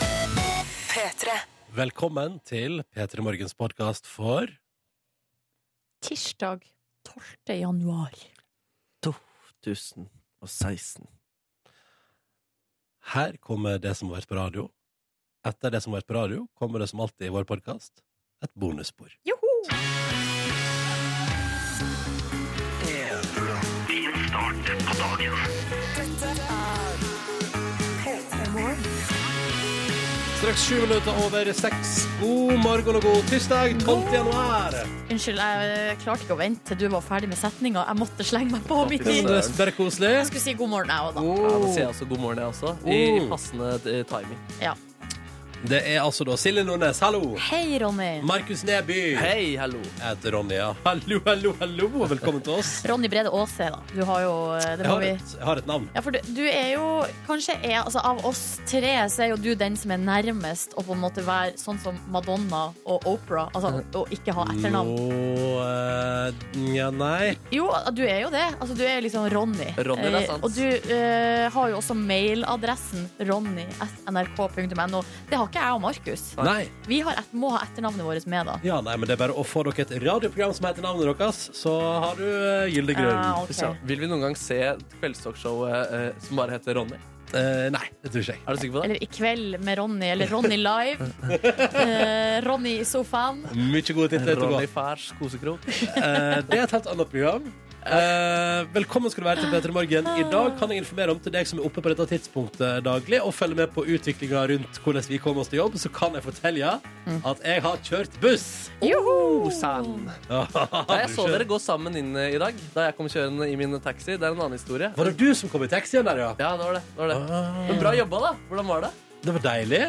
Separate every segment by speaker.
Speaker 1: P3.
Speaker 2: Velkommen til P3 Morgens podkast for
Speaker 3: Tirsdag 12. januar.
Speaker 4: 2016.
Speaker 2: Her kommer det som har vært på radio. Etter det som har vært på radio, kommer det som alltid i vår podkast et bonusspor.
Speaker 3: Joho!
Speaker 2: Straks sju minutter over seks. God morgen og god tirsdag 12. januar.
Speaker 3: Unnskyld, jeg eh, klarte ikke å vente til du var ferdig med setninga. Jeg måtte slenge meg på midt i.
Speaker 4: Søren.
Speaker 2: Det er Bare koselig.
Speaker 3: Jeg skulle si god morgen, jeg òg, da.
Speaker 4: Ja, nå sier jeg også god morgen, jeg også. I, i
Speaker 2: Oh.
Speaker 4: passende eh, timing.
Speaker 3: Ja.
Speaker 2: Det er altså da Silje Nordnes, hallo.
Speaker 3: Hei, Ronny.
Speaker 2: Markus Neby.
Speaker 4: Hei, hallo.
Speaker 2: Jeg heter Ronny, ja. Hallo, hallo, hallo. Velkommen til oss.
Speaker 3: Ronny Brede Aase, da. Du har jo eh,
Speaker 2: Jeg
Speaker 3: det må
Speaker 2: har
Speaker 3: vi...
Speaker 2: et, jeg har et navn.
Speaker 3: Ja, for du, du er jo kanskje er, altså, Av oss tre så er jo du den som er nærmest å på en måte være sånn som Madonna og Opera. Altså å ikke ha etternavn.
Speaker 2: Nå eh, ja, Nei.
Speaker 3: Jo, du er jo det. Altså, du er liksom Ronny.
Speaker 4: Ronny, det er
Speaker 3: Eh,
Speaker 4: sant.
Speaker 3: Og du eh, har jo også mailadressen ronny.nrk.no. Det har ikke jeg og Markus.
Speaker 2: Nei.
Speaker 3: Vi har et, må ha etternavnet vårt med, da.
Speaker 2: Ja, nei, men det er bare å få dere et radioprogram som heter navnet deres, så har du eh, gyldig
Speaker 3: Ja,
Speaker 2: grunn.
Speaker 3: Ah, ok.
Speaker 4: Så, Vil vi noen gang se kveldstalkshowet eh, som bare heter Ronny?
Speaker 2: Eh, nei, det tror ikke jeg.
Speaker 4: Er du sikker på det?
Speaker 3: Eller I kveld med Ronny, eller Ronny live. Eh, Ronny i sofaen.
Speaker 2: Mye gode titler til å gå.
Speaker 4: Ronny Færs kosekrok.
Speaker 2: Eh, det er et helt annet program. Eh, velkommen skal du være til Petter Morgen. I dag kan jeg informere om til deg som er oppe på dette tidspunktet daglig, og følger med på utviklinga rundt hvordan vi kommer oss til jobb, så kan jeg fortelle
Speaker 3: Mm.
Speaker 2: at jeg har kjørt buss.
Speaker 4: Oh, sann. Nei, jeg så dere gå sammen inn eh, i dag, da jeg kom kjørende i min taxi. Det er en annen historie.
Speaker 2: Var det du som kom i taxien der, ja?
Speaker 4: Ja, det var det. det, var det.
Speaker 2: Ah.
Speaker 4: Men bra jobba, da. Hvordan var det?
Speaker 2: Det var deilig.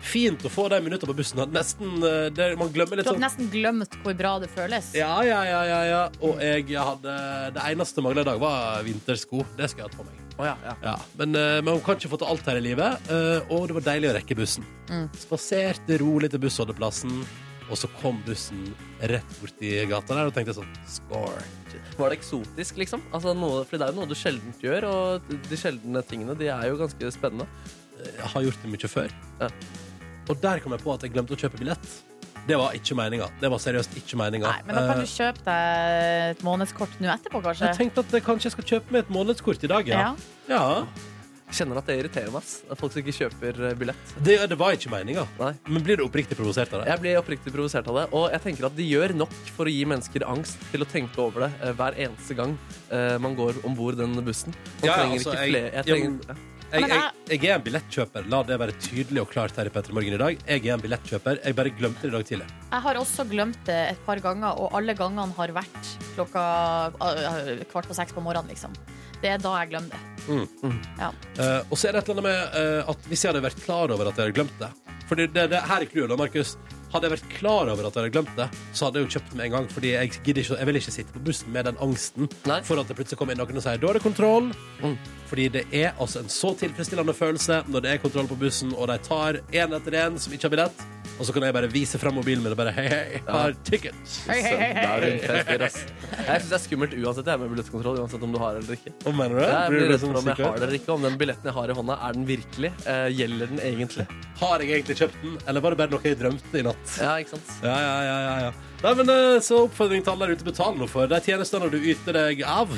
Speaker 2: Fint å få de minuttene på bussen. Nesten, eh, det, man glemmer
Speaker 3: Du
Speaker 2: litt
Speaker 3: har
Speaker 2: sånn
Speaker 3: nesten glemt hvor bra det føles.
Speaker 2: Ja, ja, ja, ja, ja. Og jeg hadde Det eneste manglet i dag var vintersko. Det skal jeg ha på meg.
Speaker 4: Å ja, ja.
Speaker 2: Ja. Men, eh, men hun kan ikke få til alt her i livet, eh, og det var deilig å rekke bussen. Spaserte rolig til bussholdeplassen, og så kom bussen rett borti gata der, og tenkte jeg sånn Score.
Speaker 4: Var det eksotisk, liksom? Altså, noe, for det er jo noe du sjelden gjør, og de sjeldne tingene de er jo ganske spennende.
Speaker 2: Jeg har gjort det mye før.
Speaker 4: Ja.
Speaker 2: Og der kom jeg på at jeg glemte å kjøpe billett. Det var ikke meninga. Det var seriøst ikke meninga.
Speaker 3: Nei, men da kan
Speaker 2: Eh,
Speaker 3: du kjøpe deg et månedskort nå etterpå, kanskje.
Speaker 2: jeg tenkte at jeg kanskje jeg skal kjøpe meg et månedskort i dag, ja.
Speaker 3: Ja.
Speaker 2: ja.
Speaker 4: Jeg Kjenner at det irriterer meg, ass. At folk som ikke kjøper eh, billett.
Speaker 2: Det, det var ikke meninga.
Speaker 4: Nei.
Speaker 2: Men blir du oppriktig provosert av det?
Speaker 4: Jeg blir oppriktig provosert av det, og jeg tenker at de gjør nok for å gi mennesker angst til å tenke over det eh, hver eneste gang eh, man går om bord den bussen. Man
Speaker 2: Ja, ja,
Speaker 4: trenger
Speaker 2: altså,
Speaker 4: ikke
Speaker 2: jeg-
Speaker 4: flere. Jeg
Speaker 2: ja, men-
Speaker 4: trenger,
Speaker 2: Jeg,
Speaker 3: Men
Speaker 2: jeg, jeg er en billettkjøper. La det være tydelig og klart her i Petter Morgen i dag. Jeg er en billettkjøper. Jeg bare glemte det i dag tidlig.
Speaker 3: Jeg har også glemt det et par ganger, og alle gangene har vært klokka øh, kvart på seks på morgenen, liksom. Det er da jeg glemmer det.
Speaker 2: Eh, og så er det et eller annet med eh, at hvis jeg hadde vært klar over at jeg hadde glemt det Fordi det, det her er clouet, da, Markus. Hadde jeg vært klar over at jeg hadde glemt det, så hadde jeg jo kjøpt med en gang. Fordi jeg, gidder ikke, jeg vil ikke sitte på bussen med den angsten
Speaker 4: Nei. Mm.
Speaker 2: for at det plutselig kommer inn noen og sier 'da er det kontroll'. Fordi det er altså en så tilfredsstillende følelse når det er kontroll på bussen, og de tar én etter én som ikke har billett, og så kan jeg bare vise fram mobilen min og bare 'hei, hei, jeg har ticket'.
Speaker 4: Søndagen, ass. Jeg syns det er skummelt uansett jeg er med billettkontroll, uansett om du har eller ikke.
Speaker 2: Hva mener du?
Speaker 4: Jeg
Speaker 2: Blir
Speaker 4: blir
Speaker 2: du
Speaker 4: redd
Speaker 2: sånn
Speaker 4: for om jeg
Speaker 2: sikker?
Speaker 4: har det eller ikke, om den billetten jeg har i hånda, er den virkelig? Eh, gjelder den egentlig?
Speaker 2: Har jeg egentlig kjøpt den, eller var det bare noe jeg drømte i natt?
Speaker 4: Ja, ikke sant?
Speaker 2: Ja, ja, ja, ja, ja. Nei, men eh, Så oppfordring til alle der ute betaler noe for. De tjenestene du yter deg av,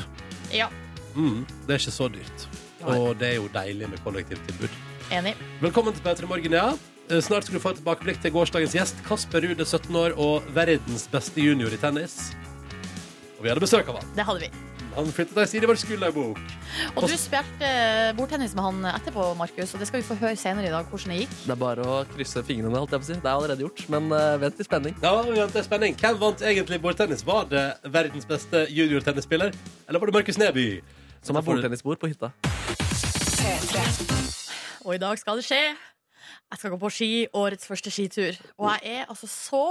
Speaker 3: Ja,
Speaker 2: mm, det er ikke så dyrt.
Speaker 3: Nei.
Speaker 2: Og det er jo deilig med kollektivtilbud.
Speaker 3: enig.
Speaker 2: Velkommen til P3 Morgen, ja. Eh, Snart skal du få et tilbakeblikk til gårsdagens gjest, Kasper Ruud, 17 år og verdens beste junior i tennis. Og vi hadde besøk av han.
Speaker 3: Det hadde vi.
Speaker 2: Han flyttet ei side i vår skolebok.
Speaker 3: Og du spilte eh, bordtennis med han etterpå, Markus, og det skal vi få høre senere i dag hvordan det gikk.
Speaker 4: Det er bare å krysse fingrene, holdt jeg på å si. Det er allerede gjort, men eh, vent i spenning.
Speaker 2: Ja, vi venter i spenning. Hvem vant egentlig bordtennis? Var det verdens beste juniortennisspiller, eller var det Markus Neby?
Speaker 4: Som er bordtennisbord på hytta.
Speaker 3: Og i dag skal det skje. Jeg skal gå på ski, årets første skitur. Og jeg er altså så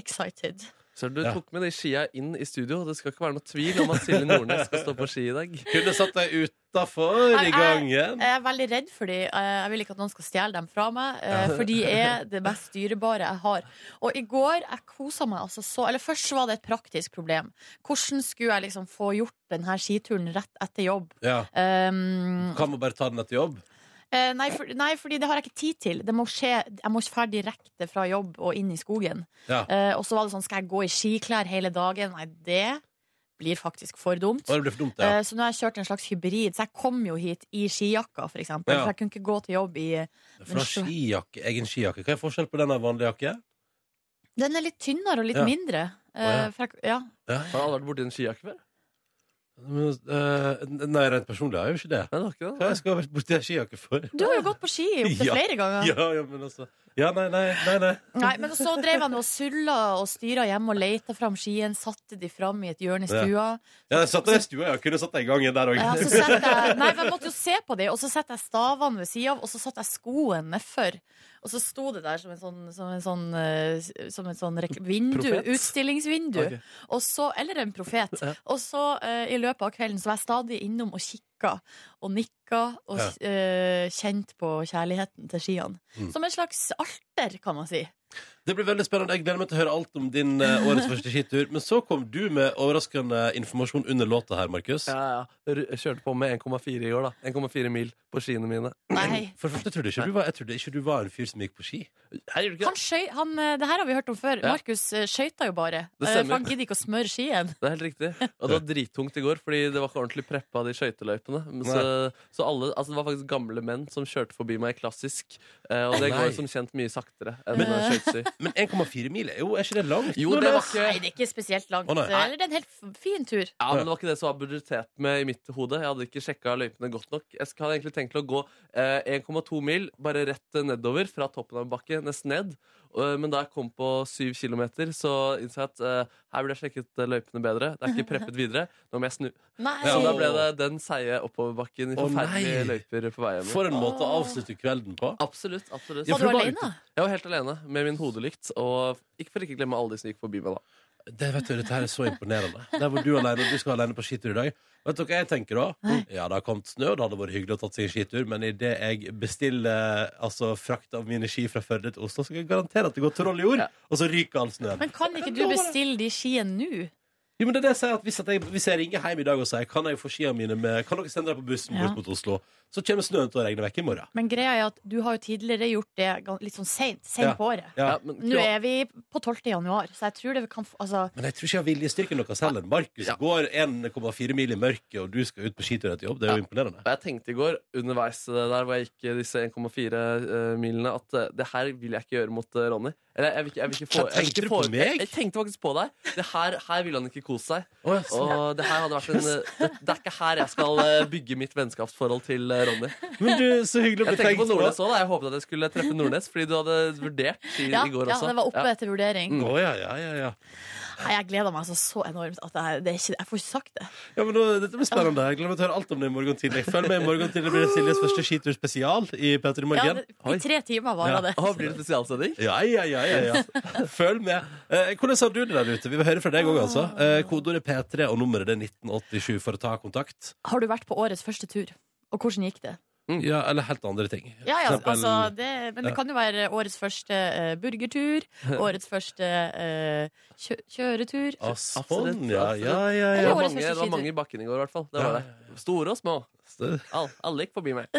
Speaker 3: excited.
Speaker 4: Så du
Speaker 2: Ja.
Speaker 4: tok med de skia inn i studio. Det skal ikke være noe tvil om at Silje Nordnes skal stå på ski i dag.
Speaker 2: Kunne satt deg utafor i
Speaker 3: Jeg-
Speaker 2: gangen.
Speaker 3: Jeg er veldig redd for dem. Jeg vil ikke at noen skal stjele dem fra meg. eh, For de er det mest dyrebare jeg har. Og i går jeg kosa meg altså så Eller først så var det et praktisk problem. Hvordan skulle jeg liksom få gjort denne skituren rett etter jobb?
Speaker 2: Ja.
Speaker 3: Um,
Speaker 2: Mm. Kan man bare ta den etter jobb?
Speaker 3: Eh, nei, for, nei, fordi det har jeg ikke tid til. Det må skje, jeg må dra direkte fra jobb og inn i skogen.
Speaker 2: Ja.
Speaker 3: Eh, og så var det sånn, skal jeg gå i skiklær hele dagen? Nei, det blir faktisk for dumt.
Speaker 2: Å, det blir for dumt, ja.
Speaker 3: Eh, så nå har jeg kjørt en slags hybrid. Så jeg kom jo hit i skijakka, for eksempel.
Speaker 2: Ja.
Speaker 3: For jeg kunne ikke gå til jobb i
Speaker 2: Fra skijakke, egen skijakke. Hva er forskjellen på den og vanlig jakke?
Speaker 3: Den er litt tynnere og litt
Speaker 2: Ja.
Speaker 3: mindre. Eh, for jeg, ja.
Speaker 2: Ja.
Speaker 4: Har du aldri vært borti en skijakke før?
Speaker 2: Men, eh, nei, rent personlig har jeg jo ikke det.
Speaker 4: Nei, det har ikke det.
Speaker 2: Hva skal jeg være borti en skijakke for?
Speaker 3: Du har jo gått på ski opptil
Speaker 2: Ja.
Speaker 3: flere ganger.
Speaker 2: Ja, ja, men altså Ja, nei, nei, nei. nei.
Speaker 3: Nei, men så drev han og sulla og styra hjemme og leita fram skien. Satte de fram i et hjørne i
Speaker 2: Ja.
Speaker 3: stua.
Speaker 2: Ja, jeg satt der i stua, jeg kunne satt deg i gangen der òg.
Speaker 3: Ja, så setter jeg, nei, for jeg måtte jo se på de, og så setter jeg stavene ved sida av, og så satte jeg skoen nedfor. Og så sto det der som en sånn, som en sånn, eh, som en sånn rek- vindu,
Speaker 4: Profet?
Speaker 3: utstillingsvindu.
Speaker 4: Ok.
Speaker 3: Og så, eller en profet. Og så eh, i løpet av kvelden så var jeg stadig innom og kikka og nikka og eh, kjent på kjærligheten til skiene.
Speaker 2: Mm.
Speaker 3: Som en slags alter, kan man si.
Speaker 2: Det blir veldig spennende. Jeg gleder meg til å høre alt om din eh, årets første skitur. Men så kom du med overraskende informasjon under låta her, Markus.
Speaker 4: Ja, ja. R- Jeg kjørte på med 1,4 i år, da. 1,4 mil på skiene mine.
Speaker 3: Nei.
Speaker 2: For det første trodde jeg ikke du var, jeg trodde ikke du var en fyr som gikk på ski.
Speaker 4: Jeg gjorde ikke
Speaker 3: Han
Speaker 4: det.
Speaker 3: skjøy, han, eh, det her har vi hørt om før.
Speaker 4: Ja.
Speaker 3: Markus eh, skøyta jo bare.
Speaker 4: Det
Speaker 3: Eh,
Speaker 4: stemmer.
Speaker 3: For han gidder ikke å smøre skien.
Speaker 4: Det er helt riktig. Og det var drittungt i går, fordi det var ikke ordentlig preppa, de skøyteløypene. Men Så, så alle, altså det var faktisk gamle menn som kjørte forbi meg i klassisk. eh, Og
Speaker 2: Nei.
Speaker 4: det går jo som kjent mye saktere enn eh, skøytesy.
Speaker 2: Men 1,4 mil er jo er ikke det langt?
Speaker 4: Jo, det var ikke
Speaker 3: Nei, det er ikke spesielt langt.
Speaker 2: Å, nei.
Speaker 3: Eller det er en helt f- fin tur.
Speaker 4: Ja, men det var ikke det som var budsjettert med i mitt hode. Jeg hadde ikke sjekka løypene godt nok. Jeg sk- hadde egentlig tenkt til å gå eh, 1,2 mil, bare rett eh, nedover fra toppen av en bakke, nesten ned. Og, eh, men da jeg kom på 7 km, så innså jeg at eh, her burde jeg sjekket eh, løypene bedre. Det er ikke preppet videre. Nå må jeg snu.
Speaker 3: Nei.
Speaker 2: Ja,
Speaker 4: Så da
Speaker 2: Åh.
Speaker 4: ble det den seige oppoverbakken i
Speaker 2: Å, nei.
Speaker 4: forferdelige løyper på vei hjem.
Speaker 2: For en måte å avslutte kvelden på.
Speaker 4: Absolutt. absolutt.
Speaker 2: Ja,
Speaker 3: Var
Speaker 2: for
Speaker 3: du
Speaker 2: det var
Speaker 3: alene?
Speaker 4: Jeg var helt alene med min hodelykt. Og ikke for ikke å glemme alle de som gikk forbi meg, da.
Speaker 2: Det vet du, Dette her er så imponerende. Der hvor du, er alene, du skal alene på skitur i dag. Vet dere hva jeg tenker da? Ja, det har kommet snø, og det hadde vært hyggelig å tatt seg en skitur, men idet jeg bestiller altså, frakt av mine ski fra Førde til Oslo, så skal jeg garantere at det går troll i jord,
Speaker 4: Ja.
Speaker 2: og så ryker all snøen.
Speaker 3: Men kan ikke du bestille de skiene nå?
Speaker 2: Jo, men det er det jeg sier at hvis, at jeg, hvis jeg ringer hjem i dag og sier Kan jeg få skiene mine med Kan dere sende dem på bussen
Speaker 3: Ja.
Speaker 2: bort mot Oslo, så kommer snøen til å regne vekk i morgen.
Speaker 3: Men greia er at du har jo tidligere gjort det gan- litt sånn seint,
Speaker 2: Ja.
Speaker 3: sent på året.
Speaker 2: Ja.
Speaker 4: Ja, men,
Speaker 3: Nå er vi på 12. januar, så jeg tror det kan f- Altså,
Speaker 2: Men jeg tror ikke jeg har viljestyrken deres heller. Markus
Speaker 4: Ja.
Speaker 2: går 1,4 mil i mørket, og du skal ut på skitur etter jobb. Det er jo imponerende.
Speaker 4: Og jeg tenkte i går, underveis det der hvor jeg gikk eh, disse 1,4 eh, milene, at eh, det her vil jeg ikke gjøre mot eh, Ronny. Eller jeg vil ikke, jeg vil ikke få
Speaker 2: Hva tenkte
Speaker 4: jeg vil
Speaker 2: du
Speaker 4: ikke få-
Speaker 2: på meg?
Speaker 4: Jeg, jeg tenkte faktisk på deg. Det her, her ville han ikke kose seg.
Speaker 2: Å, ja,
Speaker 4: Og det her hadde vært en eh, Det, det er ikke her jeg skal eh, bygge mitt vennskapsforhold til eh, Ronny.
Speaker 2: Men du, så hyggelig å
Speaker 4: Jeg
Speaker 2: bli
Speaker 4: tenker
Speaker 2: tenkt
Speaker 4: på Nordnes også, da. Jeg håpet at jeg skulle treffe Nordnes, fordi du hadde vurdert i,
Speaker 3: ja,
Speaker 4: i går
Speaker 3: ja,
Speaker 4: også.
Speaker 3: det var oppe til vurdering.
Speaker 2: Å, ja, ja, ja, ja.
Speaker 3: Nei, jeg gleder meg altså så enormt at jeg, det er ikke, jeg får ikke sagt det.
Speaker 2: Ja, men nå, Dette blir spennende. Jeg gleder meg til å høre alt om det i morgen tidlig. Følg med i morgen tidlig. Det blir Siljes første skitur spesial i P3
Speaker 3: Ja,
Speaker 2: Morgen.
Speaker 3: det I tre
Speaker 2: Ja.
Speaker 3: timer varer det.
Speaker 4: Å, blir det spesialsending?
Speaker 2: Ja, ja, ja, ja, ja. Følg med. Eh, hvordan har du det der ute? Vi vil høre fra deg òg, altså. Eh, kodeordet P3 og nummeret det er 1987 for å ta kontakt.
Speaker 3: Har du vært på årets første tur? Og hvordan gikk det?
Speaker 2: Ja, Eller helt andre ting.
Speaker 3: Ja, ja,
Speaker 2: For eksempel-
Speaker 3: altså, det, men det kan jo være årets første eh, burgertur, årets første eh, kjø kjøretur.
Speaker 2: Ah, sånn,
Speaker 4: Absolutt,
Speaker 2: ja,
Speaker 4: absolutt.
Speaker 2: ja, ja,
Speaker 4: Det
Speaker 2: ja.
Speaker 4: var,
Speaker 3: årets
Speaker 4: mange,
Speaker 3: første
Speaker 4: det var
Speaker 3: skitur.
Speaker 4: mange i bakken i går, i hvert fall. Det var
Speaker 2: Ja.
Speaker 4: det. Store og små.
Speaker 2: Så-
Speaker 4: All, alle gikk forbi meg.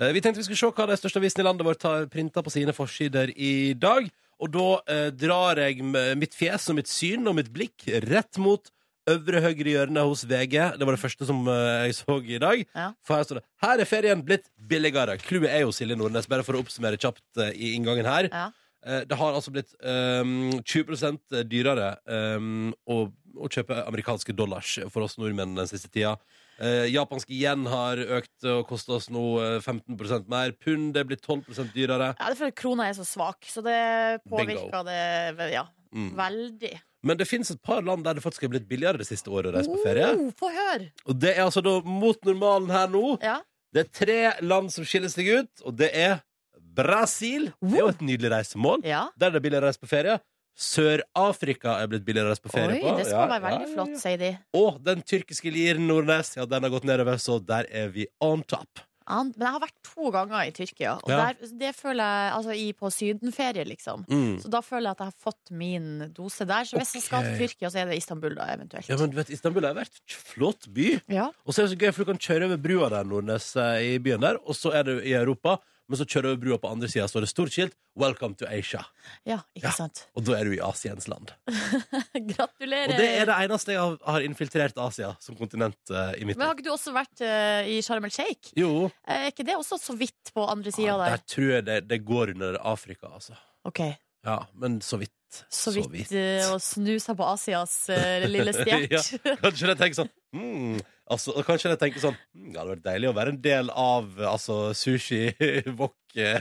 Speaker 2: Eh, Vi tenkte vi skulle se hva de største avisene i landet vårt har printa på sine forsider i dag. Og da eh, drar jeg m- mitt fjes og mitt syn og mitt blikk rett mot øvre høyre hjørne hos VG. Det var det første som eh, jeg så i dag.
Speaker 3: Ja.
Speaker 2: For her står det 'Her er ferien blitt billigere'. Clouet er jo Silje Nordnes, bare for å oppsummere kjapt eh, i inngangen her.
Speaker 3: Ja.
Speaker 2: Eh, Det har altså blitt ehm, 20 dyrere ehm, å, å kjøpe amerikanske dollars for oss nordmenn den siste tida. Eh, japansk yen har økt og kosta oss nå eh, 15 mer. Pund er blitt 12 dyrere.
Speaker 3: Ja, det er fordi krona er så svak, så det påvirker det ja,
Speaker 2: Mm.
Speaker 3: veldig.
Speaker 2: Men det fins et par land der det faktisk er blitt billigere det siste året å reise på ferie.
Speaker 3: Oh, få høre!
Speaker 2: Og det er altså da mot normalen her nå.
Speaker 3: Ja.
Speaker 2: Det er tre land som skiller seg ut, og det er Brasil. Det er jo et nydelig reisemål.
Speaker 3: ja.
Speaker 2: Der er det billigere å reise på ferie. Sør-Afrika er blitt billigere å reise på ferie
Speaker 3: Oi,
Speaker 2: på.
Speaker 3: det skal
Speaker 2: Ja,
Speaker 3: være
Speaker 2: ja,
Speaker 3: veldig
Speaker 2: ja,
Speaker 3: flott,
Speaker 2: ja.
Speaker 3: sier de.
Speaker 2: Og den tyrkiske liren Nordnes, ja, den har gått nedover, så der er vi on top.
Speaker 3: An- Men jeg har vært to ganger i Tyrkia, og
Speaker 2: Ja.
Speaker 3: der, det føler jeg altså i, på sydenferie, liksom.
Speaker 2: Mm.
Speaker 3: Så da føler jeg at jeg har fått min dose der. Så hvis jeg skal til
Speaker 2: Ok.
Speaker 3: Tyrkia, så er det Istanbul, da, eventuelt.
Speaker 2: Ja, men du vet, Istanbul er vært flott by.
Speaker 3: Ja.
Speaker 2: Og så er det så gøy, for du kan kjøre over brua der, Nordnes, eh, i byen der, og så er du i Europa, men så kjører du over brua på andre sida, står det stort skilt 'Welcome to Asia'.
Speaker 3: Ja, ikke
Speaker 2: Ja.
Speaker 3: sant?
Speaker 2: Og da er du i Asiens land. Og
Speaker 3: Gratulerer!
Speaker 2: det er det eneste jeg har- har infiltrert Asia som kontinent eh, i mitt
Speaker 3: Men har ikke du også vært eh, i Sharm el Sheikh? Eh,
Speaker 2: Jo,
Speaker 3: Er ikke det også så vidt på andre sida
Speaker 2: ja, der
Speaker 3: der?
Speaker 2: tror jeg det, det går under Afrika, altså.
Speaker 3: Ok,
Speaker 2: Ja, men så vidt.
Speaker 3: Så vidt eh, å snu seg på Asias eh, lille stjert.
Speaker 2: Kanskje de tenker sånn hmm, altså, og Kanskje de tenker sånn hmm, Det hadde vært deilig å være en del av eh, altså, sushi, wok, eh,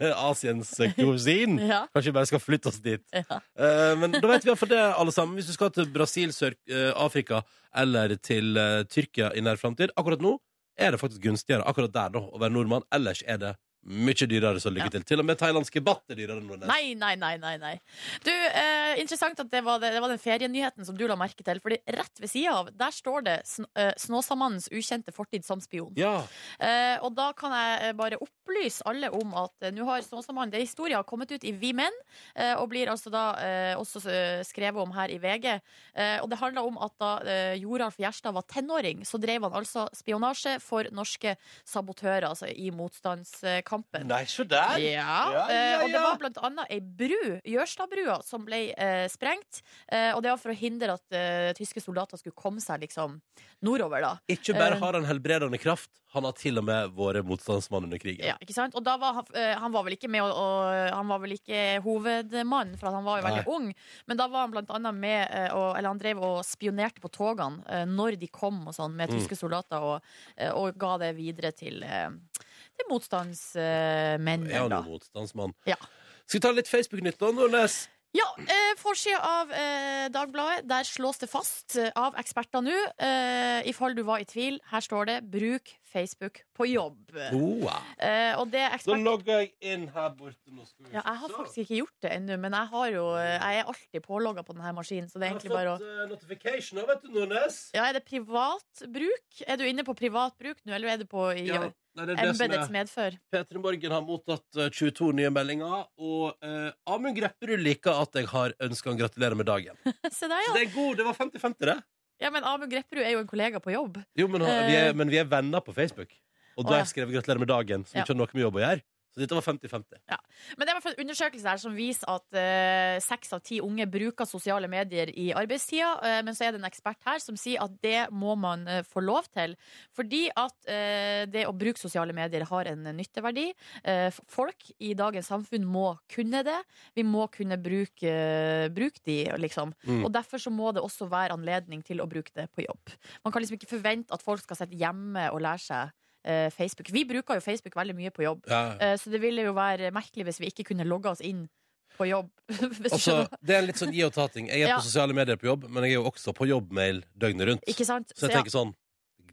Speaker 2: Asiens kusin.
Speaker 3: ja.
Speaker 2: Kanskje vi bare skal flytte oss dit.
Speaker 3: Ja.
Speaker 2: Eh, men da vet vi iallfall det, alle sammen. Hvis du skal til Brasil, Sør-Afrika eller til eh, Tyrkia i nær framtid Akkurat nå er det faktisk gunstigere akkurat der da, å være nordmann. Ellers er det mye dyrere, så lykke
Speaker 3: Ja.
Speaker 2: til. Til og med thailandske baht er dyrere enn Nordnes.
Speaker 3: Nei, nei, nei, nei, nei. Du, eh, interessant at det var, det, det var den ferienyheten som du la merke til. Fordi rett ved sida av, der står det sn eh, 'Snåsamannens ukjente fortid som spion'.
Speaker 2: Ja.
Speaker 3: Eh, og da kan jeg eh, bare opplyse alle om at eh, nå har Snåsamannen Det historien har kommet ut i Vi Menn, eh, og blir altså da eh, også eh, skrevet om her i VG. Eh, og det handler om at da eh, Joralf Gjerstad var tenåring, så drev han altså spionasje for norske sabotører, altså i motstandskampen.
Speaker 2: Nei, så der.
Speaker 3: Ja,
Speaker 2: Ja, ja,
Speaker 3: eh, og det
Speaker 2: ja.
Speaker 3: var blant annet ei bru, Jørstadbrua, som ble eh, sprengt. Eh, og det var for å hindre at eh, tyske soldater skulle komme seg liksom nordover, da.
Speaker 2: Ikke bare
Speaker 3: Eh.
Speaker 2: har han helbredende kraft, han har til og med vært motstandsmann under krigen.
Speaker 3: Ja, ikke sant? Og da var han, eh, han var vel ikke med og, og Han var vel ikke hovedmann, for at han var jo veldig ung. Men da var han blant annet med eh, og, Eller han drev og spionerte på togene eh, når de kom og sånn, med
Speaker 2: Mm.
Speaker 3: tyske soldater, og, eh, og ga det videre til, eh, til motstandsmennene.
Speaker 2: Er han
Speaker 3: da.
Speaker 2: jo motstandsmann?
Speaker 3: Ja.
Speaker 2: Skal vi ta litt Facebook-nytt nå, Nordnes?
Speaker 3: Ja, eh, forsida av eh, Dagbladet, der slås det fast eh, av eksperter nå. Eh, I fall du var i tvil, her står det 'bruk Facebook på jobb'.
Speaker 2: Oh, wow.
Speaker 3: Eh, og det er
Speaker 2: Da
Speaker 3: ekspert...
Speaker 2: logger jeg inn her borte. Nå skal vi
Speaker 3: Ja, jeg har
Speaker 2: se.
Speaker 3: faktisk ikke gjort det ennå, men jeg, har jo, eh, jeg er alltid pålogga på denne maskinen. Så det er
Speaker 2: Jeg har
Speaker 3: egentlig bare å
Speaker 2: fått eh, notification nå, vet du, Nordnes.
Speaker 3: ja, Er det privat bruk? Er du inne på privat bruk nå, eller er du på i
Speaker 2: Ja, Nei, det er det
Speaker 3: embetets
Speaker 2: som er.
Speaker 3: medfør?
Speaker 2: P3 Morgen har mottatt eh, 22 nye meldinger, og eh, Amund Grepperud liker at jeg har ønska han gratulerer med dagen.
Speaker 3: Se der,
Speaker 2: Så
Speaker 3: ja.
Speaker 2: det er god, det var 50-50, det.
Speaker 3: ja! Men Amund Grepperud er jo en kollega på jobb.
Speaker 2: Jo, men, han-
Speaker 3: Eh.
Speaker 2: vi er, men vi er venner på Facebook, og
Speaker 3: Å,
Speaker 2: der
Speaker 3: ja.
Speaker 2: skrev jeg 'gratulerer med dagen', som
Speaker 3: Ja.
Speaker 2: ikke har noe med jobb å gjøre. Så dette var 50-50.
Speaker 3: Men det er i hvert fall en undersøkelse her som viser at eh, seks av ti unge bruker sosiale medier i arbeidstida. eh, men så er det en ekspert her som sier at det må man eh, få lov til. Fordi at eh, det å bruke sosiale medier har en nytteverdi. Eh, f- folk i dagens samfunn må kunne det. Vi må kunne bruke, eh, bruke de, liksom.
Speaker 2: Mm.
Speaker 3: Og derfor så må det også være anledning til å bruke det på jobb. Man kan liksom ikke forvente at folk skal sitte hjemme og lære seg eh, Facebook. Vi bruker jo Facebook veldig mye på jobb.
Speaker 2: Ja.
Speaker 3: Eh, Så det ville jo være merkelig hvis vi ikke kunne logge oss inn på jobb. Hvis du
Speaker 2: Altså,
Speaker 3: skjønner.
Speaker 2: det er en litt sånn gi og ta-ting. Jeg er
Speaker 3: Ja.
Speaker 2: på sosiale medier på jobb, men jeg er jo også på jobbmail døgnet rundt.
Speaker 3: Ikke sant?
Speaker 2: Så jeg
Speaker 3: ja.
Speaker 2: tenker sånn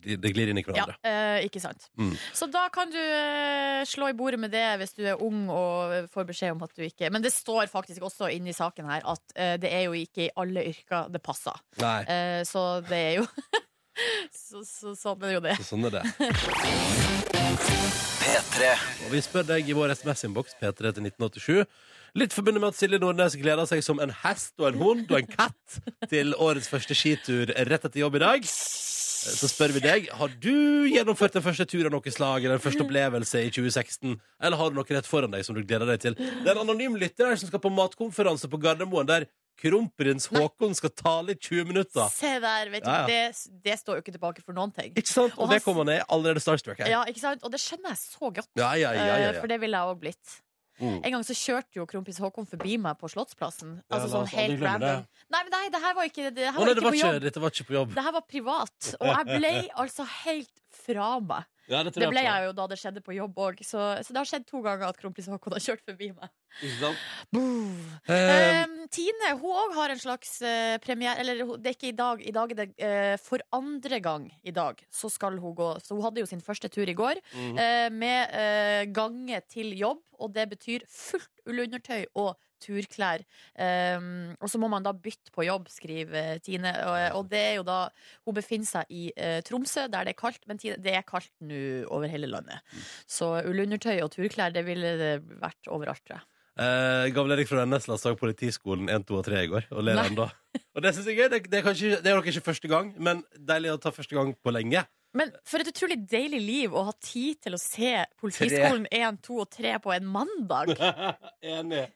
Speaker 2: gli- Det glir inn i
Speaker 3: Ja,
Speaker 2: hverandre.
Speaker 3: eh, ikke sant.
Speaker 2: Mm.
Speaker 3: Så da kan du eh, slå i bordet med det hvis du er ung og eh, får beskjed om at du ikke Men det står faktisk også inne i saken her at eh, det er jo ikke i alle yrker det passer.
Speaker 2: Nei.
Speaker 3: Eh, så det er jo så, så, Sånn er jo det.
Speaker 2: Så sånn er det. Og vi spør deg i vår SMS-innboks P3 til 1987. Litt forbundet med at Silje Nordnes gleder seg som en hest og en hund og en katt til årets første skitur rett etter jobb i dag. Eh, Så spør vi deg har du gjennomført den første tur av noe slag eller den første opplevelse i 2016. Eller har du noe rett foran deg som du gleder deg til? Det er en anonym lytter her som skal på matkonferanse på Gardermoen, der kronprins Haakon skal tale i 20 minutter.
Speaker 3: Se der, vet du.
Speaker 2: Ja, ja.
Speaker 3: Det, det står jo ikke tilbake for noen ting.
Speaker 2: Ikke sant?
Speaker 3: Og
Speaker 2: Og
Speaker 3: han-
Speaker 2: det kommer ned allerede starstruck her.
Speaker 3: Ja, ikke sant? Og det skjønner jeg så godt.
Speaker 2: Ja, ja, ja, ja,
Speaker 3: Eh,
Speaker 2: ja.
Speaker 3: For det ville jeg òg blitt.
Speaker 2: Mm.
Speaker 3: En gang så kjørte jo kronprins Haakon forbi meg på Slottsplassen.
Speaker 2: Ja, la
Speaker 3: Altså sånn
Speaker 2: oss aldri
Speaker 3: helt
Speaker 2: glemme det.
Speaker 3: random. Nei, men nei, det her var ikke, det her
Speaker 2: Å, nei,
Speaker 3: var ikke
Speaker 2: det var
Speaker 3: på
Speaker 2: ikke,
Speaker 3: jobb.
Speaker 2: dette var ikke på jobb.
Speaker 3: Det her var privat. Og jeg ble altså helt fra meg.
Speaker 2: Ja,
Speaker 3: Det ble jeg jo da det skjedde på jobb òg. Så, så det har skjedd to ganger at kronprins Haakon har kjørt forbi meg.
Speaker 2: Eh,
Speaker 3: Ehm, Tine hun òg har en slags eh, premiere Eller hun- det er ikke i dag. I dag er det eh, for andre gang i dag så skal hun gå. Så hun hadde jo sin første tur i går
Speaker 2: mm.
Speaker 3: eh, med eh, gange til jobb, og det betyr fullt ullundertøy og turklær. Um, og så må man da bytte på jobb, skriver eh, Tine. Og, og det er jo da Hun befinner seg i eh, Tromsø, der det er kaldt, men Tine, det er kaldt nå over hele landet. Så ullundertøy og turklær, det ville det vært overalt, tror jeg.
Speaker 2: Uh, Gammel Erik fra Nesla sang Politiskolen 1, 2 og 3 i går, og ler
Speaker 3: Nei.
Speaker 2: ennå. Og det synes jeg er gøy. Det, det, er kanskje, det er nok ikke første gang, men deilig å ta første gang på lenge.
Speaker 3: Men for et utrolig deilig liv å ha tid til å se Politiskolen 1, 2 og 3 på en mandag.
Speaker 2: Enig.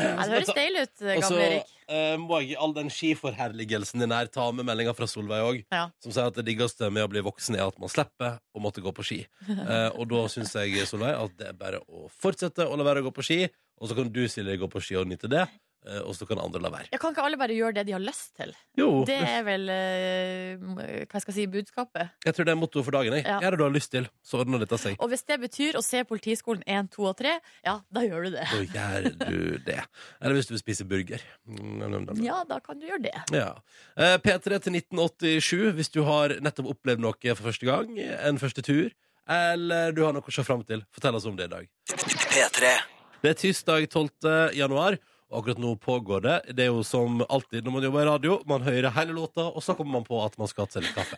Speaker 3: Ja, det høres deilig ut,
Speaker 2: Og så
Speaker 3: gamle Erik.
Speaker 2: eh, må jeg i all den skiforherligelsen din her ta med meldinga fra Solveig òg,
Speaker 3: Ja.
Speaker 2: som sier at det diggeste med å bli voksen er at man slipper å måtte gå på ski. Eh, og da syns jeg, Solveig, at det er bare å fortsette å la være å gå på ski, og så kan du, Silje, gå på ski og nyte det, eh, og så kan andre la være.
Speaker 3: Ja, kan ikke alle bare gjøre det de har lyst til?
Speaker 2: Jo,
Speaker 3: Det er vel eh, hva jeg skal si, budskapet.
Speaker 2: jeg tror det er mottoet for dagen. Jeg.
Speaker 3: Ja.
Speaker 2: Gjør det du har lyst til, så ordner dette seg.
Speaker 3: Og hvis det betyr å se Politiskolen 1, 2 og 3, ja, da gjør du det.
Speaker 2: Så gjør du det. Eller hvis du vil spise burger. Mm, nam, nam, nam.
Speaker 3: Ja, da kan du gjøre det.
Speaker 2: Ja. Eh, P3 til 1987 hvis du har nettopp opplevd noe for første gang, en første tur, eller du har noe å se fram til. Fortell oss om det i dag. Det er tirsdag 12. januar, og akkurat nå pågår det. Det er jo som alltid når man jobber i radio, man hører hele låta, og så kommer man på at man skal ha litt kaffe.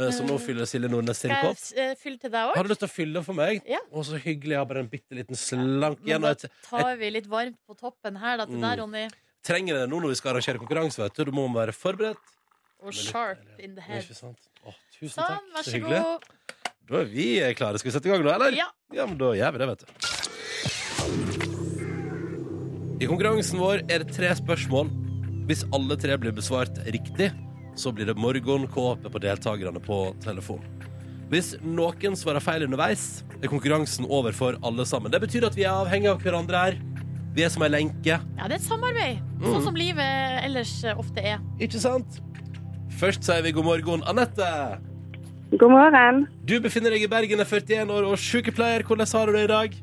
Speaker 2: Eh, Så nå fyller Silje Nordnes sin
Speaker 3: Skal
Speaker 2: kopp.
Speaker 3: jeg eh, fylle til deg
Speaker 2: Har
Speaker 3: òg?
Speaker 2: du lyst til å fylle den for meg?
Speaker 3: Ja.
Speaker 2: Og så hyggelig, jeg har bare en bitte liten slank
Speaker 3: Men
Speaker 2: igjen.
Speaker 3: da
Speaker 2: og jeg
Speaker 3: tar vi litt varmt på toppen her da, til deg,
Speaker 2: Mm.
Speaker 3: Ronny.
Speaker 2: trenger det nå når vi skal arrangere konkurranse, vet du. Du må være forberedt.
Speaker 3: Og sharp in the
Speaker 2: Det er
Speaker 3: head.
Speaker 2: Ikke sant? Å, tusen
Speaker 3: Sånn,
Speaker 2: takk.
Speaker 3: vær
Speaker 2: så
Speaker 3: så
Speaker 2: hyggelig.
Speaker 3: god.
Speaker 2: Da er vi klare. Skal vi sette i gang nå, eller?
Speaker 3: Ja.
Speaker 2: men da gjør vi det, vet du. I konkurransen vår er det tre spørsmål. Hvis alle tre blir besvart riktig, så blir det morgenkåpe på deltakerne på telefon. Hvis noen svarer feil underveis, er konkurransen over for alle sammen. Det betyr at vi er avhengig av hverandre her. Vi er som ei lenke.
Speaker 3: Ja, det er et samarbeid, sånn
Speaker 2: Mm.
Speaker 3: som livet ellers eh, ofte er.
Speaker 2: Ikke sant? Først sier vi god morgen, Anette.
Speaker 1: God morgen.
Speaker 2: Du befinner deg i Bergen, er 41 år og sykepleier. Hvordan har du det i dag?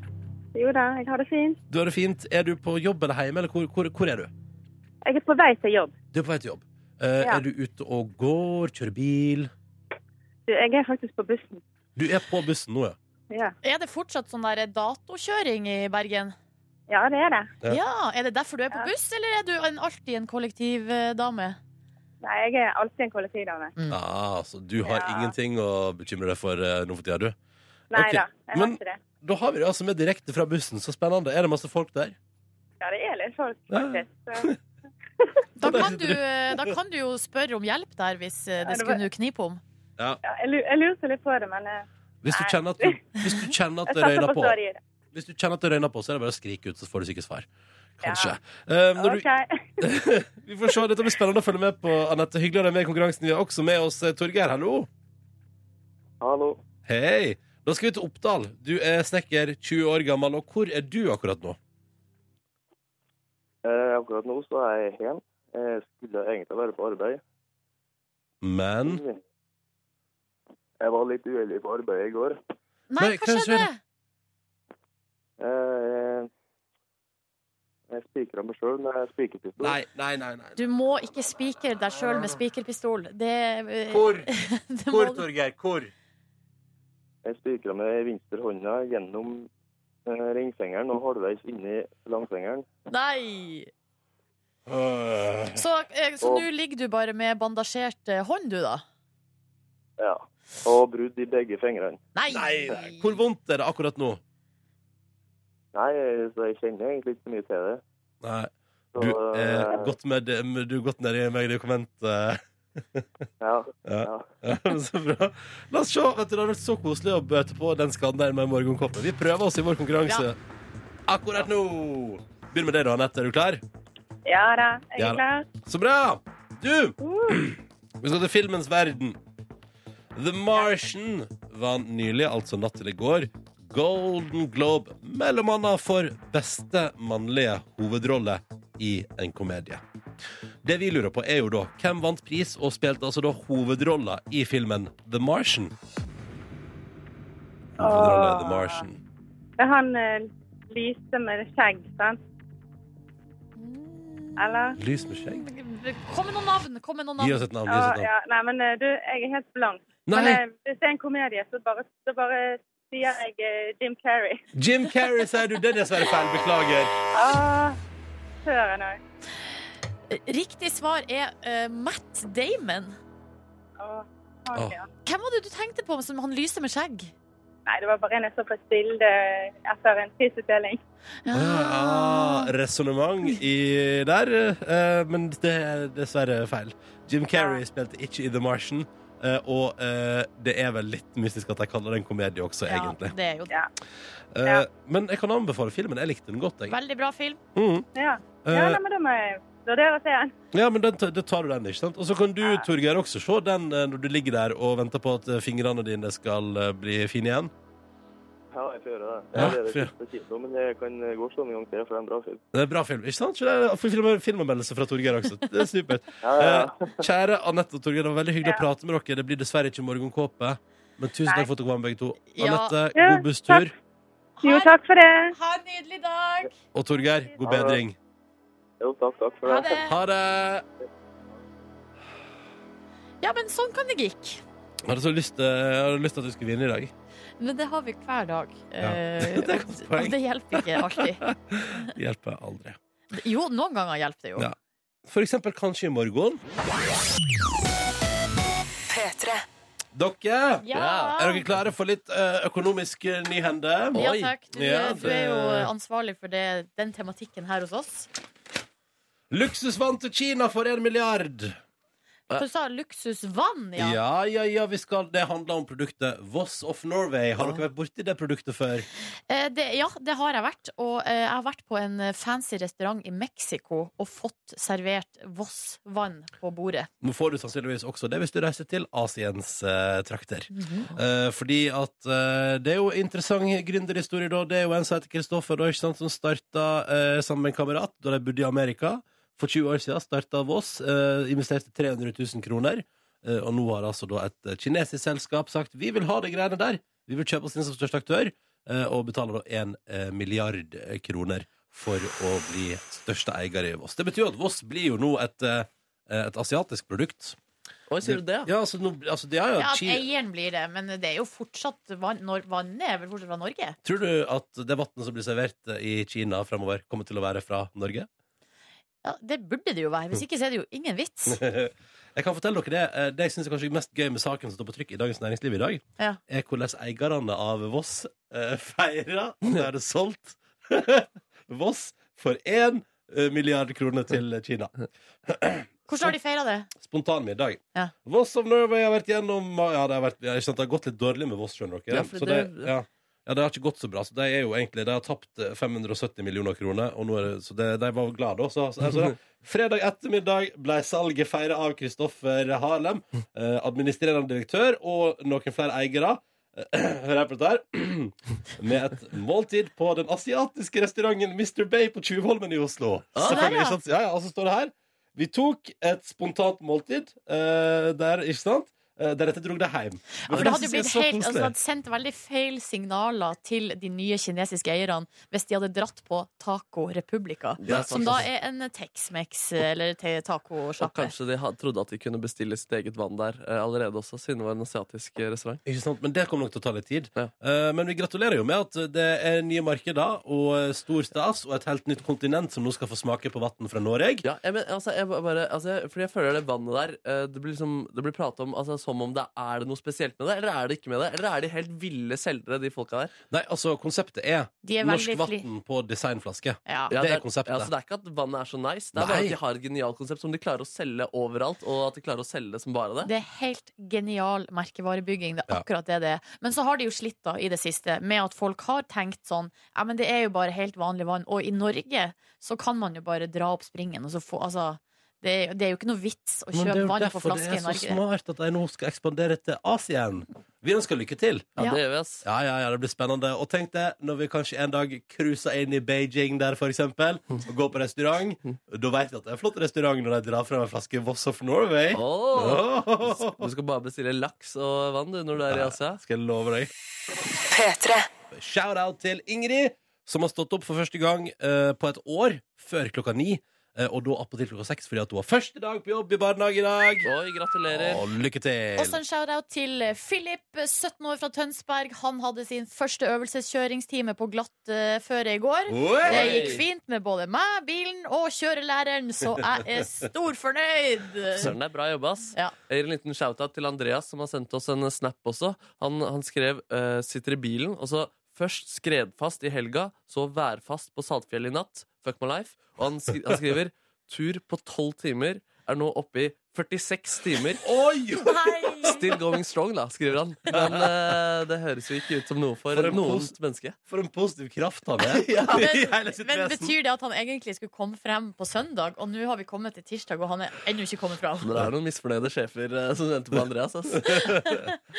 Speaker 1: Jo da, jeg har det fint.
Speaker 2: Du har det fint. Er du på jobb eller hjemme, eller hvor, hvor, hvor er du?
Speaker 1: Jeg er på vei til jobb.
Speaker 2: Du er på vei til jobb. Eh,
Speaker 1: Ja.
Speaker 2: Er du ute og går, kjører bil?
Speaker 1: Du, jeg er faktisk på bussen.
Speaker 2: Du er på bussen nå, ja.
Speaker 1: Ja,
Speaker 3: Er det fortsatt sånn der datokjøring i Bergen?
Speaker 1: ja det er det.
Speaker 2: Ja.
Speaker 3: Ja. Er det derfor du er på
Speaker 1: Ja.
Speaker 3: buss, eller er du en, alltid en kollektivdame?
Speaker 1: Nei, jeg er alltid en kollektivdame.
Speaker 2: Ah, så du har
Speaker 1: Ja.
Speaker 2: ingenting å bekymre deg for eh, nå for tida, du.
Speaker 1: Nei
Speaker 2: Ok,
Speaker 1: da, jeg
Speaker 2: men-
Speaker 1: har ikke det.
Speaker 2: Da har vi det altså med direkte fra bussen. Så spennende. Er det masse folk der?
Speaker 1: Ja, det er litt folk,
Speaker 2: Ja.
Speaker 1: faktisk. Så,
Speaker 3: Da
Speaker 2: Der
Speaker 3: kan,
Speaker 2: sitter
Speaker 3: du, eh, da kan du jo spørre om hjelp der, hvis eh, det
Speaker 1: det
Speaker 3: skulle knipe om.
Speaker 1: ja, jeg, lu- jeg lurte litt på det, men eh,
Speaker 2: Hvis du
Speaker 1: Nei.
Speaker 2: kjenner at, du, hvis du kjenner
Speaker 1: jeg
Speaker 2: at det
Speaker 1: satser
Speaker 2: røyner
Speaker 1: på
Speaker 2: på,
Speaker 1: sorry.
Speaker 2: Hvis du kjenner at det røyner på, så er det bare å skrike ut, så får du sikkert svar. Kanskje.
Speaker 1: Ja.
Speaker 2: Eh, når du,
Speaker 1: OK.
Speaker 2: vi får se. Dette blir spennende å følge med på, Anette. Hyggelig å ha deg med i konkurransen. Vi har også med oss eh, Torgeir. Hallo.
Speaker 5: Hallo.
Speaker 2: Hei. Da skal vi til Oppdal. Du er snekker, 20 år gammel, og hvor er du akkurat nå?
Speaker 5: Eh, akkurat nå så er jeg hjemme. Jeg skulle egentlig være på arbeid.
Speaker 2: Men
Speaker 5: Jeg var litt uheldig på arbeidet i går.
Speaker 3: Nei,
Speaker 2: Nei,
Speaker 3: hva
Speaker 2: hva
Speaker 3: skjedde?
Speaker 5: Eh, jeg spikra meg sjøl med spikerpistol.
Speaker 2: Nei, nei, nei. nei.
Speaker 3: Du må ikke spikre deg sjøl med spikerpistol. Det, eh,
Speaker 2: Hvor?
Speaker 3: det må
Speaker 2: Hvor,
Speaker 3: du-
Speaker 2: Torgeir? Hvor?
Speaker 5: Jeg spikra med venstre hånda gjennom eh, ringfingeren og halvveis inni langfingeren.
Speaker 3: Nei!
Speaker 2: Øh.
Speaker 3: Så eh, så nå ligger du bare med bandasjert eh, hånd, du, da?
Speaker 5: Ja. Og brudd i begge fingrene.
Speaker 3: Nei!
Speaker 2: Nei, nei. Hvor vondt er det akkurat nå?
Speaker 5: Nei, så jeg kjenner egentlig ikke så mye til det.
Speaker 2: Nei.
Speaker 5: Så,
Speaker 2: Du er
Speaker 5: eh,
Speaker 2: godt med Du er godt nedi medikamentet.
Speaker 5: ja,
Speaker 2: Ja.
Speaker 5: ja.
Speaker 2: Ja, så bra. La oss se. Vet du, det har vært så koselig å bøte på den skaden der med morgenkoppen. Vi prøver oss i vår konkurranse akkurat nå. Begynn med deg, da, Anette. Er du klar?
Speaker 1: Ja da, jeg
Speaker 2: Ja da.
Speaker 1: er klar.
Speaker 2: Så bra! Du,
Speaker 1: Uh,
Speaker 2: vi skal til filmens verden. The Martian vant nylig, altså natt til i går, Golden Globe, mellom annet for beste mannlige hovedrolle i en komedie. Det vi lurer på, er jo da hvem vant pris og spilte altså da hovedrolla i filmen The Martian? Hovedrolla i The Martian.
Speaker 1: det er han eh, Lise med skjegg, sant? Eller?
Speaker 2: Lys med skjegg.
Speaker 3: Kom med noen navn! Kom med noen
Speaker 2: Gi
Speaker 3: navn.
Speaker 2: oss et navn. Gi
Speaker 1: Ja,
Speaker 2: oss et navn.
Speaker 1: ja. Nei, men eh, du, jeg er helt blank. Men
Speaker 2: Nei!
Speaker 1: eh, hvis det er en komedie, så bare, så bare sier jeg eh, Jim Carrey.
Speaker 2: Jim Carrey, sier du. Det er dessverre feil. Beklager.
Speaker 1: Ah, søren òg.
Speaker 3: Riktig svar er eh, Matt Damon.
Speaker 2: Åh.
Speaker 3: Hvem var det du tenkte på som han lyser med skjegg?
Speaker 1: Nei, det var bare en jeg så på et bilde eh, etter en prisutdeling.
Speaker 2: Å ja, ah, Resonnement i der, eh, men det er dessverre feil. Jim Carrey spilte ikke i The Martian, eh, og eh, det er vel litt mystisk at de kaller det en komedie også,
Speaker 3: Ja,
Speaker 2: egentlig.
Speaker 3: det er jo det.
Speaker 2: Eh,
Speaker 1: ja.
Speaker 2: Men jeg kan anbefale filmen. Jeg likte den godt, jeg.
Speaker 3: Veldig bra film.
Speaker 2: Mm.
Speaker 1: Ja. ja,
Speaker 2: Eh,
Speaker 1: nei, men da må jeg vurdere å se den.
Speaker 2: ja, men den, da tar du den, ikke sant? Og så kan du, Torgeir, også se den eh, når du ligger der og venter på at eh, fingrene dine skal eh, bli fine igjen.
Speaker 5: Ja, jeg får gjøre det.
Speaker 2: Ja,
Speaker 5: det er det
Speaker 2: fyr.
Speaker 5: siste kino, men jeg kan gå og se den en gang til, for det er en bra film.
Speaker 2: Det er bra film, ikke sant? Så det er- Film, filmanmeldelse fra Torgeir også. Det er supert.
Speaker 5: Ja, ja, ja.
Speaker 2: Eh, kjære Anette og Torgeir, det var veldig hyggelig å prate med dere. Det blir dessverre ikke morgenkåpe, men tusen takk for at dere var med, begge to.
Speaker 3: Ja.
Speaker 2: Anette,
Speaker 1: Ja,
Speaker 2: god busstur.
Speaker 1: takk. Jo, takk for det.
Speaker 3: Ha en nydelig dag!
Speaker 2: Og Torgeir, god
Speaker 5: Ha det.
Speaker 2: bedring.
Speaker 5: Jo, takk, takk for
Speaker 3: Ha
Speaker 5: det.
Speaker 3: det.
Speaker 2: Ha det!
Speaker 3: Ja, men sånn kan det gikk.
Speaker 2: Jeg hadde så lyst, eh, jeg hadde lyst til at du skulle vinne i dag.
Speaker 3: Men det har vi hver dag. Eh,
Speaker 2: Det er et godt poeng.
Speaker 3: og det hjelper ikke alltid.
Speaker 2: Det hjelper aldri.
Speaker 3: Jo, noen ganger hjelper det jo.
Speaker 2: Ja. For eksempel kanskje i morgen. Dere!
Speaker 3: Ja.
Speaker 2: Er dere klare for litt eh, økonomisk eh, nyhende?
Speaker 3: Ja
Speaker 4: Oi.
Speaker 3: takk. Du,
Speaker 2: Ja,
Speaker 3: du er jo
Speaker 2: det-
Speaker 3: ansvarlig for det, den tematikken her hos oss.
Speaker 2: Luksusvann til Kina for en milliard!
Speaker 3: Du sa luksusvann, ja.
Speaker 2: Ja, ja, ja, vi skal. Det handler om produktet Voss of Norway. Har dere vært borti det produktet før?
Speaker 3: Eh, det, ja, det har jeg vært. Og eh, jeg har vært på en eh, fancy restaurant i Mexico og fått servert Voss-vann på bordet.
Speaker 2: Nå får du sannsynligvis også det hvis du reiser til Asiens eh, trakter. Eh, fordi at eh, det er jo interessant gründerhistorie, da. Det er jo en som heter Kristoffer, da, ikke sant, som starta eh, sammen med en kamerat da de bodde i Amerika. For 20 år siden starta Voss, eh, investerte 300 000 kroner. Eh, og nå har altså da et eh, kinesisk selskap sagt vi vil ha de greiene der. Vi vil kjøpe oss inn som største aktør, eh, og betaler da 1 eh, milliard eh, kroner for å bli største eier i Voss. Det betyr jo at Voss blir jo nå et eh, et asiatisk produkt.
Speaker 4: Oi, sier du det? ja?
Speaker 2: Ja, altså, no, altså de har jo
Speaker 3: Ja, at
Speaker 2: chi-
Speaker 3: eieren blir det, men det er jo fortsatt vann. Nor vannet er vel fortsatt fra Norge?
Speaker 2: Tror du at det vannet som blir servert eh, i Kina fremover, kommer til å være fra Norge?
Speaker 3: Ja, det burde det jo være. Hvis ikke så er det jo ingen vits.
Speaker 2: Jeg kan fortelle dere Det eh, Det jeg synes er kanskje mest gøy med saken som står på trykk i Dagens Næringsliv i dag,
Speaker 3: Ja.
Speaker 2: er hvordan eierne av Voss eh, feirer at de hadde solgt Voss for én milliard kroner til Kina.
Speaker 3: Hvordan har de feira det?
Speaker 2: Spontanmiddag.
Speaker 3: Ja.
Speaker 2: Voss of Norway har vært gjennom Ja, det har, vært, ja, ikke sant, det har gått litt dårlig med Voss, skjønner dere.
Speaker 4: Ja, for
Speaker 2: så det,
Speaker 4: det-
Speaker 2: ja. ja, det har ikke gått så bra. Så de er jo egentlig De har tapt eh, 570 millioner kroner, og nå er det, så det, de var glade, da. Så, så, altså, da, fredag ettermiddag ble salget feira av Kristoffer Harlem, eh, administrerende direktør, og noen flere eiere. Eh, Hør her på dette her. Med et måltid på den asiatiske restauranten Mr. Bay på Tjuvholmen i Oslo.
Speaker 4: Ah.
Speaker 2: Selvfølgelig,
Speaker 3: Der, ja.
Speaker 2: ikke sant? ja, ja, og så står det her Vi tok et spontant måltid eh, der, ikke sant? Eh, deretter dro det hjem.
Speaker 3: Ja, For
Speaker 2: Men
Speaker 3: det hadde
Speaker 2: synes
Speaker 3: jo blitt
Speaker 2: jeg er så
Speaker 3: helt, altså, det
Speaker 2: koselig.
Speaker 3: hadde sendt veldig feil signaler til de nye kinesiske eierne hvis de hadde dratt på Taco Republica,
Speaker 4: Det er
Speaker 3: som
Speaker 4: sant.
Speaker 3: da er en Tex-Mex eh, eller te-
Speaker 4: Og
Speaker 3: tacosjappe.
Speaker 4: kanskje de ha- trodde at de kunne bestille sitt eget vann der eh, allerede også, siden det var en asiatisk eh, restaurant.
Speaker 2: Ikke sant? Men det kommer nok til å ta litt tid.
Speaker 4: Ja.
Speaker 2: Eh, men vi gratulerer jo med at det er nye markeder og eh, stor stas og et helt nytt kontinent som nå skal få smake på vann fra Norge.
Speaker 4: Ja, jeg, men, altså, jeg ba- bare, altså, jeg- fordi jeg føler det vannet der eh, Det blir, liksom, det blir pratet om altså, som om det er det noe spesielt med det, eller er det ikke med det? Eller er de helt ville selgere, de folka der?
Speaker 2: Nei, altså, konseptet er,
Speaker 3: De er
Speaker 2: norsk
Speaker 3: veldig fli-
Speaker 2: vann på designflaske.
Speaker 3: Ja.
Speaker 4: Ja,
Speaker 2: Det er konseptet.
Speaker 4: Ja, så det er ikke at vannet er så nice, det er bare
Speaker 2: Nei.
Speaker 4: at de har et genialt konsept som de klarer å selge overalt, og at de klarer å selge det som bare det.
Speaker 3: Det er helt genial merkevarebygging. Det er
Speaker 2: Ja.
Speaker 3: akkurat det det er. Men så har de jo slitt da i det siste med at folk har tenkt sånn Ja, men det er jo bare helt vanlig vann. Og i Norge så kan man jo bare dra opp springen og så få Altså, det er, det er jo ikke noe vits
Speaker 2: Men
Speaker 3: å
Speaker 2: det er
Speaker 3: kjøpe
Speaker 2: jo
Speaker 3: vann på
Speaker 2: derfor det
Speaker 3: flaske
Speaker 2: er
Speaker 3: i
Speaker 2: så
Speaker 3: Norge.
Speaker 2: smart at de nå skal ekspandere til Asia igjen. Vi ønsker lykke til.
Speaker 4: Ja,
Speaker 3: Ja.
Speaker 4: det gjør vi, ass.
Speaker 2: Ja, ja, ja, det blir spennende. Og tenk det, når vi kanskje en dag cruiser inn i Beijing der, for eksempel, og går på restaurant, da vet vi at det er en flott restaurant når de drar frem en flaske Voss of Norway.
Speaker 4: Åh!
Speaker 2: Åh!
Speaker 4: Du skal bare bestille laks og vann du, når du er i Asia.
Speaker 2: Skal jeg love deg. Shout-out til Ingrid, som har stått opp for første gang eh, på et år før klokka ni. eh, og da attpåtil klokka seks, fordi at hun har første dag på jobb i barnehage i dag.
Speaker 4: Oi, gratulerer.
Speaker 2: Og lykke
Speaker 3: Også
Speaker 2: til!
Speaker 3: en shout-out til eh, Philip, 17 år fra Tønsberg. Han hadde sin første øvelseskjøringstime på glatt eh, føre i går.
Speaker 2: Oi!
Speaker 3: Det gikk fint med både meg, bilen og kjørelæreren, så jeg er storfornøyd.
Speaker 4: Søren, det er bra jobba. ass.
Speaker 3: Ja.
Speaker 4: Jeg gir en liten shout-out til Andreas, som har sendt oss en snap også. Han, han skrev eh, 'sitter i bilen', og så først skredfast i helga, så værfast på Saltfjellet i natt. Fuck my life. Og han, skri han skriver 'tur på tolv timer er nå oppe i 46 timer'.
Speaker 2: Oi!
Speaker 3: Hei!
Speaker 4: Still going strong, da, skriver han. Men eh, det høres jo ikke ut som noe for,
Speaker 2: For en
Speaker 4: noen
Speaker 2: post-
Speaker 4: menneske.
Speaker 2: For en positiv kraft han er. I
Speaker 3: Men,
Speaker 2: hele sitt
Speaker 3: men
Speaker 2: vesen.
Speaker 4: sånn-
Speaker 3: betyr det at han egentlig skulle komme frem på søndag, og nå har vi kommet til tirsdag, og han er ennå ikke kommet fram?
Speaker 4: Men det er noen misfornøyde sjefer eh, som venter på Andreas. Ass.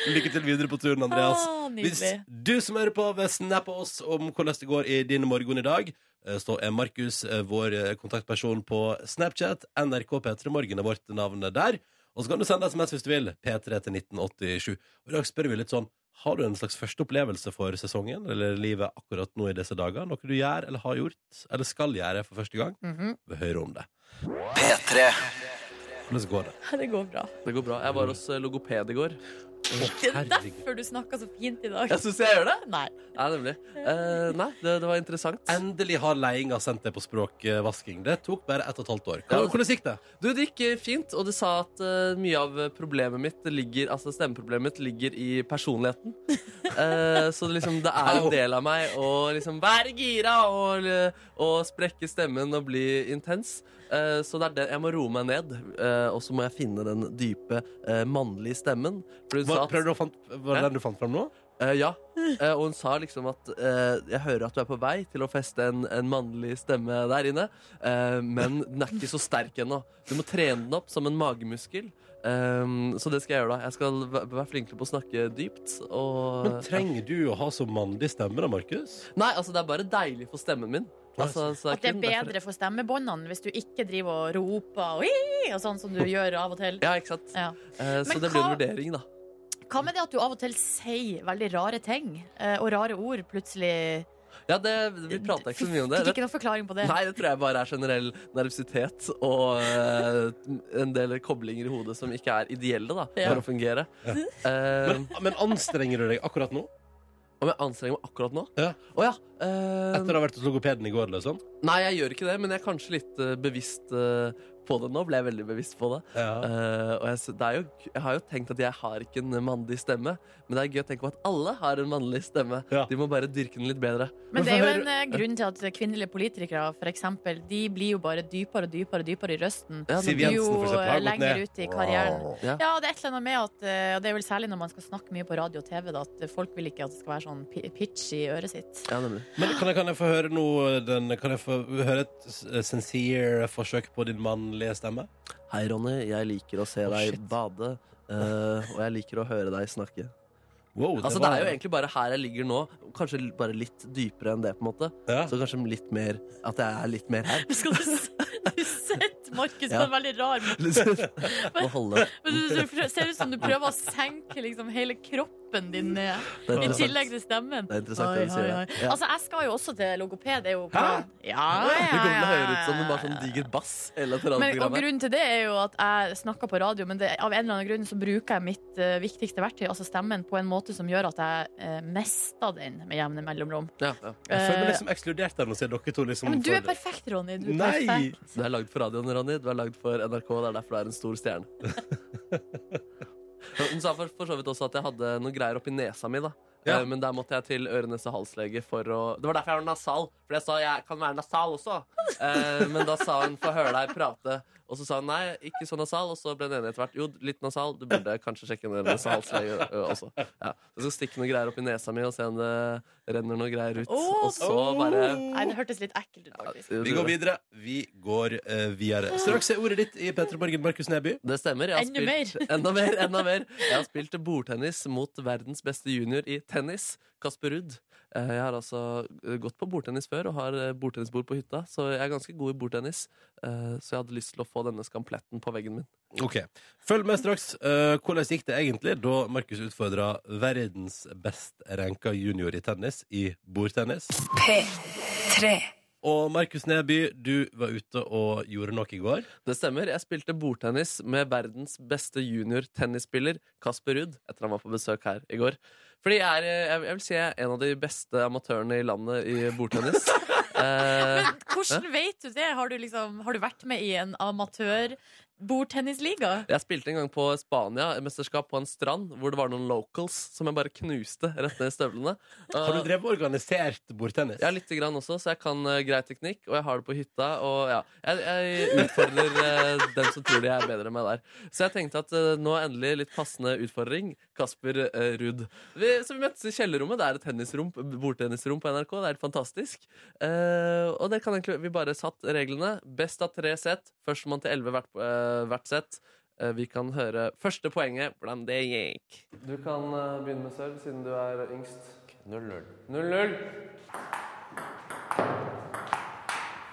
Speaker 2: Lykke til videre på turen, Andreas.
Speaker 3: Ah,
Speaker 2: Hvis
Speaker 3: nydelig.
Speaker 2: du som hører på vil snappe oss om hvordan det går i din morgen i dag, eh, så er Markus eh, vår eh, kontaktperson på Snapchat. NRK P3 Morgen er vårt navn der. Og så kan du sende SMS hvis du vil. P3 til 1987. Og I dag spør vi litt sånn Har du en slags første opplevelse for sesongen eller livet akkurat nå i disse dager? Noe du gjør eller har gjort eller skal gjøre for første gang?
Speaker 3: Mhm.
Speaker 2: Vi hører om det. P3 Hvordan går det?
Speaker 3: Det går bra.
Speaker 4: Det går bra. Jeg var hos eh, logoped i går.
Speaker 3: Det er
Speaker 2: Herregud.
Speaker 3: derfor du snakker så fint i dag.
Speaker 4: Jeg syns jeg gjør det.
Speaker 3: Nei.
Speaker 4: Nei, nemlig. Eh, nei, det, det var interessant.
Speaker 2: Endelig har ledelsen sendt deg på språkvasking. Det tok bare ett og et halvt år. Hva,
Speaker 4: Ja.
Speaker 2: hvordan gikk det?
Speaker 4: Du, det gikk eh, fint, og du sa at eh, mye av problemet mitt ligger, altså stemmeproblemet mitt ligger i personligheten. Eh, så det, liksom, det er en del av meg å liksom være gira og, eh, og sprekke stemmen og bli intens. Eh, så det er det, jeg må roe meg ned, eh, og så må jeg finne den dype eh, mannlige stemmen. For hun sa
Speaker 2: Hva,
Speaker 4: at-
Speaker 2: prøvde du å fant, var det den du fant fram nå?
Speaker 4: Eh, ja. Eh, og hun sa liksom at eh, jeg hører at du er på vei til å feste en, en mannlig stemme der inne, eh, men den er ikke så sterk ennå. Du må trene den opp som en magemuskel. Eh, så det skal jeg gjøre, da. Jeg skal væ- være flinkere på å snakke dypt. Og
Speaker 2: Men trenger du å ha så mannlig stemme, da, Markus?
Speaker 4: Nei, altså, det er bare deilig for stemmen min. Altså, så
Speaker 3: At det er
Speaker 4: kun derfor-
Speaker 3: bedre for stemmebåndene hvis du ikke driver og roper og, «Oi!» og sånn som du gjør av og til.
Speaker 4: Ja, ikke sant.
Speaker 3: Ja.
Speaker 4: Eh, så
Speaker 3: Men
Speaker 4: det blir en
Speaker 3: hva-
Speaker 4: vurdering, da.
Speaker 3: Hva med det at du av og til sier veldig rare ting eh, og rare ord plutselig?
Speaker 4: Ja, det, vi prata ikke så mye om det.
Speaker 3: Fikk ikke noen forklaring på det.
Speaker 4: Nei, det tror jeg bare er generell nervøsitet og eh, en del koblinger i hodet som ikke er ideelle da,
Speaker 3: Ja.
Speaker 4: for å fungere.
Speaker 2: Ja.
Speaker 4: Eh,
Speaker 2: Men, men anstrenger du deg akkurat nå?
Speaker 4: om jeg anstrenger meg akkurat nå?
Speaker 2: Ja.
Speaker 4: Å ja. eh,
Speaker 2: Etter å ha vært hos logopeden i går? Eller sånn?
Speaker 4: nei, jeg gjør ikke det, men jeg er kanskje litt eh, bevisst eh, på det nå. Ble jeg veldig bevisst på det.
Speaker 2: ja.
Speaker 4: Eh, og jeg, s- det er jo, jeg har jo tenkt at jeg har ikke en mannlig stemme, men det er gøy å tenke på at alle har en mannlig stemme.
Speaker 2: Ja.
Speaker 4: De må bare dyrke den litt bedre.
Speaker 3: Men det er jo
Speaker 2: Hvorfor
Speaker 3: en eh, grunn til at kvinnelige politikere for eksempel, de blir jo bare dypere og dypere og dypere i røsten.
Speaker 4: Ja,
Speaker 2: Siv
Speaker 4: det-
Speaker 2: Jensen,
Speaker 3: jo eh,
Speaker 2: for eksempel, har gått
Speaker 3: lenger
Speaker 2: ned.
Speaker 3: ut i karrieren.
Speaker 4: Ja.
Speaker 3: Ja, det er et eller annet med at eh, Og det er vel særlig når man skal snakke mye på radio og TV, da, at folk vil ikke at det skal være sånn pi- pitch i øret sitt.
Speaker 4: ja, nemlig.
Speaker 2: Men kan jeg, kan jeg få høre noe den, Kan jeg få høre et s- eh, sincere forsøk på din mannlige stemme?
Speaker 4: Hei, Ronny. Jeg liker å se
Speaker 2: Å,
Speaker 4: deg
Speaker 2: shit.
Speaker 4: bade, eh, og jeg liker å høre deg snakke.
Speaker 2: Wow,
Speaker 4: Altså, det
Speaker 2: var-
Speaker 4: er jo egentlig bare her jeg ligger nå, kanskje l- bare litt dypere enn det, på en måte.
Speaker 2: ja.
Speaker 4: Så kanskje litt mer At jeg er litt mer her.
Speaker 3: Skal du, s- du sett Markus på
Speaker 4: Ja.
Speaker 3: en veldig rar måte?
Speaker 4: Må Liksom. holde
Speaker 3: Men Du, du prø- ser ut som du prøver å senke liksom hele kroppen din ned,
Speaker 4: Det er
Speaker 3: i
Speaker 4: interessant.
Speaker 3: tillegg til stemmen.
Speaker 4: Det er interessant det
Speaker 3: Oi,
Speaker 4: du
Speaker 3: oi,
Speaker 4: sier.
Speaker 3: oi.
Speaker 4: der. Ja.
Speaker 3: Altså, jeg skal jo også til logoped. Det er jo
Speaker 2: Hæ?
Speaker 3: Ja, ja,
Speaker 4: Det kommer til å
Speaker 3: ja,
Speaker 4: høres ut som en
Speaker 3: ja,
Speaker 4: bare sånn
Speaker 3: ja.
Speaker 4: diger bass. Eller et eller annet
Speaker 3: Men, og
Speaker 4: programmet.
Speaker 3: grunnen til det er jo at jeg snakker på radio, men det, av en eller annen grunn så bruker jeg mitt eh, viktigste verktøy, altså stemmen, på en måte som gjør at jeg eh, mester den med jevne mellomrom.
Speaker 4: Ja, ja.
Speaker 2: Jeg føler meg
Speaker 3: Eh,
Speaker 2: liksom ekskludert der nå, sier dere to. Liksom,
Speaker 3: ja, men du
Speaker 2: for-
Speaker 3: er perfekt, Ronny. Du er
Speaker 2: Nei!
Speaker 3: perfekt.
Speaker 4: Du er lagd for radioen, Ronny. Du er lagd for NRK. Det er derfor du er en stor stjerne. Hun sa for, for så vidt også at jeg hadde noen greier oppi nesa mi, da.
Speaker 2: Ja.
Speaker 4: Eh, Men der måtte jeg til øre-nese-hals-lege for å Det var derfor jeg var nasal. For jeg sa jeg kan være nasal også. Eh, Men da sa hun få høre deg prate. Og så sa hun nei, ikke så nasal. Og så ble det enige etter hvert. Jo, litt nasal. Du burde kanskje sjekke en øre-nese-hals-lege ø, også. Ja. Så skal jeg stikke noen greier oppi nesa mi og se om det renner noe greier ut.
Speaker 3: Åh,
Speaker 4: og så bare
Speaker 3: Nei, det hørtes litt ekkelt ut, faktisk.
Speaker 2: Vi går videre. Vi går eh, videre. Straks er ordet ditt i P3 Morgen, Markus Neby.
Speaker 4: Det stemmer. Jeg har
Speaker 3: Enda
Speaker 4: spilt, enda mer, enda mer. Jeg har spilt bordtennis mot verdens beste junior i tennis, Kasper Ruud. Eh, Jeg har altså eh, gått på bordtennis før og har eh, bordtennisbord på hytta, så jeg er ganske god i bordtennis. Eh, Så jeg hadde lyst til å få denne skampletten på veggen min.
Speaker 2: Ok, Følg med straks. eh, hvordan gikk det egentlig da Markus utfordra verdens best ranka junior i tennis i bordtennis? Og Markus Neby, du var ute og gjorde noe i går.
Speaker 4: Det stemmer. Jeg spilte bordtennis med verdens beste junior-tennisspiller, Kasper Ruud, etter han var på besøk her i går. Fordi jeg er, eh, jeg jeg vil si jeg er en av de beste amatørene i landet i bordtennis. Eh,
Speaker 3: Men hvordan vet du det? Har du, liksom, har du vært med i en amatør-bordtennisliga?
Speaker 4: jeg spilte en gang på Spania, et mesterskap på en strand, hvor det var noen locals som jeg bare knuste rett ned i støvlene. Eh,
Speaker 2: Har du drevet organisert bordtennis?
Speaker 4: Ja, lite grann også, så jeg kan eh, grei teknikk, og jeg har det på hytta. Og ja, jeg, jeg utfordrer eh, dem som tror de er bedre enn meg der. Så jeg tenkte at eh, nå endelig litt passende utfordring. Kasper eh, Ruud. Vi, så vi møttes i kjellerrommet. Det er et tennisrom, bordtennisrom på NRK. Det er helt fantastisk. Eh, og det kan egentlig Vi bare satt reglene. Best av tre sett. Førstemann til elleve hvert, eh, hvert sett. Eh, Vi kan høre første poenget, hvordan det gikk. Du kan eh, begynne med sølv, siden du er yngst. 0-0. 0-0.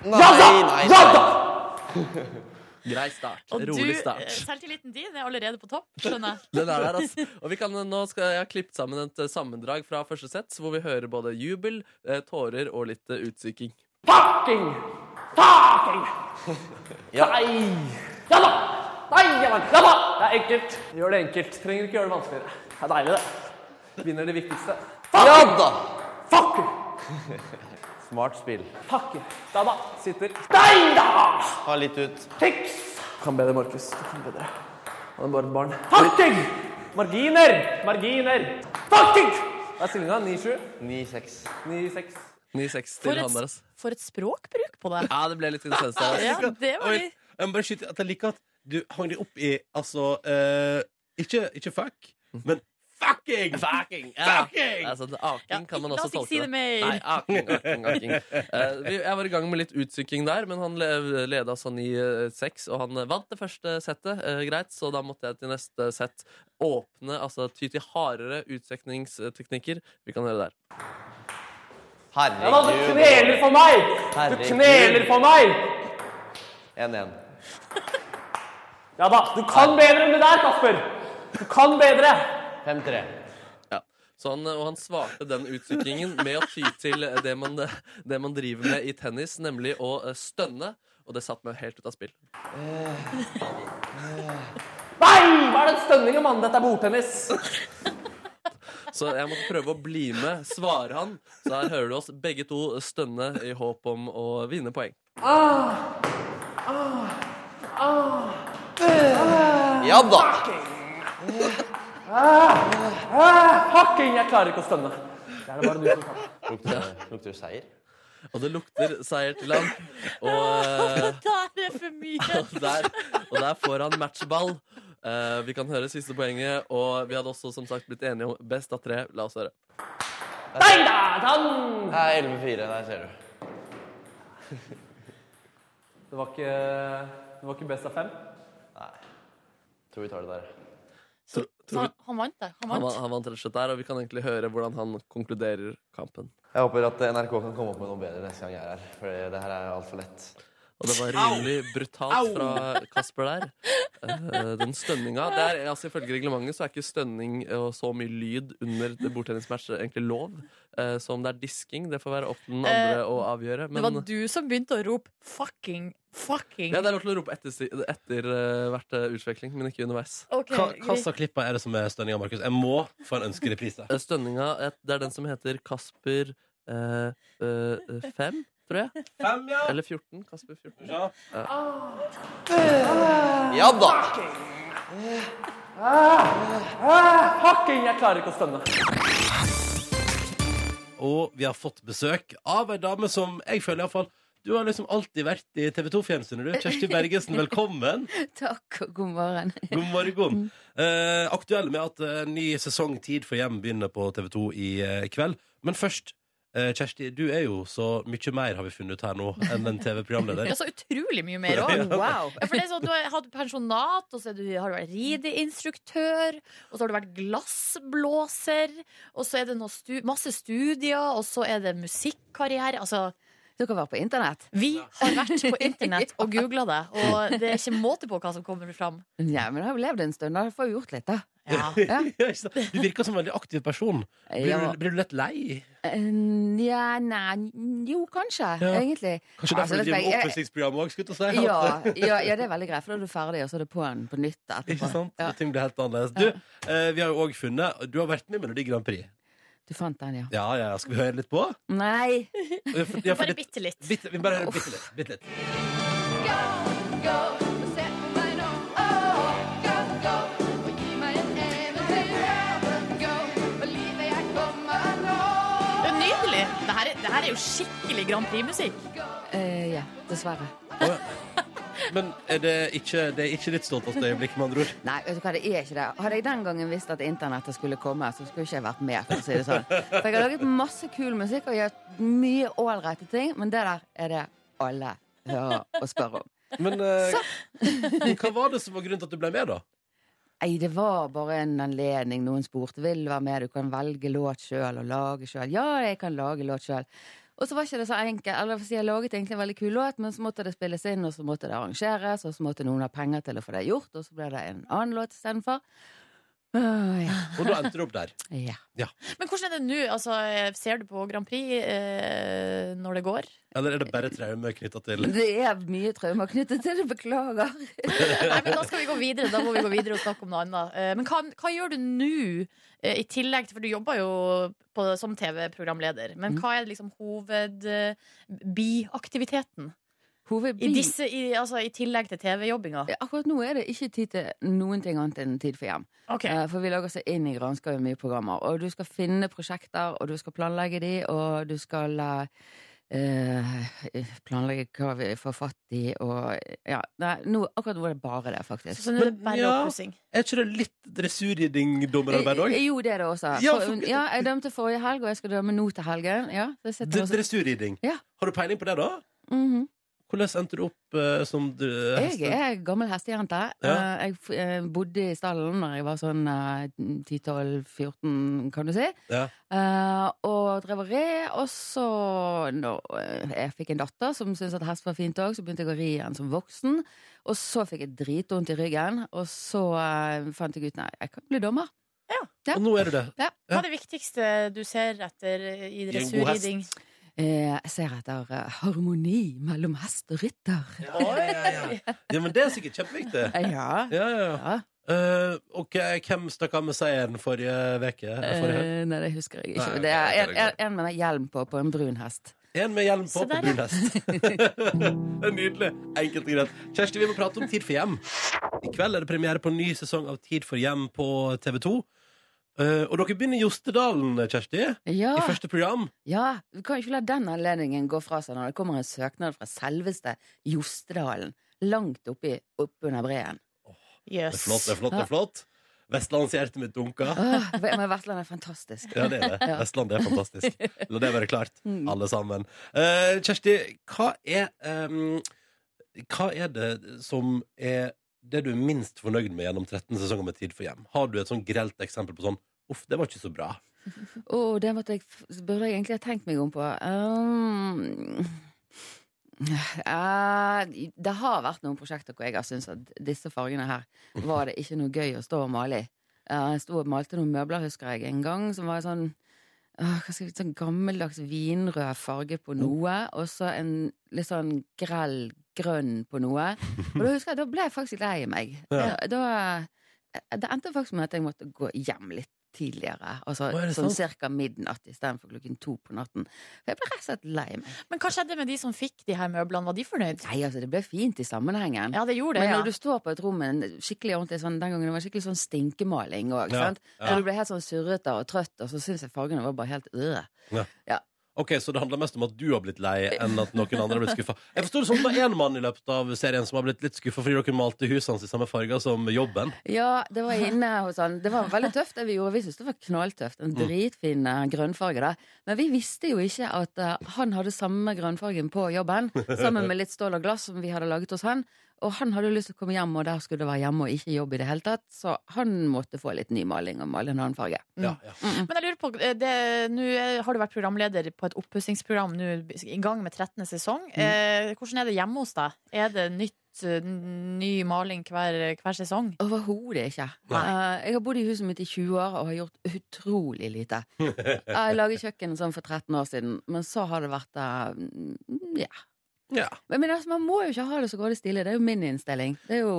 Speaker 6: Nei, nei, nei.
Speaker 4: Grei start.
Speaker 3: Og du,
Speaker 4: Rolig
Speaker 3: eh,
Speaker 4: start.
Speaker 3: selvtilliten din er allerede på topp, skjønner jeg.
Speaker 4: Den er der, altså. Og vi kan, nå skal jeg ha klippet sammen et eh, sammendrag fra første sett, hvor vi hører både jubel, eh, tårer og litt eh, utsyking.
Speaker 6: Ja.
Speaker 7: Ja da! Nei, ja da! Ja da! Det er enkelt. Gjør det enkelt. Trenger ikke gjøre det vanskeligere. Det er deilig, det. Vinner det viktigste.
Speaker 6: ja da!
Speaker 7: Fuck!
Speaker 6: Smart spill.
Speaker 7: Fuck! Da da. Sitter. Nei da!
Speaker 6: Ta litt ut.
Speaker 7: Fiks! Kan bedre, Markus. Du kan bedre. Han er bare et barn. Fucking! Marginer! Marginer! Fucking! Hva er stillinga? 9-7?
Speaker 6: 9-6.
Speaker 7: 9-6.
Speaker 4: 9-6
Speaker 3: For et,
Speaker 4: til han der, altså.
Speaker 3: for et språkbruk på deg.
Speaker 4: Ja, det ble litt intenst. der,
Speaker 3: Ja,
Speaker 4: altså.
Speaker 3: det var
Speaker 2: Oi,
Speaker 3: litt
Speaker 2: Jeg må bare skyte at jeg liker at du hang deg opp i altså eh, ikke, ikke fuck, men fucking!
Speaker 4: Fucking! Ja.
Speaker 2: Fucking!
Speaker 4: Altså, det- aking kan man
Speaker 3: la
Speaker 4: også
Speaker 3: oss ikke
Speaker 4: tolke.
Speaker 3: si det mer.
Speaker 4: Nei, aking, aking, aking. Eh, vi- jeg var i gang med litt utsykking der, men han le- leda sånn i eh, seks, og han eh, vant det første settet, eh, greit, så da måtte jeg til neste sett åpne, altså ty til hardere utsykningsteknikker. Vi kan høre der.
Speaker 7: Ja da, du
Speaker 6: Herregud.
Speaker 7: kneler for meg! Du
Speaker 6: Herregud.
Speaker 7: kneler for meg!
Speaker 6: 1-1.
Speaker 7: Ja da. Du kan bedre enn det der, Kasper. Du kan bedre.
Speaker 6: 5-3.
Speaker 4: Ja. Så han, og han svarte den utsykingen med å ty til det man, det man driver med i tennis, nemlig å eh, stønne. Og det satte meg helt ut av spill.
Speaker 7: Nei! Hva er den stønningen, mann? Dette er bordtennis.
Speaker 4: Så jeg måtte prøve å bli med, svarer han. Så her hører du oss begge to stønne i håp om å vinne poeng.
Speaker 6: Ja da!
Speaker 7: Fucking, jeg klarer ikke å stønne. Det er det bare du som kan.
Speaker 6: Lukter lukter det seier?
Speaker 4: Og det lukter seier til han. Og eh,
Speaker 3: Det der er for mye.
Speaker 4: der, og der får han matchball. Eh, vi kan høre siste poenget, og vi hadde også som sagt blitt enige om best av tre. La oss høre.
Speaker 7: Nei da, dan!
Speaker 6: Det er 11-4. Der ser du.
Speaker 7: Det var ikke, det var ikke best av fem.
Speaker 6: Tror vi tar det der.
Speaker 3: Så, så han, han vant det. Han
Speaker 4: Han,
Speaker 3: vant.
Speaker 4: vant- han vant rett og slett der, og vi kan egentlig høre hvordan han konkluderer kampen.
Speaker 6: Jeg håper at eh, NRK kan komme opp med noe bedre neste gang jeg er her. For det her er altfor lett.
Speaker 4: Og det var rimelig brutalt fra Kasper der. Eh, Den stønninga det er, altså Ifølge reglementet så er ikke stønning og så mye lyd under det bordtennismatch egentlig lov. Eh, Så om det er disking, det får være opp til den andre
Speaker 3: Eh,
Speaker 4: å avgjøre.
Speaker 3: Det var
Speaker 4: Men
Speaker 3: du som begynte å rope 'fucking', 'fucking'.
Speaker 4: ja, det er lov til å rope etter, etter eh, hvert eh, utveksling, men ikke underveis.
Speaker 3: Ok,
Speaker 2: Hva, hva
Speaker 3: greit.
Speaker 2: slags klippa er det som er stønninga, Markus? Jeg må få en ønskereprise.
Speaker 4: Eh, Stønninga eh, det er den som heter Kasper eh, 5, tror jeg.
Speaker 2: Fem, ja.
Speaker 4: Eller 14. Kasper 14.
Speaker 2: ja.
Speaker 4: Ah.
Speaker 6: Ja da!
Speaker 7: Fucking, jeg klarer ikke å stønne.
Speaker 2: Og vi har fått besøk av ei dame som jeg føler iallfall Du har liksom alltid vært i TV 2-fjernsynet, du. Kjersti Bergesen, velkommen.
Speaker 8: Takk og god morgen.
Speaker 2: God morgen. Eh, aktuell med at eh, ny sesong Tid for hjem begynner på TV 2 i eh, kveld. Men først, eh, Kjersti, du er jo så mye mer, har vi funnet ut her nå, enn en TV-programleder.
Speaker 3: Ja, så utrolig mye mer òg. For det er sånn, Du har hatt pensjonat, og så er du, har du vært rideinstruktør, og så har du vært glassblåser, og så er det noe stu, masse studier, og så er det musikkarriere. Altså,
Speaker 8: Dere var på internett?
Speaker 3: Vi har vært på internett og googla det, og det er ikke måte på hva som kommer fram.
Speaker 8: Ja, men jeg har jo levd en stund, da får jeg gjort litt, da.
Speaker 3: Ja.
Speaker 2: Ja,
Speaker 8: Ja.
Speaker 2: ikke sant? Du virker som en veldig aktiv person. Blir,
Speaker 8: Ja.
Speaker 2: du, blir du lett lei?
Speaker 8: Eh, Nja, nei Jo, kanskje,
Speaker 2: Ja.
Speaker 8: egentlig.
Speaker 2: Kanskje derfor
Speaker 8: Altså,
Speaker 2: du driver med
Speaker 8: jeg-
Speaker 2: oppussingsprogram òg? skulle jeg til å si.
Speaker 8: Ja, ja, ja, det er veldig greit, for da er du ferdig, og så er det på'n på nytt
Speaker 2: Ikke
Speaker 8: etterpå.
Speaker 2: sant? Ting blir helt annerledes. Du, eh, vi har jo også funnet Du har vært med i Melodi Grand Prix.
Speaker 8: Du fant den, ja.
Speaker 2: Ja, ja, ja. Skal vi høre litt på?
Speaker 8: Nei!
Speaker 2: Eh, for- ja, for
Speaker 3: Bare
Speaker 2: det-
Speaker 3: bitte litt.
Speaker 2: bitte- vi bare hører bitte litt. Bitte litt.
Speaker 3: Det er nydelig! Det her er, det her er jo skikkelig Grand Prix-musikk.
Speaker 8: Eh, ja, dessverre.
Speaker 2: Men er det, ikke, det er ikke ditt stolteste øyeblikk, med andre ord?
Speaker 8: Nei, vet du hva, det er ikke det. Hadde jeg den gangen visst at internettet skulle komme, så skulle ikke jeg vært med. For å si det sånn. For jeg har laget masse kul musikk og gjort mye ålreite ting, men det der er det alle hører og spør om.
Speaker 2: Men eh, men hva var det som var grunnen til at du ble med, da?
Speaker 8: Nei, det var bare en anledning. Noen spurte vil du være med, du kan velge låt sjøl og lage sjøl. Ja, jeg kan lage låt sjøl. Og så var ikke det så enkelt. Eller for å si, Jeg laget egentlig en veldig kul låt, men så måtte det spilles inn, og så måtte det arrangeres, og så måtte noen ha penger til å få det gjort, og så ble det en annen låt istedenfor. Åh, ja.
Speaker 2: Og da endte du opp der.
Speaker 8: ja.
Speaker 3: Men hvordan er det nå? Altså, ser du på Grand Prix eh, når det går?
Speaker 2: Eller er det bare traume knytta til
Speaker 8: Det er mye traumer knyttet til det, beklager.
Speaker 3: Nei, men Da skal vi gå videre Da må vi gå videre og snakke om noe annet. Eh, Men hva, hva gjør du nå, eh, i tillegg til For du jobber jo på, som TV-programleder. Men
Speaker 8: Mm.
Speaker 3: hva er liksom hovedbiaktiviteten? I,
Speaker 8: Hovedbi.
Speaker 3: disse- i, altså, I tillegg til TV-jobbinga?
Speaker 8: Akkurat nå er det ikke tid til noen ting annet enn tid for hjem.
Speaker 3: Ok.
Speaker 8: Eh, For vi lager så inn i granska mye programmer. Og du skal finne prosjekter, og du skal planlegge de, og du skal eh, eh, planlegge hva vi får fatt i, og ja, nei, nå, akkurat nå er det bare det, faktisk.
Speaker 3: Så nå er det
Speaker 2: Men
Speaker 3: bare
Speaker 2: ja.
Speaker 3: oppussing.
Speaker 2: Er ikke det litt dressurridding-dommerarbeid
Speaker 8: Eh,
Speaker 2: òg?
Speaker 8: Jo, det er det også.
Speaker 2: Ja,
Speaker 8: For,
Speaker 2: for-
Speaker 8: ja, jeg dømte forrige helg, og jeg skal dømme nå til helgen. Ja, det sitter også.
Speaker 2: Dressurridding.
Speaker 8: Ja.
Speaker 2: Har du peiling på det, da?
Speaker 8: Mhm.
Speaker 2: Hvordan endte du opp eh, som du,
Speaker 8: Jeg er gammel hestejente.
Speaker 2: Ja.
Speaker 8: Eh, Jeg f- eh, bodde i stallen når jeg var sånn eh, 10-12-14, kan du si.
Speaker 2: Ja.
Speaker 8: Eh, og drev og red. Og så, når eh, jeg fikk en datter som syntes at hest var fint òg, så begynte jeg å ri igjen som voksen. Og så fikk jeg dritvondt i ryggen, og så eh, fant jeg ut nei, jeg kan bli dommer. Ja.
Speaker 2: Og nå er du det.
Speaker 3: Hva er det viktigste du ser etter eh,
Speaker 2: en
Speaker 3: i
Speaker 2: god hest.
Speaker 3: dressurriding?
Speaker 8: Eh, jeg ser etter eh, harmoni mellom hest og rytter.
Speaker 2: Ja, ja, ja. ja, men det er sikkert kjempeviktig.
Speaker 8: Eh, Ja.
Speaker 2: Ja, ja, ja.
Speaker 8: ja.
Speaker 2: Eh, ok, hvem stakk av med seieren forrige veke? Forrige helg?
Speaker 8: Eh, nei, det husker jeg ikke.
Speaker 2: Nei, ok,
Speaker 8: det
Speaker 2: ok,
Speaker 8: er en,
Speaker 2: det er greit.
Speaker 8: en, en med hjelm på på en brun hest.
Speaker 2: En med hjelm på
Speaker 3: Se
Speaker 2: på
Speaker 3: der,
Speaker 2: brun hest. Det er Nydelig. Enkelt og greit. Kjersti, vi må prate om Tid for hjem. I kveld er det premiere på en ny sesong av Tid for hjem på TV2. Eh, og dere begynner i Jostedalen, Kjersti,
Speaker 8: Ja.
Speaker 2: i første program.
Speaker 8: Ja, vi kan ikke la den anledningen gå fra seg når det kommer en søknad fra selveste Jostedalen. Langt oppi oppunder breen.
Speaker 2: Det er
Speaker 3: Yes.
Speaker 2: flott, det er flott, det er flott. Vestlandshjertet mitt dunka.
Speaker 8: Åh, men Vestland er fantastisk.
Speaker 2: Ja, det er det.
Speaker 8: Ja.
Speaker 2: Vestlandet er fantastisk. La det være klart,
Speaker 8: Mm.
Speaker 2: alle sammen. Eh, Kjersti, hva er ehm, Hva er det som er det du er minst fornøyd med gjennom 13 sesonger med Tid for hjem? Har du et sånn grelt eksempel på sånn Uff, det var ikke så bra.
Speaker 8: Åh, det måtte jeg, f- burde jeg egentlig ha tenkt meg om på. Um, eh, det har vært noen prosjekter hvor jeg har syntes at disse fargene her var det ikke noe gøy å stå og male i. Eh, jeg sto og malte noen møbler, husker jeg, en gang som var sånn åh, hva skal jeg, sånn gammeldags vinrød farge på noe, og så en litt sånn grell grønn på noe. Og da husker jeg, da ble jeg faktisk lei meg.
Speaker 2: Ja.
Speaker 8: Da, da- eh, det endte faktisk med at jeg måtte gå hjem litt tidligere. Altså
Speaker 2: Å, er det
Speaker 8: sånn
Speaker 2: sant?
Speaker 8: ca. midnatt istedenfor klokken to på natten. For jeg ble rett og slett lei meg.
Speaker 3: Men hva skjedde med de som fikk de her møblene? Var de fornøyd?
Speaker 8: Nei, altså, det ble fint i sammenhengen.
Speaker 3: Ja, det gjorde det,
Speaker 8: Men
Speaker 3: ja.
Speaker 8: når du står på et rom med en skikkelig ordentlig sånn, Den gangen det var skikkelig sånn stinkemaling òg.
Speaker 2: Ja, ja.
Speaker 8: Du ble helt sånn surrete og trøtt, og så syns jeg fargene var bare helt øh.
Speaker 2: Ok, Så det handler mest om at du har blitt lei, enn at noen andre har blitt skuffa. Jeg forstår det sånn at det var én mann i løpet av serien som har blitt litt skuffa fordi dere malte huset hans i samme farger som jobben.
Speaker 8: Ja, det var inne hos han. Det var veldig tøft det vi gjorde. Vi syntes det var knalltøft.
Speaker 2: Mm.
Speaker 8: En dritfin eh, grønnfarge der. Men vi visste jo ikke at eh, han hadde samme grønnfargen på jobben, sammen med litt stål og glass som vi hadde laget hos han. Og han hadde jo lyst til å komme hjem, og der skulle det være hjemme og ikke jobb i det hele tatt, så han måtte få litt ny maling og male en annen farge.
Speaker 3: Mm.
Speaker 2: Ja, ja.
Speaker 3: Men jeg lurer på, eh, det, nå eh, har du vært programleder på et oppussingsprogram nå i gang med 13. sesong.
Speaker 2: Mm.
Speaker 3: Eh, hvordan er det hjemme hos deg? Er det nytt, eh, ny maling hver, hver
Speaker 2: Sånn
Speaker 3: sesong?
Speaker 8: Overhodet ikke. Eh, jeg har bodd i huset mitt i 20 år og har gjort utrolig lite. Jeg laget kjøkken sånn for 13 år siden, men så har det vært eh, mm, Ja.
Speaker 2: Ja.
Speaker 8: Men, men altså, man må jo ikke ha det så godt og stille. Det er jo min innstilling. Det er jo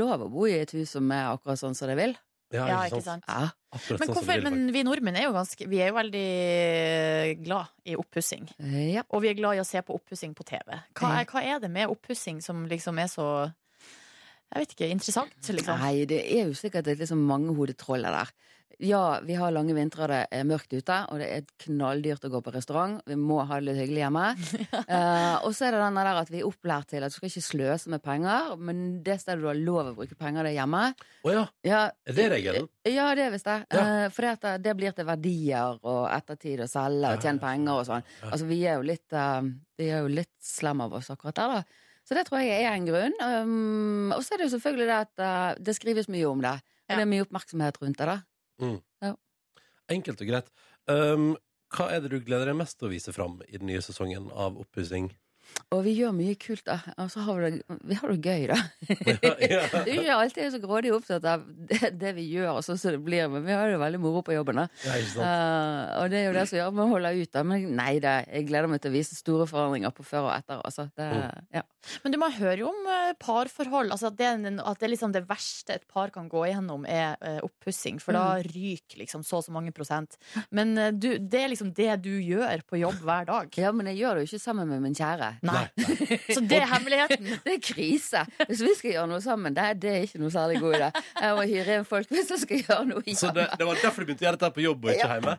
Speaker 8: lov å bo i et hus som er akkurat sånn som det vil.
Speaker 2: Ja,
Speaker 3: Ja, ikke sant?
Speaker 8: Ja.
Speaker 2: Akkurat
Speaker 3: Men,
Speaker 2: sånn som
Speaker 3: hvorfor,
Speaker 2: vi vil,
Speaker 3: men vi nordmenn er jo ganske Vi er jo veldig glad i oppussing.
Speaker 8: Eh, ja.
Speaker 3: Og vi er glad i å se på oppussing på TV.
Speaker 2: Mm.
Speaker 3: Hva er, hva er det med oppussing som liksom er så Jeg vet ikke. Interessant, liksom.
Speaker 8: Nei, det er jo sikkert et liksom mangehodet troll der. Ja, vi har lange vintre, og det er mørkt ute, og det er knalldyrt å gå på restaurant. Vi må ha det litt hyggelig hjemme. Eh, og så er det den der at vi er opplært til at du skal ikke sløse med penger, men det stedet du har lov å bruke penger, det er hjemme.
Speaker 2: Å ja,
Speaker 8: Ja,
Speaker 2: er det regelen?
Speaker 8: ja det er visst det.
Speaker 2: Ja.
Speaker 8: for det, at eh, det- det blir til verdier og ettertid å selge og tjene penger og sånn. Altså, vi er jo litt, eh, vi er jo litt slem av oss akkurat der, da. Så det tror jeg er en grunn. Um, og så er det jo selvfølgelig det at eh, det skrives mye om det. Og
Speaker 3: Ja.
Speaker 8: det er mye oppmerksomhet rundt det, da.
Speaker 2: Mm. Enkelt og greit. Um, hva er det du gleder deg mest til å vise fram i den nye sesongen av oppussing?
Speaker 8: Og vi gjør mye kult, da. Og så har vi det, vi har det gøy, da. Det er jo ikke alltid jeg er så grådig opptatt av det, det vi gjør, og sånn som det blir, men vi har det veldig moro på jobben. da.
Speaker 2: Ja, ikke sant?
Speaker 8: Eh, og det er jo det som gjør at man holder ut. da. Men nei da, jeg gleder meg til å vise store forandringer på før og etter. Altså. Det, ja.
Speaker 3: Men du, man hører jo om eh, parforhold. Altså at, det er en, at det er liksom det verste et par kan gå igjennom, er eh, oppussing. For da ryker liksom så og så mange prosent. Men eh, du, det er liksom det du gjør på jobb hver dag.
Speaker 8: ja, men jeg gjør det jo ikke sammen med min kjære.
Speaker 3: Nei. Så det er hemmeligheten.
Speaker 8: Det er krise. Hvis vi skal gjøre noe sammen, det, det er ikke noe særlig god idé. Jeg må hyre inn folk hvis jeg skal gjøre noe
Speaker 2: Så
Speaker 8: hjemme.
Speaker 2: det, det var derfor du begynte å gjøre dette på jobb og ikke hjemme?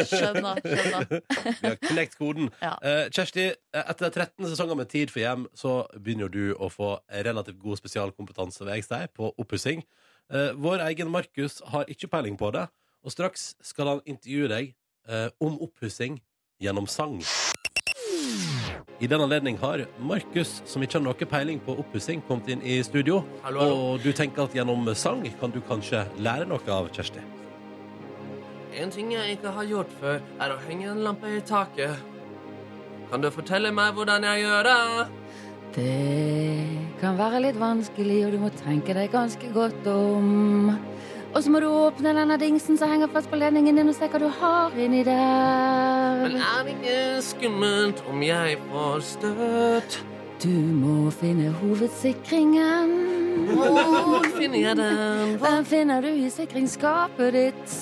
Speaker 3: Skjønner. skjønner.
Speaker 2: Vi har knekt koden.
Speaker 3: Ja.
Speaker 2: Eh, Kjersti, eh, etter 13 sesonger med Tid for hjem, så begynner jo du å få relativt god spesialkompetanse ved Ekstein på oppussing. Eh, vår egen Markus har ikke peiling på det, og straks skal han intervjue deg eh, om oppussing gjennom sang. I den anledning har Markus, som ikke har noe peiling på oppussing, kommet inn i studio.
Speaker 4: Hallo, hallo.
Speaker 2: Og du tenker at gjennom sang kan du kanskje lære noe av Kjersti.
Speaker 4: En ting jeg ikke har gjort før, er å henge en lampe i taket. Kan du fortelle meg hvordan jeg gjør det?
Speaker 8: Det kan være litt vanskelig, og du må tenke deg ganske godt om. Og så må du åpne denne dingsen som henger fast på ledningen din, og se hva du har inni
Speaker 4: Men
Speaker 8: der.
Speaker 4: er det ikke skummelt om jeg får støt?
Speaker 8: Du må finne hovedsikringen.
Speaker 4: Hvor finner jeg den?
Speaker 8: Den finner du i sikringsskapet ditt.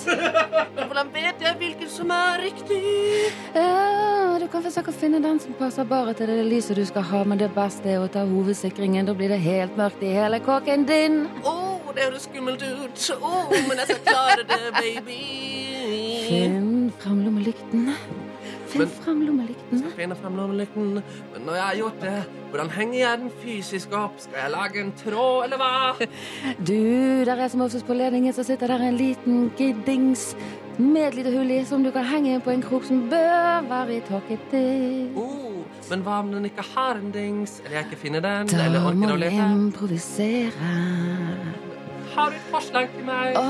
Speaker 4: Hvordan vet jeg hvilken som er riktig?
Speaker 8: Ja, du kan forsøke å finne den som passer bare til det lyset du skal ha, men det beste er å ta hovedsikringen. Da blir det helt mørkt i hele kåken din.
Speaker 4: Å, det høres skummelt ut. Å, men jeg skal klare det, baby.
Speaker 8: Finn fram lommelyktene. Finn
Speaker 4: Men-
Speaker 8: fram lommelyktene.
Speaker 4: Finne frem lommelykten. Men når jeg har gjort det, hvordan henger jeg den fysisk opp? Skal jeg lage en tråd, eller hva?
Speaker 8: Du, der er som oftest på ledningen så sitter der en liten giddings med et lite hull i som du kan henge på en krok som bør være i taket ditt.
Speaker 4: Oh, men hva om den ikke har en dings? Eller jeg ikke finner den?
Speaker 8: Da
Speaker 4: Eller
Speaker 8: må
Speaker 4: orker å
Speaker 8: du
Speaker 4: lete?
Speaker 8: improvisere.
Speaker 4: Har du et forslag til meg?
Speaker 8: Å,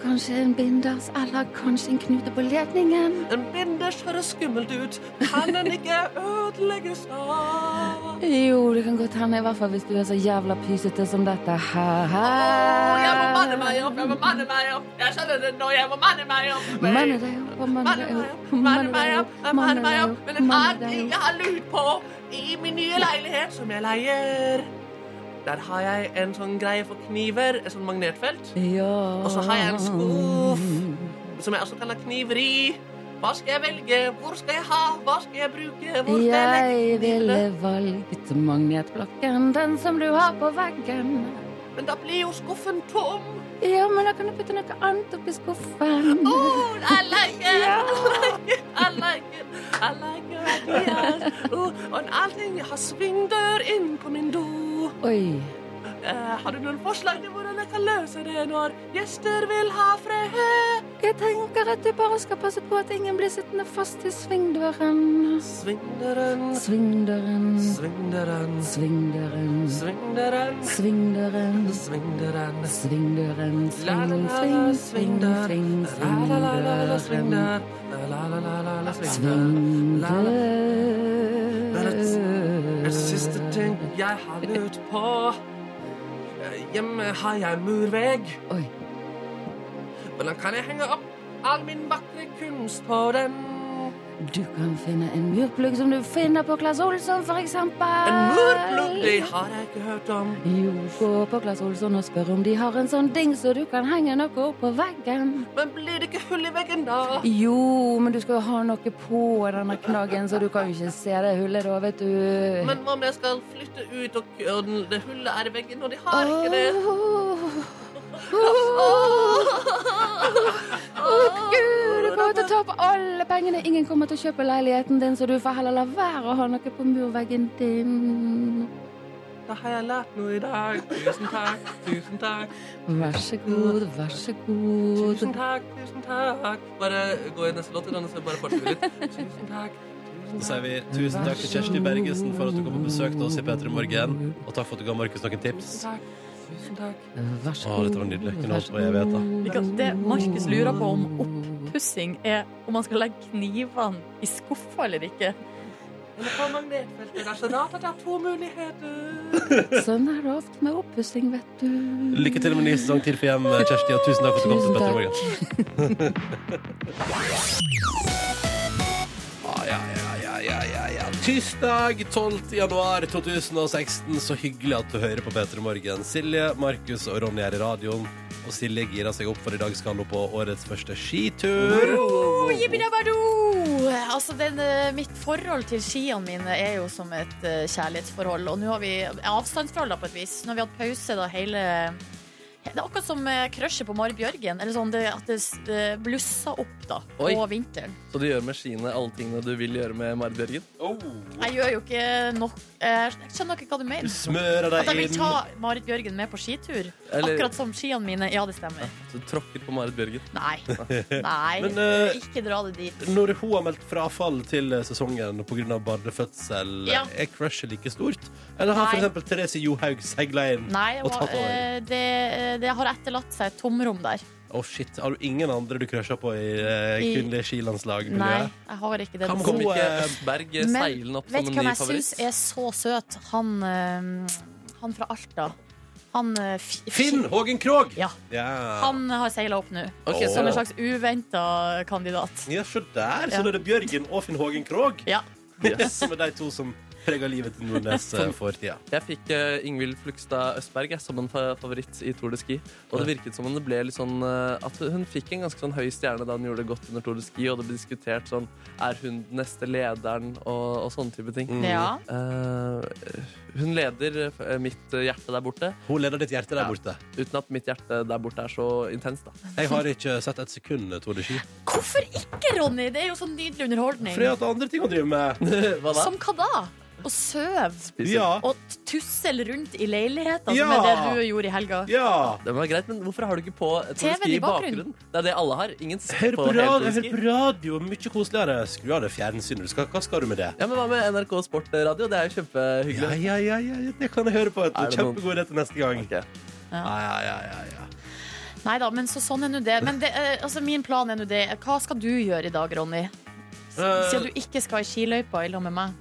Speaker 8: kanskje en binders eller kanskje en knute på ledningen.
Speaker 4: En binders høres skummelt ut. Kan den ikke ødelegges av?
Speaker 8: Jo, det kan godt hende, i hvert fall hvis du er så jævla pysete som dette her.
Speaker 4: Åh, jeg må manne meg opp, jeg må manne meg opp. Jeg skjønner det nå, jeg må manne meg opp.
Speaker 8: Manne deg opp og manne deg opp.
Speaker 4: manne meg opp, jeg må manne meg opp. Men en
Speaker 8: manne
Speaker 4: annen
Speaker 8: deg
Speaker 4: ting
Speaker 8: opp.
Speaker 4: jeg har lurt på i min nye leilighet som jeg leier, der har jeg en sånn greie for kniver, et sånn magnetfelt,
Speaker 8: Ja.
Speaker 4: Og så har jeg en skuff. som jeg også kaller kniver i. Hva skal jeg velge? Hvor skal jeg ha? Hva skal jeg bruke? Hvor skal jeg legge
Speaker 8: Jeg ville
Speaker 4: knivene?
Speaker 8: valgt magnetblokken, den som du har på veggen.
Speaker 4: Men da blir jo skuffen tom.
Speaker 8: Ja, men da kan du putte noe annet oppi skuffen.
Speaker 4: Oh, I like it. I like it. I like it. I like it. Yes. Oh, og en annen ting, jeg har svingdør inn på min do.
Speaker 8: Oi.
Speaker 4: Eh, Eh, har du noen forslag til hvordan jeg kan løse det når gjester vil ha fred?
Speaker 8: Jeg tenker at du bare skal passe på at ingen blir sittende fast i svingdøren.
Speaker 4: Svingdøren.
Speaker 8: Svingdøren.
Speaker 4: Svingdøren.
Speaker 8: Svingdøren.
Speaker 4: Svingdøren.
Speaker 8: Svingdøren.
Speaker 4: Svingdøren.
Speaker 8: Svingdøren. Sving,
Speaker 4: La-la-la-la,
Speaker 8: sving, sving,
Speaker 4: svingdør.
Speaker 8: sving,
Speaker 4: La-la-la-la,
Speaker 8: svingdøren.
Speaker 4: svingdør. La-la-la-la, svingdøren. En siste
Speaker 8: Svingdøren.
Speaker 4: ting jeg har lurt på. Eh, Hjemme har jeg murvegg.
Speaker 8: Oi.
Speaker 4: Hvordan kan jeg henge opp all min vakre kunst på den?
Speaker 8: Du kan finne en murplugg som du finner på Claes Olsson, for eksempel.
Speaker 4: En murplugg, det har jeg ikke hørt om.
Speaker 8: Jo, gå på Claes Olsson og spør om de har en sånn ding så du kan henge noe opp på veggen.
Speaker 4: Men blir det ikke hull i veggen da?
Speaker 8: Jo, men du skal jo ha noe på denne knaggen, så du kan jo ikke se det hullet da, vet du.
Speaker 4: Men hva om jeg skal flytte ut, og, og den- det hullet er i veggen, og de har ikke det?
Speaker 8: Gud, du kommer til å tape alle pengene. Ingen kommer til å kjøpe leiligheten din, så du får heller la være å ha noe på murveggen din.
Speaker 4: Da har jeg lært noe i dag. Tusen takk, tusen takk.
Speaker 8: Vær så god, vær så god.
Speaker 4: Tusen takk, tusen takk. Bare gå i neste låt, Irene, så bare fortsetter vi litt. Tusen takk.
Speaker 2: Så sier vi tusen takk til Kjersti Bergesen for at du kom og besøkte oss i P3 Morgen. Og takk for at du ga Markus noen tips.
Speaker 4: Tusen takk. Tusen takk.
Speaker 8: Vær så
Speaker 2: Å,
Speaker 8: god.
Speaker 2: dette var nydelig. Kunne holdt på i evigheter.
Speaker 3: Det Markus lurer på om oppussing er om man skal legge knivene i skuffa eller ikke.
Speaker 4: Men på magnetfeltet, det er så rart at jeg har to muligheter.
Speaker 8: Sånn er det ofte med oppussing, vet du.
Speaker 2: Lykke til med ny sesong til for hjem, Kjersti, og tusen takk for at du kom til P3
Speaker 8: Tusen takk.
Speaker 2: Morgen. Ah, ja, ja, ja, ja, ja, ja. Tirsdag 12. januar 2016. Så hyggelig at du hører på P3 Morgen. Silje, Markus og Ronny er i radioen. Og Silje gira seg opp, for i dag skal hun på årets første skitur.
Speaker 3: Oh, yippidabado! Altså, den, eh, mitt forhold til skiene mine er jo som et eh, kjærlighetsforhold. Og nå har vi avstandsforhold, da, på et vis. Nå har vi hatt pause da hele Det er akkurat som eh, crushet på Mari Bjørgen. Eller sånn det, at det s- det blusser opp da, på
Speaker 9: Oi.
Speaker 3: vinteren.
Speaker 9: Så du gjør med skiene alle tingene du vil gjøre med Marit Bjørgen?
Speaker 3: Jeg gjør jo ikke nok eh, Jeg skjønner ikke hva du
Speaker 2: Du
Speaker 3: mener.
Speaker 2: smører
Speaker 3: At jeg
Speaker 2: deg
Speaker 3: vil
Speaker 2: inn.
Speaker 3: ta Marit Bjørgen med på skitur.
Speaker 9: Eller-
Speaker 3: Akkurat som skiene mine. Ja, det stemmer.
Speaker 9: Så du tråkker på Marit Bjørgen?
Speaker 3: Nei. Nei.
Speaker 2: Men, eh,
Speaker 3: ikke dra det dit.
Speaker 2: Når hun har meldt frafall til eh, sesongen pga. barnefødsel,
Speaker 3: Ja.
Speaker 2: er crushet like stort? Eller har
Speaker 3: Nei.
Speaker 2: f.eks. Therese Johaug segla inn?
Speaker 3: Nei,
Speaker 2: Og
Speaker 3: og,
Speaker 2: tatt over.
Speaker 3: eh, det, det har etterlatt seg et tomrom der.
Speaker 2: Å shit, Har du ingen andre du crusher på i eh,
Speaker 3: I-
Speaker 2: kvinnelig skilandslag?
Speaker 3: Nei, jeg har ikke det.
Speaker 2: Kan
Speaker 9: Kom
Speaker 2: Hun,
Speaker 9: ikke
Speaker 2: eh,
Speaker 9: Østberg eh,
Speaker 3: Men
Speaker 9: seilende opp
Speaker 3: vet
Speaker 9: som
Speaker 3: du
Speaker 9: en ny
Speaker 3: hvem jeg syns
Speaker 9: favoritt?
Speaker 3: er så søt? Han, eh, han fra Alta. Han eh, Fi-
Speaker 2: Finn Hågen Krogh!
Speaker 3: Ja.
Speaker 2: Ja.
Speaker 3: Han har seila opp nå.
Speaker 9: Ok,
Speaker 2: Åh.
Speaker 9: så
Speaker 3: Som en slags uventa kandidat.
Speaker 2: ja, så der! Så
Speaker 3: Ja.
Speaker 2: da er det Bjørgen og Finn Hågen Krogh
Speaker 3: Ja.
Speaker 2: som er de to som preger livet til Nordnes eh, for tida.
Speaker 9: Jeg fikk eh, Ingvild Flugstad Østberg jeg, som en fa favoritt i Tour de Ski. Og det virket som om det ble litt sånn eh, at hun fikk en ganske sånn høy stjerne da hun gjorde det godt under Tour de Ski, og det ble diskutert sånn Er hun den neste lederen? og, og sånne type ting.
Speaker 2: Mm.
Speaker 3: ja.
Speaker 9: Eh, hun leder eh, mitt hjerte der borte,
Speaker 2: Hun leder ditt hjerte der
Speaker 9: Ja.
Speaker 2: borte.
Speaker 9: uten at mitt hjerte der borte er så intenst, da.
Speaker 2: Jeg har ikke sett et sekund Tour de Ski.
Speaker 3: Hvorfor ikke, Ronny? Det er jo sånn nydelig underholdning.
Speaker 2: Fordi at det er andre ting å drive med.
Speaker 9: Hva da?
Speaker 3: Som hva da? Å søve
Speaker 2: Ja.
Speaker 3: og t- tussel rundt i leiligheten, som
Speaker 2: Ja.
Speaker 3: er det du gjorde i helga.
Speaker 2: ja.
Speaker 9: Det var greit, men hvorfor har du ikke på Tour de
Speaker 3: TV-en
Speaker 9: Ski
Speaker 3: i
Speaker 9: i bakgrunnen?
Speaker 3: bakgrunnen?
Speaker 9: Det er det alle har. Ingen ser
Speaker 2: Hør
Speaker 9: på
Speaker 2: på,
Speaker 9: hele
Speaker 2: radio,
Speaker 9: Tour de
Speaker 2: hør
Speaker 9: Ski.
Speaker 2: på radio, mye koseligere. Skru av det fjernsynet. du skal- Hva skal du med det?
Speaker 9: Ja, men Hva med NRK Sportradio? Det er jo
Speaker 2: Ja,
Speaker 9: kjempehyggelig.
Speaker 2: ja, ja, ja, det kan jeg høre på. vet du.
Speaker 9: Er det noen-
Speaker 2: Kjempegod idé til neste gang.
Speaker 9: Ok.
Speaker 2: Ja, ja, ja, ja, ja.
Speaker 3: Nei da, men så sånn er nå det. Men det, eh, altså, min plan er nå det. Hva skal du gjøre i dag, Ronny? S-
Speaker 2: Eh.
Speaker 3: Siden du ikke skal i skiløypa i lag med meg.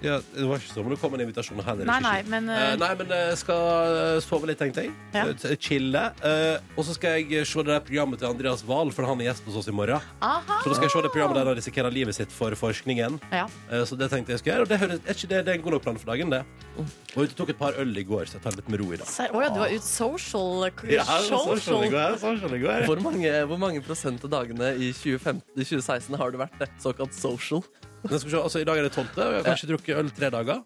Speaker 2: Ja, det var ikke sånn, men det kom en invitasjon heller.
Speaker 3: Nei,
Speaker 2: ikke
Speaker 3: nei,
Speaker 2: skitt.
Speaker 3: men
Speaker 2: Eh,
Speaker 3: eh,
Speaker 2: nei, men jeg skal sove litt, tenkte jeg.
Speaker 3: Ja.
Speaker 2: Eh, t- Chille. Eh, og så skal jeg se det der programmet til Andreas Wahl, for han er gjest hos oss i morgen.
Speaker 3: Aha!
Speaker 2: Så da skal jeg se det programmet der han risikerer livet sitt for forskningen.
Speaker 3: Ja.
Speaker 2: Eh, så det tenkte jeg skulle gjøre. Og det, høres- er ikke det, det er en god nok plan for dagen, det. Og jeg tok et par øl i går, så jeg tar det litt med ro i dag.
Speaker 3: Ser- Å ja, du var ute social. eh,
Speaker 2: Ja, så skjønner jeg
Speaker 3: social.
Speaker 2: går, så skjønner jeg går.
Speaker 9: Hvor mange, hvor mange prosent av dagene i 2015, 2016 har du vært det? såkalt social?
Speaker 2: Men skal vi se, altså, I dag er det tolvte, og jeg har kanskje drukket øl tre dager.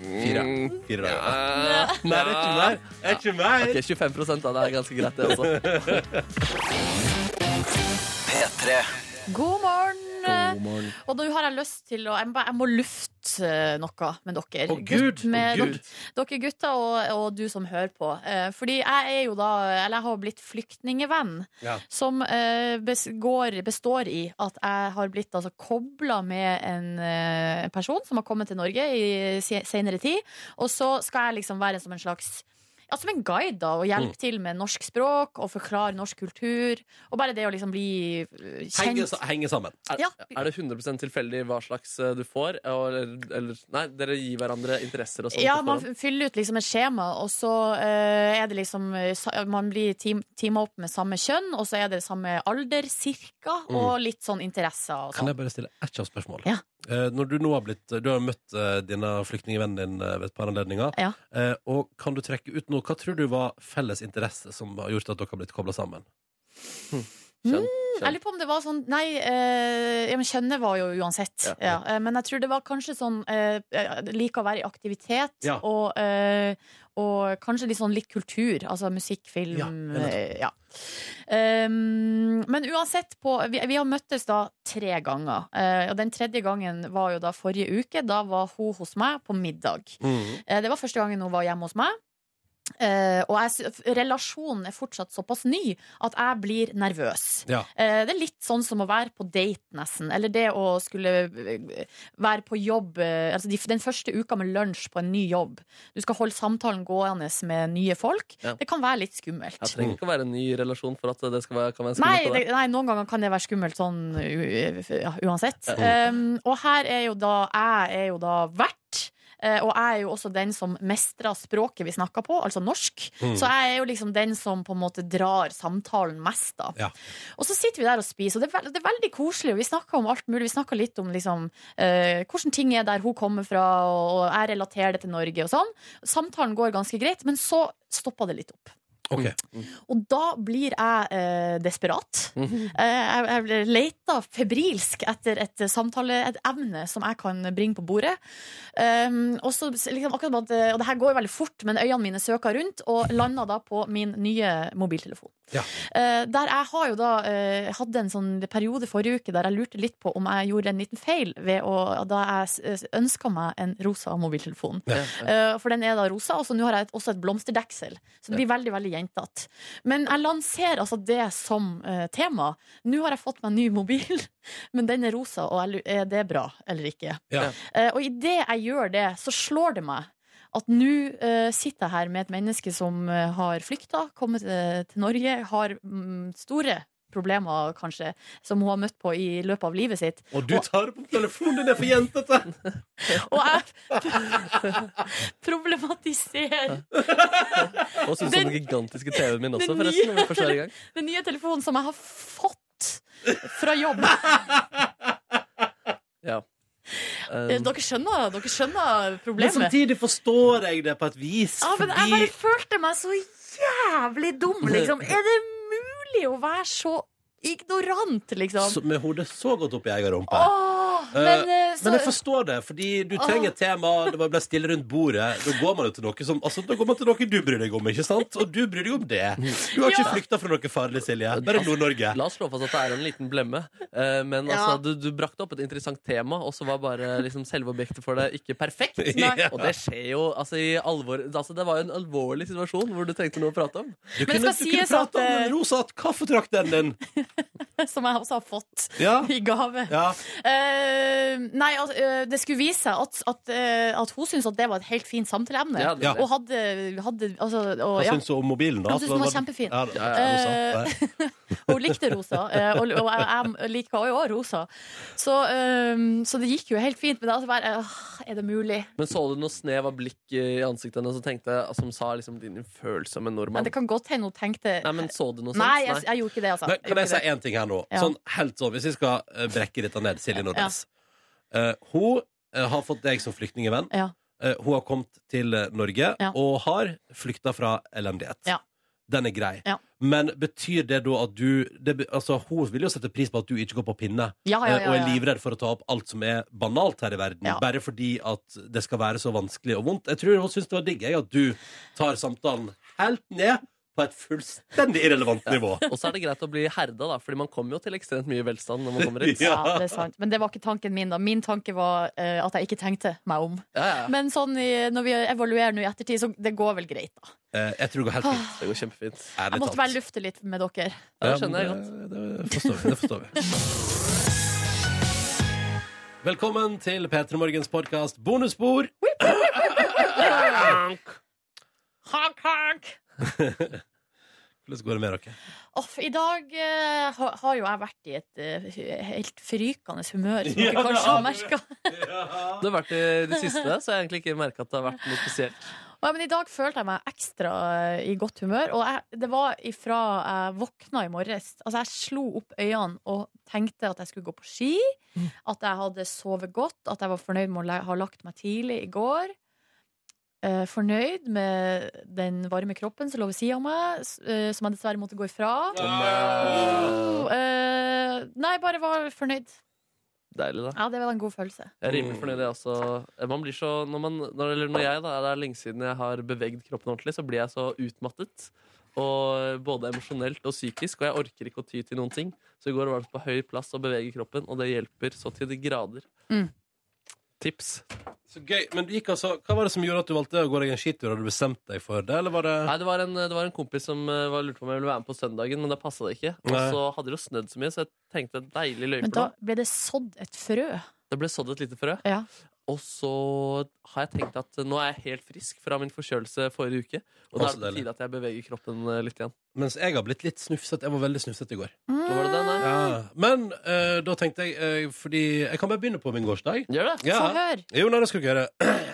Speaker 2: Fire.
Speaker 3: Mm,
Speaker 2: Fire dager. Sånn Nei, det er ikke mer. Det er ikke mer.
Speaker 9: Ok, 25 prosent av det er ganske greit, det også.
Speaker 3: God morgen.
Speaker 2: morgen.
Speaker 3: Og nå har jeg lyst til å Jeg, må bare- jeg må lufte eh, noe med dere.
Speaker 2: Å, Gud!
Speaker 3: Gutt med,
Speaker 2: Å, Gud.
Speaker 3: Dere, dere gutter og, og du som hører på. Eh, Fordi jeg er jo da Eller jeg har blitt flyktningevenn.
Speaker 2: Ja.
Speaker 3: Som eh, bes- går, består i at jeg har blitt altså, kobla med en eh, person som har kommet til Norge i se- senere tid. Og så skal jeg liksom være som en slags ja, som en guide da, og hjelpe
Speaker 2: Mm.
Speaker 3: til med norsk språk og forklare norsk kultur. Og bare det å liksom bli eh, kjent.
Speaker 2: Henge, sa- henge sammen.
Speaker 4: Er,
Speaker 3: Ja.
Speaker 4: er det 100 tilfeldig hva slags eh, du får? Eller, eller, nei, dere gir hverandre interesser og sånt?
Speaker 3: Ja,
Speaker 4: på
Speaker 3: man
Speaker 4: forhånd?
Speaker 3: f- fyller ut liksom et skjema, og så eh, er det liksom eh, sa- Man blir team- teama opp med samme kjønn, og så er det samme alder, cirka,
Speaker 2: Mm.
Speaker 3: og litt sånn interesser og
Speaker 2: Kan
Speaker 3: sånn.
Speaker 2: jeg bare stille ett kjapt spørsmål?
Speaker 3: Ja.
Speaker 2: Eh, når du nå har blitt Du har møtt eh, denne flyktningvennen din eh, ved et par anledninger.
Speaker 3: Ja.
Speaker 2: Eh, og kan du trekke ut noe? Hva tror du var felles interesse som har gjort at dere har blitt kobla sammen?
Speaker 4: Skjønn,
Speaker 3: Jeg
Speaker 4: skjønn.
Speaker 3: lurer på om det var sånn Nei, eh, ja, men kjønnet var jo uansett. Ja,
Speaker 4: Ja.
Speaker 3: eh, men jeg tror det var kanskje sånn eh, jeg Liker å være i aktivitet
Speaker 2: Ja.
Speaker 3: og, eh, og kanskje litt sånn litt kultur. Altså musikk, film
Speaker 2: Ja,
Speaker 3: Ja.
Speaker 2: nettopp.
Speaker 3: ja. Um, men uansett på vi, vi har møttes da tre ganger. eh, og den tredje gangen var jo da forrige uke. Da var hun hos meg på middag.
Speaker 2: Mm.
Speaker 3: Eh, Det var første gangen hun var hjemme hos meg. Eh, og jeg, sy- relasjonen er fortsatt såpass ny at jeg blir nervøs.
Speaker 2: Ja.
Speaker 3: Eh, det er litt sånn som å være på date, nesten. Eller det å skulle eh, være på jobb eh, altså de, den første uka med lunsj på en ny jobb. Du skal holde samtalen gående med nye folk.
Speaker 4: Ja.
Speaker 3: Det kan være litt skummelt.
Speaker 4: Jeg trenger ikke å være en ny relasjon for at det skal være, kan være
Speaker 3: Nei,
Speaker 4: skummelt.
Speaker 3: det,
Speaker 4: Nei,
Speaker 3: nei, noen ganger kan det være skummelt sånn u, ja, uansett. Um, og her er jo da Jeg er jo da vert. eh, Og jeg er jo også den som mestrer språket vi snakker på, altså norsk.
Speaker 2: Mm.
Speaker 3: Så jeg er jo liksom den som på en måte drar samtalen mest, da.
Speaker 2: Ja.
Speaker 3: Og så sitter vi der og spiser, og det er, veld, det er veldig koselig. Og vi snakker om alt mulig. Vi snakker litt om liksom eh, hvordan ting er der hun kommer fra, og, og jeg relaterer det til Norge og sånn. Samtalen går ganske greit, men så stopper det litt opp.
Speaker 2: Ok.
Speaker 3: Og da blir jeg eh, desperat. Eh, jeg, jeg leter febrilsk etter et samtale, et emne som jeg kan bringe på bordet. Um, og, så, liksom, akkurat, som at, eh, og det her går jo veldig fort, men øynene mine søker rundt og lander da på min nye mobiltelefon.
Speaker 2: Ja.
Speaker 3: Eh, der jeg har jo da eh, hadde en sånn periode forrige uke der jeg lurte litt på om jeg gjorde en liten feil ved å, da jeg ønska meg en rosa mobiltelefon. Eh, For den er da rosa, og så nå har jeg et, også et blomsterdeksel. Så det blir veldig veldig jentete. Men jeg lanserer altså det som eh, tema. Nå har jeg fått meg en ny mobil, men den er rosa, og jeg, lu- er det bra eller ikke?
Speaker 2: Ja.
Speaker 3: Eh, Og idet jeg gjør det, så slår det meg. At nå eh, sitter jeg her med et menneske som eh, har flykta, kommet eh, til Norge, har mm, store problemer, kanskje, som hun har møtt på i løpet av livet sitt.
Speaker 2: Og du tar opp telefonen, det er for jentete!
Speaker 3: Og jeg problematiserer
Speaker 4: Og synes om den gigantiske TV-en min også,
Speaker 3: den
Speaker 4: forresten.
Speaker 3: nye-
Speaker 4: Når vi første gang.
Speaker 3: Den nye telefonen som jeg har fått fra jobb.
Speaker 4: Ja.
Speaker 3: Eh,
Speaker 4: Um,
Speaker 3: Dere skjønner, dere skjønner
Speaker 2: Men
Speaker 3: problemet.
Speaker 2: samtidig forstår jeg det på et vis,
Speaker 3: Ja, men jeg
Speaker 2: fordi
Speaker 3: bare følte meg så jævlig dum, liksom. Er det mulig å være så ignorant, liksom?
Speaker 2: så, Med hodet så godt opp i egen rumpe.
Speaker 3: Åh,
Speaker 2: Eh,
Speaker 3: men, eh, så,
Speaker 2: Men jeg forstår det, fordi du trenger
Speaker 3: Åh.
Speaker 2: et tema. Det bare ble stille rundt bordet. Da går man jo til noe som Altså, da går man til noe du bryr deg om, ikke sant? Og du bryr deg om det. Du har ikke
Speaker 3: Ja.
Speaker 2: flykta fra noe farlig, Silje. Bare Nord-Norge.
Speaker 4: La oss slå fast at det er en liten blemme. Eh, men
Speaker 3: Ja.
Speaker 4: altså, du, du brakte opp et interessant tema, og så var bare liksom, selve objektet for det ikke perfekt.
Speaker 2: Nei.
Speaker 4: Og det skjer jo altså, i alvor altså, Det var jo en alvorlig situasjon hvor du trengte noe å prate om.
Speaker 2: Du
Speaker 3: Men det
Speaker 2: kunne,
Speaker 3: skal
Speaker 2: du kunne
Speaker 3: sies at,
Speaker 2: prate om
Speaker 3: eh,
Speaker 2: den rosa kaffetrakteren din.
Speaker 3: som jeg også har fått
Speaker 2: Ja.
Speaker 3: i gave.
Speaker 2: ja.
Speaker 3: Eh, nei, al- eh, det skulle vise seg at, at, eh, at hun syntes at det var et helt fint samtaleemne.
Speaker 4: Ja, det-
Speaker 2: Ja.
Speaker 3: Og hadde, hadde altså,
Speaker 2: Hva
Speaker 3: og, ja.
Speaker 2: syns du om mobilen, da?
Speaker 3: Han syntes den var kjempefin.
Speaker 2: Ja, ja, ja, rosa.
Speaker 3: Eh,
Speaker 2: Nei.
Speaker 3: Hun likte rosa, eh, og, og jeg, jeg liker jo også rosa. Så, eh, så det gikk jo helt fint. Men det er altså bare eh, Er det mulig?
Speaker 4: Men så du noe snev av blikk i ansiktet hennes og tenkte, altså, som sa liksom, 'din følsomme
Speaker 3: Men
Speaker 4: nordmann'?
Speaker 3: det kan godt hende hun tenkte
Speaker 4: Nei, men Så du noe sånt?
Speaker 3: Nei, jeg, jeg gjorde ikke det, altså.
Speaker 2: Men kan jeg
Speaker 3: Gjorde
Speaker 2: si
Speaker 3: ikke det.
Speaker 2: én ting her nå?
Speaker 3: Ja.
Speaker 2: Sånn helt sånn, Hvis vi skal eh, brekke dette ned, Silje Nordnes. Eh, hun eh, har fått deg som flyktningevenn.
Speaker 3: Ja.
Speaker 2: Eh, hun har kommet til eh, Norge
Speaker 3: Ja.
Speaker 2: og har flykta fra elendighet.
Speaker 3: Ja.
Speaker 2: Den er grei.
Speaker 3: Ja.
Speaker 2: Men betyr det da at du det, be- Altså, Hun vil jo sette pris på at du ikke går på pinne,
Speaker 3: Ja, ja,
Speaker 2: eh,
Speaker 3: ja,
Speaker 2: og
Speaker 3: ja.
Speaker 2: er livredd for å ta opp alt som er banalt her i verden,
Speaker 3: Ja.
Speaker 2: bare fordi at det skal være så vanskelig og vondt. Jeg tror hun syns det var digg jeg, at du tar samtalen helt ned på på et fullstendig irrelevant nivå.
Speaker 4: Og så er det greit å bli herda, da, fordi man kommer jo til ekstremt mye velstand når man kommer hit.
Speaker 2: Ja.
Speaker 3: Ja, det er sant. Men det var ikke tanken min. da Min tanke var eh, at jeg ikke tenkte meg om.
Speaker 4: Ja, ja.
Speaker 3: Men sånn, i- når vi evaluerer nå i ettertid, så det går vel greit, da.
Speaker 2: Eh, jeg tror det går helt fint.
Speaker 4: Det går kjempefint.
Speaker 3: Jeg måtte bare lufte litt med dere.
Speaker 4: Ja, det skjønner jeg godt.
Speaker 2: Det, det forstår vi. Det forstår vi. Velkommen til P3 Morgens podkast Bonusbord.
Speaker 3: Honk, honk!
Speaker 2: Hvordan går det med dere?
Speaker 3: Off, I dag eh, ha, har jo jeg vært i et eh, helt frykende humør, som
Speaker 4: Ja,
Speaker 3: dere kanskje har merka.
Speaker 4: Du har vært i det siste, så jeg har egentlig ikke merka at det har vært noe spesielt.
Speaker 3: Ja, men I dag følte jeg meg ekstra eh, i godt humør. Og jeg, det var ifra jeg våkna i morges. Altså, jeg slo opp øynene og tenkte at jeg skulle gå på ski. At jeg hadde sovet godt. At jeg var fornøyd med å le- ha lagt meg tidlig i går. Eh, fornøyd med den varme kroppen som lå ved sida av meg, s- eh, som jeg dessverre måtte gå ifra. Åh, eh, nei, bare var fornøyd.
Speaker 4: Deilig, da.
Speaker 3: Ja, det var en god følelse.
Speaker 4: Jeg er rimelig
Speaker 3: Mm.
Speaker 4: fornøyd, jeg også. Eh, Man blir så, når, man, når, eller når jeg, da, det er lenge siden jeg har bevegd kroppen ordentlig, så blir jeg så utmattet. Og Både emosjonelt og psykisk, og jeg orker ikke å ty til noen ting. Så i går var det på høy plass å bevege kroppen, og det hjelper så til de grader.
Speaker 3: Mm.
Speaker 4: Tips.
Speaker 2: Så gøy, men du gikk altså Hva var det som gjorde at du valgte å gå deg en skitur? Hadde du bestemt deg for det, eller var det
Speaker 4: Nei, det var, en, det var en kompis som eh, var lurte på om jeg ville være med på søndagen, men da passa det ikke. Og
Speaker 2: Nei.
Speaker 4: så hadde det jo snødd så mye, så jeg tenkte et deilig løype.
Speaker 3: Men da ble det sådd et frø.
Speaker 4: Det ble sådd et lite frø.
Speaker 3: Ja.
Speaker 4: Og så har jeg tenkt at nå er jeg helt frisk fra min forkjølelse forrige uke. Og da
Speaker 2: Å,
Speaker 4: er
Speaker 2: så
Speaker 4: det på
Speaker 2: deilig.
Speaker 4: tide at jeg beveger kroppen eh, litt igjen.
Speaker 2: Mens jeg har blitt litt snufset. Jeg var veldig snufset i går.
Speaker 4: Nå var det den, da.
Speaker 2: Ja. Men eh, da tenkte jeg eh, Fordi jeg kan bare begynne på min gårsdag.
Speaker 4: Gjør det?
Speaker 2: Ja.
Speaker 3: Få høre.
Speaker 2: Jo, nei, det skal du ikke gjøre.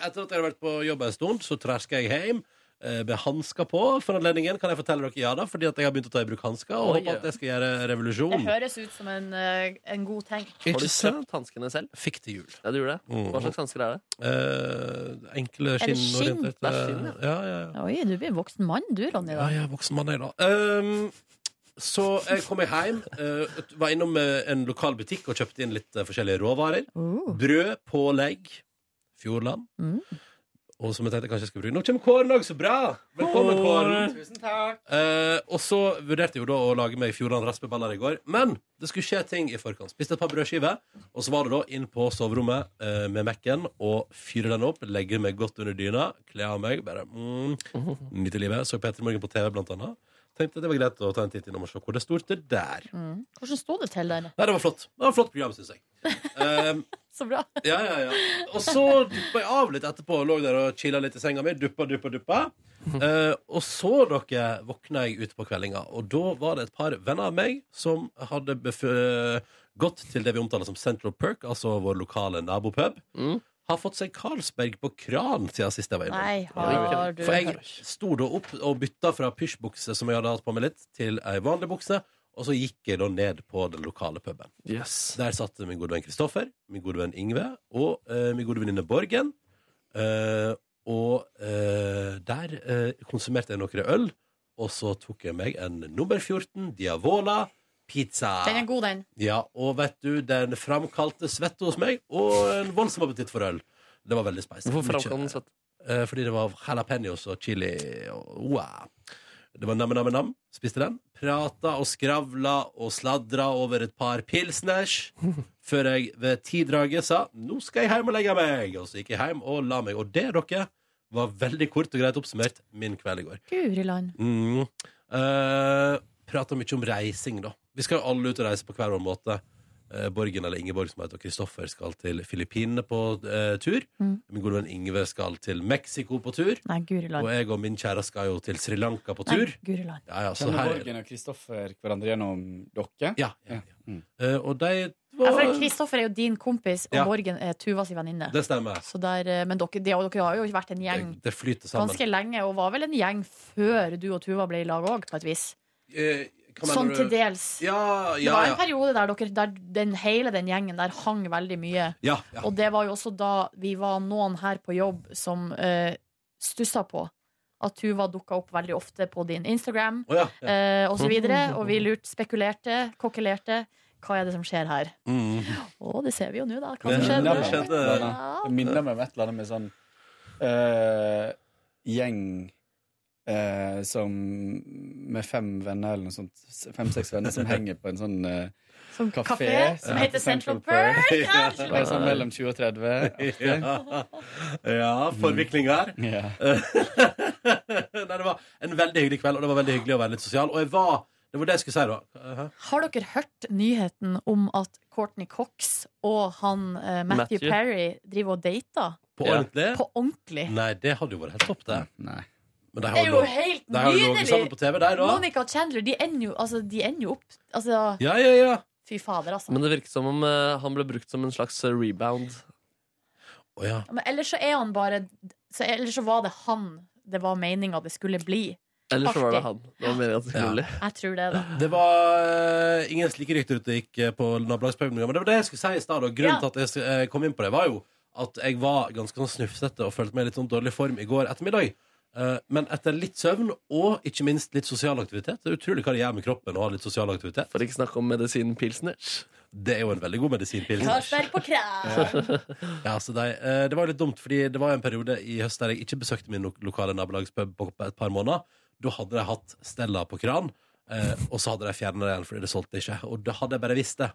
Speaker 2: Etter at jeg har vært på jobb en stund, så trasker jeg hjem. eh, Med hansker på for anledningen, kan jeg fortelle dere ja da, fordi at jeg har begynt å ta i bruk hansker. Og
Speaker 4: Oi,
Speaker 2: håper
Speaker 4: ja.
Speaker 2: at jeg skal gjøre
Speaker 3: Det
Speaker 2: revolusjon.
Speaker 3: høres ut som en, eh, en god ting.
Speaker 4: Har
Speaker 2: Ikke
Speaker 4: du
Speaker 2: sant?
Speaker 4: kjøpt hanskene selv?
Speaker 2: Fikk til jul.
Speaker 4: Ja, du gjorde det?
Speaker 2: Mm.
Speaker 4: Hva slags hansker er det?
Speaker 2: Eh, enkle
Speaker 3: Er det skinn?
Speaker 2: skinnorienterte
Speaker 4: Det er skinn, ja.
Speaker 2: ja, ja, ja.
Speaker 3: Oi, du blir en voksen mann du, Ronny.
Speaker 2: Ja,
Speaker 3: Da.
Speaker 2: jeg er voksen mann, jeg, da. Ehm, så jeg kom jeg hjem, eh, var innom eh, en lokal butikk og kjøpte inn litt eh, forskjellige råvarer.
Speaker 3: Oh.
Speaker 2: Brød, pålegg, Fjordland.
Speaker 3: Mm.
Speaker 2: Og som jeg tenkte jeg kanskje jeg skulle bruke Nå kommer Kåren òg, så bra! Velkommen, Kåren.
Speaker 8: Tusen takk.
Speaker 2: Eh, og så vurderte jeg jo da å lage meg Fjordland raspeballer i går. Men det skulle skje ting i forkant. Spiste et par brødskiver, og så var det da inn på soverommet eh, med Mac-en og fyre den opp, legge meg godt under dyna, kle av meg, bare mm, nyte livet. Så Peter Morgen på TV, blant annet. Tenkte det var greit å ta en titt innom og se hvor det sto det der.
Speaker 3: Mm. Hvordan sto det til der?
Speaker 2: Nei, det var flott. Det var et flott program, syns jeg. Um,
Speaker 3: Så bra.
Speaker 2: ja, ja, ja. Og så duppa jeg av litt etterpå. Lå der og chilla litt i senga mi. Duppa, duppa, duppa. Eh, og så, dere, våkna jeg ute på kveldinga, og da var det et par venner av meg som hadde bef eh, gått til det vi omtaler som Central Perk, altså vår lokale nabopub.
Speaker 4: Mm.
Speaker 2: Har fått seg Carlsberg på kran siden sist jeg var innom.
Speaker 3: Nei, har du
Speaker 2: For jeg
Speaker 3: hørt?
Speaker 2: sto da opp og bytta fra pysjbukse, som jeg hadde hatt på meg litt, til ei vanlig bukse. Og så gikk jeg da ned på den lokale puben.
Speaker 4: Yes.
Speaker 2: Der satt min gode venn Kristoffer, min gode venn Ingve og eh, min gode venninne Borgen. Eh, og eh, der eh, konsumerte jeg noen øl, og så tok jeg meg en nummer 14 Diavola pizza.
Speaker 3: Den er god, den.
Speaker 2: Ja, og vet du, den framkalte svette hos meg, og en voldsom appetitt for øl. Det var veldig spicy.
Speaker 4: Hvorfor
Speaker 2: Mye-
Speaker 4: framkom den sånn?
Speaker 2: Eh, fordi det var jalapeños og chili og wow. Det var nam-nam-nam. Spiste den. Prata og skravla og sladra over et par pilsners før jeg ved tidraget sa 'nå skal jeg hjem og legge meg'. Og så gikk jeg hjem og la meg. Og det, dere, var veldig kort og greit oppsummert min kveld i går.
Speaker 3: Guri land.
Speaker 2: Mm. Eh, Prata mye om reising, da. Vi skal jo alle ut og reise på hver vår måte. Eh, Borgen eller Ingeborg som heter, og Kristoffer skal til Filippinene på eh, tur.
Speaker 3: Mm.
Speaker 2: Min gode venn Ingve skal til Mexico på tur.
Speaker 3: Nei, guri
Speaker 2: Og
Speaker 3: land.
Speaker 2: jeg og min kjære skal jo til Sri Lanka på
Speaker 3: Nei,
Speaker 2: tur.
Speaker 3: guri land.
Speaker 2: Ja, ja, så
Speaker 10: Kjenner
Speaker 2: her
Speaker 10: Borgen og Kristoffer hverandre gjennom dere?
Speaker 2: ja, ja, ja.
Speaker 10: Mm.
Speaker 2: Eh, Og de
Speaker 3: Ja,
Speaker 2: var
Speaker 3: for Kristoffer er jo din kompis, og
Speaker 2: Ja.
Speaker 3: Borgen er Tuvas venninne.
Speaker 2: Det stemmer.
Speaker 3: Så der, eh, Men dere, de, og dere har jo vært en
Speaker 2: Det,
Speaker 3: gjeng
Speaker 2: det flyter sammen.
Speaker 3: ganske lenge, og var vel en gjeng før du og Tuva ble i lag òg, på et vis.
Speaker 2: Eh, hva mener
Speaker 3: Sånn
Speaker 2: du?
Speaker 3: til dels.
Speaker 2: Ja,
Speaker 3: Det
Speaker 2: ja,
Speaker 3: var en
Speaker 2: ja.
Speaker 3: periode der, dere, der den, hele den gjengen der hang veldig mye.
Speaker 2: ja, ja.
Speaker 3: Og det var jo også da vi var noen her på jobb som uh, stussa på at Tuva dukka opp veldig ofte på din Instagram
Speaker 2: Å, ja, ja.
Speaker 3: eh, og så videre Og vi lurt, spekulerte, kokkelerte. Hva er det som skjer her?
Speaker 2: Mm.
Speaker 3: Å, det ser vi jo nå, da. Hva
Speaker 2: Det-
Speaker 3: som
Speaker 10: Det
Speaker 3: skjedde?
Speaker 10: minner meg
Speaker 3: Ja.
Speaker 10: om et eller annet. Det minner meg om et eller annet med sånn eh, gjeng eh, som med fem venner eller noe sånt, fem-seks venner som henger på en sånn eh,
Speaker 3: Som
Speaker 10: kafé,
Speaker 3: kafé, som heter Central Perk. Ja,
Speaker 10: Ja, Bare sånn mellom 20 og 30.
Speaker 2: Ja, ja forvikling der. Nei, det var en veldig hyggelig kveld, og det var veldig hyggelig å være litt sosial. Og jeg var Det var det jeg skulle si, da. Hæ?
Speaker 3: Har dere hørt nyheten om at Courtney Cox og han eh, Matthew,
Speaker 2: Matthew.
Speaker 3: Perry driver og dater?
Speaker 2: På ordentlig?
Speaker 3: På ordentlig.
Speaker 2: Nei, det hadde jo vært helt topp, det. Men de
Speaker 3: Det
Speaker 2: har
Speaker 3: er
Speaker 2: jo
Speaker 3: jo
Speaker 2: lov-
Speaker 3: helt
Speaker 2: de har jo ligget sammen på TV, der
Speaker 3: nydelig!
Speaker 2: òg.
Speaker 3: Monica og Chandler, de ender jo, altså, de ender jo opp altså,
Speaker 2: Ja, ja, ja.
Speaker 3: Fy fader, altså.
Speaker 4: Men det virker som om eh, han ble brukt som en slags eh, rebound.
Speaker 3: Ja, Men ellers så er han bare så, Ellers så var det han det var meninga det skulle bli.
Speaker 4: Eller så var det
Speaker 3: Artig.
Speaker 4: han. Det var meningen at det skulle bli.
Speaker 3: Jeg tror det, da.
Speaker 2: Det var eh, ingen slike rykter ute gikk eh, på nabolagspausen, men det var det jeg skulle si i stad. og Grunnen
Speaker 3: Ja.
Speaker 2: til at jeg eh, kom inn på det, var jo at jeg var ganske sånn snufsete og følte meg i litt sånn dårlig form i går ettermiddag. Eh, Men etter litt søvn og ikke minst litt sosial aktivitet Det er utrolig hva det gjør med kroppen å ha litt sosial aktivitet.
Speaker 4: For ikke snakke om medisinpilsners.
Speaker 2: Det er jo en veldig god medisinpilsners.
Speaker 3: Karlsberg på krav!
Speaker 2: Ja, så de, eh, det var jo litt dumt, fordi det var jo en periode i høst der jeg ikke besøkte min lo lokale nabolagspub på på et par måneder. Da hadde de hatt Stella på kran, eh, og så hadde de fjernet det igjen fordi det solgte ikke. Og da hadde jeg bare visst det.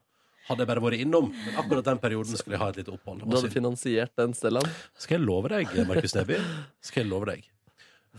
Speaker 2: Hadde jeg bare vært innom. Men akkurat den perioden skulle jeg ha et lite opphold.
Speaker 4: Du hadde finansiert den Stellan?
Speaker 2: Skal jeg love deg, Markus Neby? Skal jeg love deg?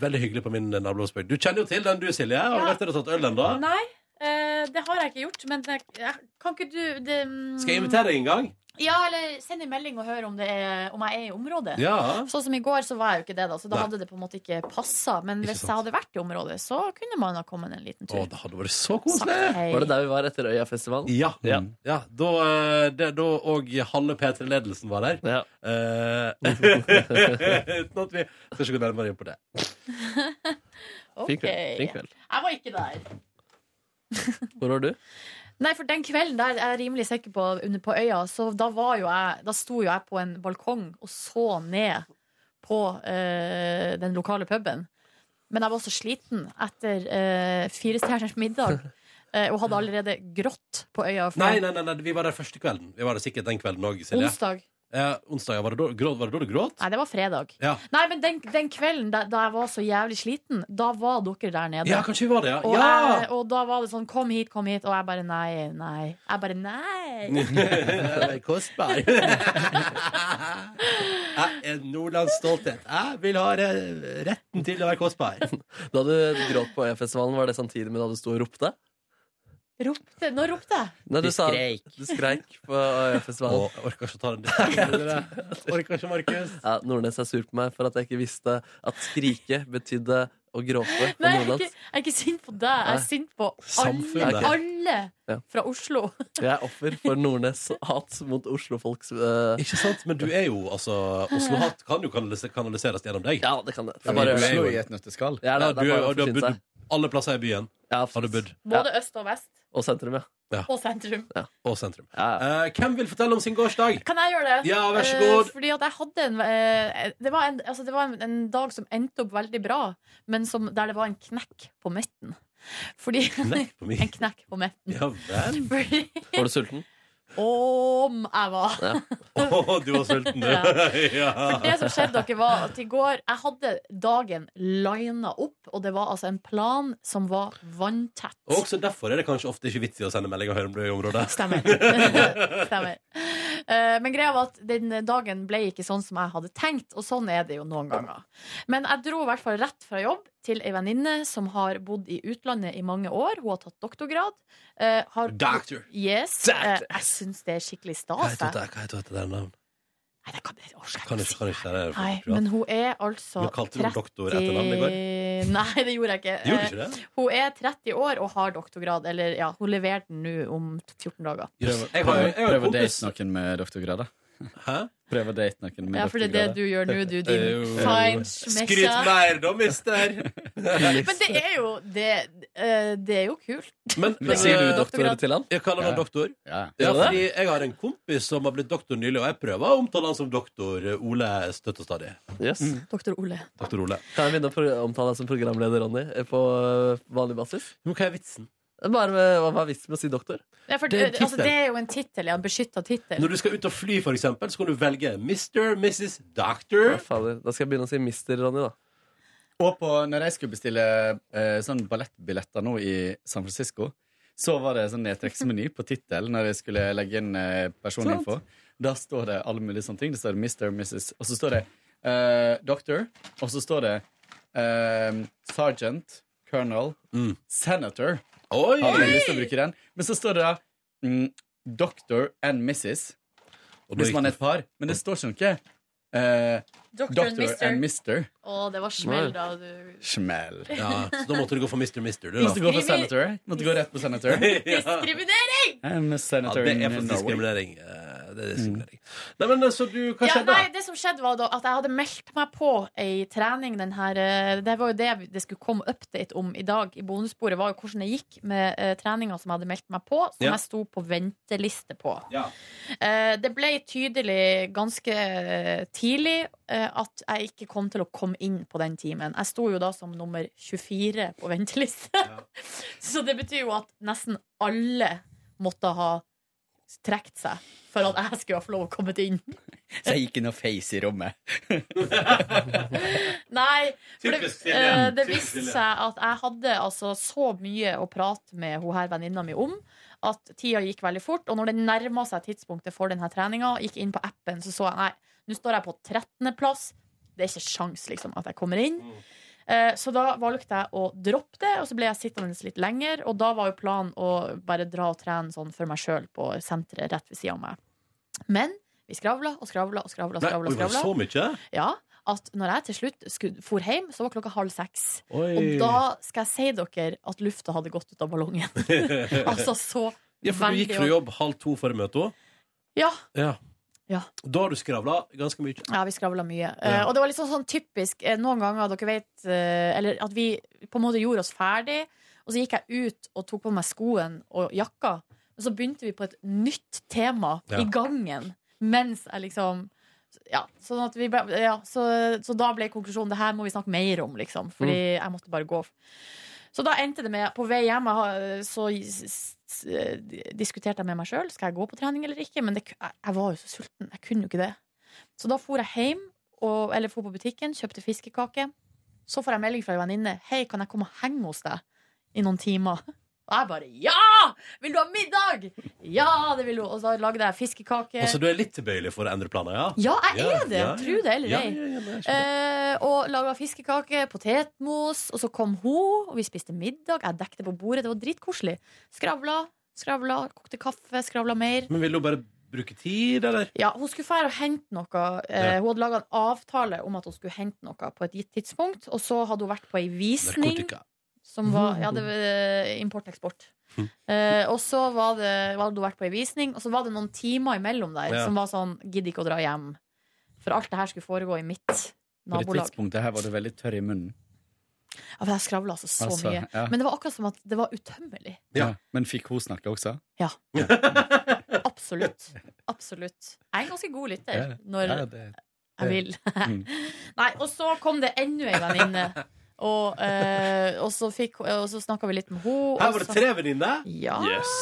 Speaker 2: Veldig hyggelig på min eh, nabolagsbygd. Du kjenner jo til den du, Silje. Har du vært der og tatt øl ennå?
Speaker 3: Nei, eh, det har jeg ikke gjort. Men det, jeg, kan ikke du det, mm,
Speaker 2: Skal jeg invitere deg en gang?
Speaker 3: Ja, eller send en melding og hør om, det er, om jeg er i området.
Speaker 2: Ja.
Speaker 3: Sånn som i går, så var jeg jo ikke det, da så da
Speaker 2: Nei.
Speaker 3: hadde det på en måte ikke passa. Men
Speaker 2: Ikke
Speaker 3: hvis jeg
Speaker 2: sant.
Speaker 3: hadde vært i området, så kunne man ha kommet en
Speaker 2: Å,
Speaker 3: liten tur.
Speaker 2: det hadde vært så koselig!
Speaker 3: Sagt hei.
Speaker 4: Var det der vi var etter Øyafestivalen?
Speaker 2: Ja. ja. da, eh, det, da og halve P3-ledelsen var der. Eh, Uten at vi skal ikke gå nærmere inn på det.
Speaker 3: Ok.
Speaker 2: Fin kveld, fin kveld.
Speaker 3: Jeg var ikke der.
Speaker 4: Hvor var du?
Speaker 3: Nei, for den kvelden der er jeg rimelig sikker på under på øya, så da var jo jeg Da sto jo jeg på en balkong og så ned på eh, den lokale puben. Men jeg var så sliten etter eh, fire stjerners middag eh, og hadde allerede grått på øya. for-
Speaker 2: Nei, nei, nei, nei, vi var der første kvelden. Vi var der sikkert den kvelden òg, Silje.
Speaker 3: Onsdag.
Speaker 2: Eh, onsdag ja, var, det da, grå, var det da du gråt?
Speaker 3: Nei, det var fredag.
Speaker 2: Ja.
Speaker 3: Nei, men den, den kvelden da, da jeg var så jævlig sliten, da var dere der nede.
Speaker 2: ja, kanskje vi var det, ja.
Speaker 3: Og, jeg,
Speaker 2: ja!
Speaker 3: og da var det sånn 'kom hit, kom hit', og jeg bare nei, nei. Jeg bare nei.
Speaker 2: Det er Kostbar. Jeg er Nordlands stolthet. Jeg vil ha eh, retten til å være kostbar.
Speaker 4: Da du gråt på Øyafestivalen, var det samtidig med da du sto og ropte?
Speaker 3: Ropte, nå ropte jeg.
Speaker 4: Nei, du,
Speaker 2: Du
Speaker 4: sa,
Speaker 2: skreik.
Speaker 4: du skreik på Øyafestivalen.
Speaker 2: Å, jeg orker ikke å ta den Orker ikke, Markus.
Speaker 4: Ja, Nordnes er sur på meg for at jeg ikke visste at skrike betydde å gråte
Speaker 3: Nei, jeg
Speaker 4: på
Speaker 3: er, ikke,
Speaker 4: nordlands.
Speaker 3: jeg er ikke sint på deg. Jeg er
Speaker 4: Nei.
Speaker 3: sint på
Speaker 4: Samfunnet.
Speaker 3: alle,
Speaker 4: Ok. Ja.
Speaker 3: alle fra Oslo.
Speaker 4: Jeg er offer for Nordnes' hat mot oslofolks eh,
Speaker 2: Ikke sant? Men du er jo altså Oslo-hatt kan jo kanalise- kanaliseres gjennom deg.
Speaker 4: Ja, det kan det.
Speaker 10: Det er bare Oslo i et nøtteskall.
Speaker 4: Ja,
Speaker 2: Ja,
Speaker 4: det-
Speaker 2: du,
Speaker 4: det er bare å
Speaker 2: og du har
Speaker 4: forsyne seg.
Speaker 2: bodd alle plasser i byen. har du bodd.
Speaker 3: Både øst og vest.
Speaker 4: Og sentrum, ja.
Speaker 2: Ja.
Speaker 3: Og sentrum.
Speaker 2: Og sentrum. Eh, hvem vil fortelle om sin gårsdag?
Speaker 3: Kan jeg gjøre det?
Speaker 2: Ja, vær så
Speaker 3: Eh,
Speaker 2: god.
Speaker 3: fordi at jeg hadde en eh, Det var, en, altså det var en, en dag som endte opp veldig bra, men som, der det var en knekk på midten. Fordi
Speaker 4: Knekk på midten?
Speaker 3: En knekk på midten.
Speaker 2: Ja vel.
Speaker 3: Fordi
Speaker 4: Var du sulten?
Speaker 3: om jeg var
Speaker 4: Ja.
Speaker 2: Å, du var sulten, du.
Speaker 3: Ja.
Speaker 2: ja.
Speaker 3: For det som skjedde dere var at i går Jeg hadde dagen lina opp, og det var altså en plan som var vanntett.
Speaker 2: Og også derfor er det kanskje ofte ikke vits i å sende melding og høre om du er i området.
Speaker 3: Stemmer. Stemmer. Eh, Men greia var at den dagen ble ikke sånn som jeg hadde tenkt, og sånn er det jo noen ganger. Men jeg dro i hvert fall rett fra jobb til ei venninne som har bodd i utlandet i mange år. Hun har tatt doktorgrad. eh, har-
Speaker 2: Doctor.
Speaker 3: Yes. eh, Jeg syns det er skikkelig
Speaker 2: Hva
Speaker 3: stas.
Speaker 2: heter
Speaker 3: jeg.
Speaker 2: det? Hva heter det der navn?
Speaker 3: Nei, det kan jeg orker
Speaker 2: Kan ikke, kan ikke det der.
Speaker 3: Nei, men hun er altså
Speaker 2: Men kalte du henne doktor etter navn i går?
Speaker 3: 30 Nei, det gjorde jeg ikke.
Speaker 2: Gjorde du ikke det?
Speaker 3: Eh, Hun er 30 år og har doktorgrad. Eller ja, hun leverer den nå om 14 dager.
Speaker 2: Jeg har- jeg har en
Speaker 10: Prøv
Speaker 2: kompis-
Speaker 10: å date noen med doktorgrad, da.
Speaker 2: Hæ?
Speaker 10: Prøv å date noen med
Speaker 3: Ja, for det er det
Speaker 10: doktorgrad.
Speaker 3: du gjør nå, du, din
Speaker 10: Eh,
Speaker 3: science messa.
Speaker 2: Skryt mer, da, mister.
Speaker 3: Men det er jo Det, eh, det er jo kult.
Speaker 2: Men,
Speaker 3: Men sier du
Speaker 2: eh,
Speaker 3: doktor til
Speaker 4: han?
Speaker 2: Jeg kaller han doktor.
Speaker 10: Ja.
Speaker 2: Ja,
Speaker 4: Gjør du det?
Speaker 2: fordi jeg har en kompis som har blitt doktor nylig, og jeg prøver å omtale han som doktor Ole støtt og stadig.
Speaker 4: Yes.
Speaker 3: Doktor Ole.
Speaker 2: Doktor Ole.
Speaker 4: Kan jeg begynne å pro- omtale deg som programleder, Ronny, eh, på eh, vanlig basis?
Speaker 2: Men hva er vitsen?
Speaker 4: Bare med, hva- hva er vitsen med å si doktor?
Speaker 3: Ja, for,
Speaker 2: Det er en tittel.
Speaker 3: altså, det er jo en tittel, ja. En beskytta tittel.
Speaker 2: Når du skal ut og fly, for eksempel, så kan du velge Mr., Mrs., Doctor.
Speaker 4: Fader, da skal jeg begynne å si mister, Ronny, da.
Speaker 10: Og på, når jeg skulle bestille eh, sånn ballettbilletter nå i San Francisco, så var det sånn nedtrekksmeny på tittel når jeg skulle legge inn eh, personinfo. Da står det alle mulige sånne ting. Det står Mr. og Mrs. Og så står det eh, Doctor. Og så står det eh, Sergeant. Colonel. Senator.
Speaker 2: Oi!
Speaker 10: Hadde jeg lyst til å bruke den. Men så står det da mm, Doctor and Mrs.
Speaker 2: da
Speaker 10: Hvis
Speaker 2: gikk
Speaker 10: man er
Speaker 2: det-
Speaker 10: et par. Men det står sånn ikke noe eh,
Speaker 3: Doctor and
Speaker 10: Doctor
Speaker 3: Mister.
Speaker 10: and Mister.
Speaker 3: Å, det var smell, da. Du.
Speaker 10: Smell.
Speaker 2: Ja, så da måtte du gå for Mr. Mister, du, da.
Speaker 10: Måtte gå for senator. Måtte gå rett på senator.
Speaker 3: Diskriminering!
Speaker 10: I'm a
Speaker 2: Ja,
Speaker 10: senator
Speaker 2: det er
Speaker 10: in
Speaker 2: faktisk
Speaker 10: Norway.
Speaker 2: diskriminering. Eh,
Speaker 10: Mm.
Speaker 2: Det er diskriminering. Nei, men eh, så du, hva
Speaker 3: Ja,
Speaker 2: skjedde?
Speaker 3: nei, det som skjedde var da at jeg hadde meldt meg på ei trening den her eh, Det var jo det vi- det skulle komme update om i dag i bonussporet, var jo hvordan det gikk med eh, treninga som jeg hadde meldt meg på, som
Speaker 11: Ja.
Speaker 3: jeg sto på venteliste på.
Speaker 11: Ja.
Speaker 3: Eh, det ble tydelig ganske eh, tidlig eh, at jeg ikke kom til å komme inn på den timen. Jeg sto jo da som nummer 24 på venteliste. Så det betyr jo at nesten alle måtte ha trukket seg for at jeg skulle ha fått lov å komme inn.
Speaker 10: Så jeg gikk inn og face i rommet.
Speaker 3: Nei, for det,
Speaker 10: Typisk Silje.
Speaker 3: eh, det
Speaker 10: Typisk
Speaker 3: viste
Speaker 10: Silje.
Speaker 3: seg at jeg hadde altså så mye å prate med hun her venninna mi om at tida gikk veldig fort. Og når det nærma seg tidspunktet for denne treninga, gikk inn på appen, så så jeg nei, nå står jeg på 13.-plass. Det er ikke sjans liksom, at jeg kommer inn. Eh, Så da valgte jeg å droppe det, og så ble jeg sittende litt lenger. Og da var jo planen å bare dra og trene sånn for meg sjøl på senteret rett ved sida av meg. Men vi skravla og skravla og skravla.
Speaker 2: Nei, oi, var det så mye?
Speaker 3: Ja, at når jeg til slutt skulle, for hjem, så var klokka halv seks.
Speaker 2: Oi.
Speaker 3: Og da skal jeg si dere at lufta hadde gått ut av ballongen. altså så
Speaker 2: Ja, for du gikk fra jobb halv to for å møte henne.
Speaker 3: Ja.
Speaker 2: Ja.
Speaker 3: Ja.
Speaker 2: Da har du skravla ganske mye.
Speaker 3: Ja, vi skravla mye. Eh, og det var litt sånn, sånn typisk eh, noen ganger dere vet eh, Eller at vi på en måte gjorde oss ferdig, og så gikk jeg ut og tok på meg skoen og jakka. Og så begynte vi på et nytt tema
Speaker 11: Ja.
Speaker 3: i gangen mens jeg liksom ja, sånn at vi ble, ja så, så da ble konklusjonen det her må vi snakke mer om, liksom. Fordi
Speaker 11: Mm.
Speaker 3: jeg måtte bare gå. Så da endte det med På vei hjem jeg har- eh, så s- s- eh, diskuterte jeg med meg sjøl. Skal jeg gå på trening eller ikke? Men det, ku- jeg jeg var jo så sulten. Jeg kunne jo ikke det. Så da for jeg hjem, og, eller for på butikken, kjøpte fiskekake. Så får jeg melding fra ei venninne. 'Hei, kan jeg komme og henge hos deg i noen timer?' Og jeg bare 'Ja! Vil du ha middag?' 'Ja, det vil du.' Og så lagde jeg fiskekake.
Speaker 2: Altså, du er litt tilbøyelig for å endre planer, ja?
Speaker 3: Ja, jeg er det. Tro det eller
Speaker 2: ja,
Speaker 3: ei.
Speaker 2: ja, ja, nei, jeg skjønner.
Speaker 3: Eh, og laga fiskekake, potetmos, og så kom hun, og vi spiste middag. Jeg dekket på bordet. Det var dritkoselig. Skravla, skravla, kokte kaffe, skravla mer.
Speaker 2: Men vil du bare bruke tid, eller?
Speaker 3: Ja, Hun skulle fære og hente noe. Eh,
Speaker 2: Ja.
Speaker 3: Hun hadde laga en avtale om at hun skulle hente noe på et gitt tidspunkt. Og så hadde hun vært på ei visning.
Speaker 2: Narkotika.
Speaker 3: Som var, ja, det var import-eksport.
Speaker 10: Hm.
Speaker 3: Eh, og så var det, hadde hun vært på ei visning, og så var det noen timer imellom der
Speaker 10: Ja.
Speaker 3: som var sånn Gidd ikke å dra hjem. For alt det her skulle foregå i mitt
Speaker 10: På det
Speaker 3: nabolag.
Speaker 10: tidspunktet her var du veldig tørr i munnen.
Speaker 3: Ja, for jeg skravla altså så
Speaker 10: Altså,
Speaker 3: mye.
Speaker 10: ja.
Speaker 3: Men det var akkurat som at det var utømmelig.
Speaker 10: Ja. Men fikk hun snakke også?
Speaker 3: Ja. Absolutt. Absolutt. Jeg er en ganske god lytter
Speaker 10: Ja,
Speaker 3: når
Speaker 10: ja, det-
Speaker 3: jeg vil.
Speaker 2: Mm.
Speaker 3: Nei, og så kom det enda ei venninne. Og, eh, og så, fikk- og så snakka vi litt med henne.
Speaker 2: Her var det tre venninner?
Speaker 3: Ja.
Speaker 2: Yes.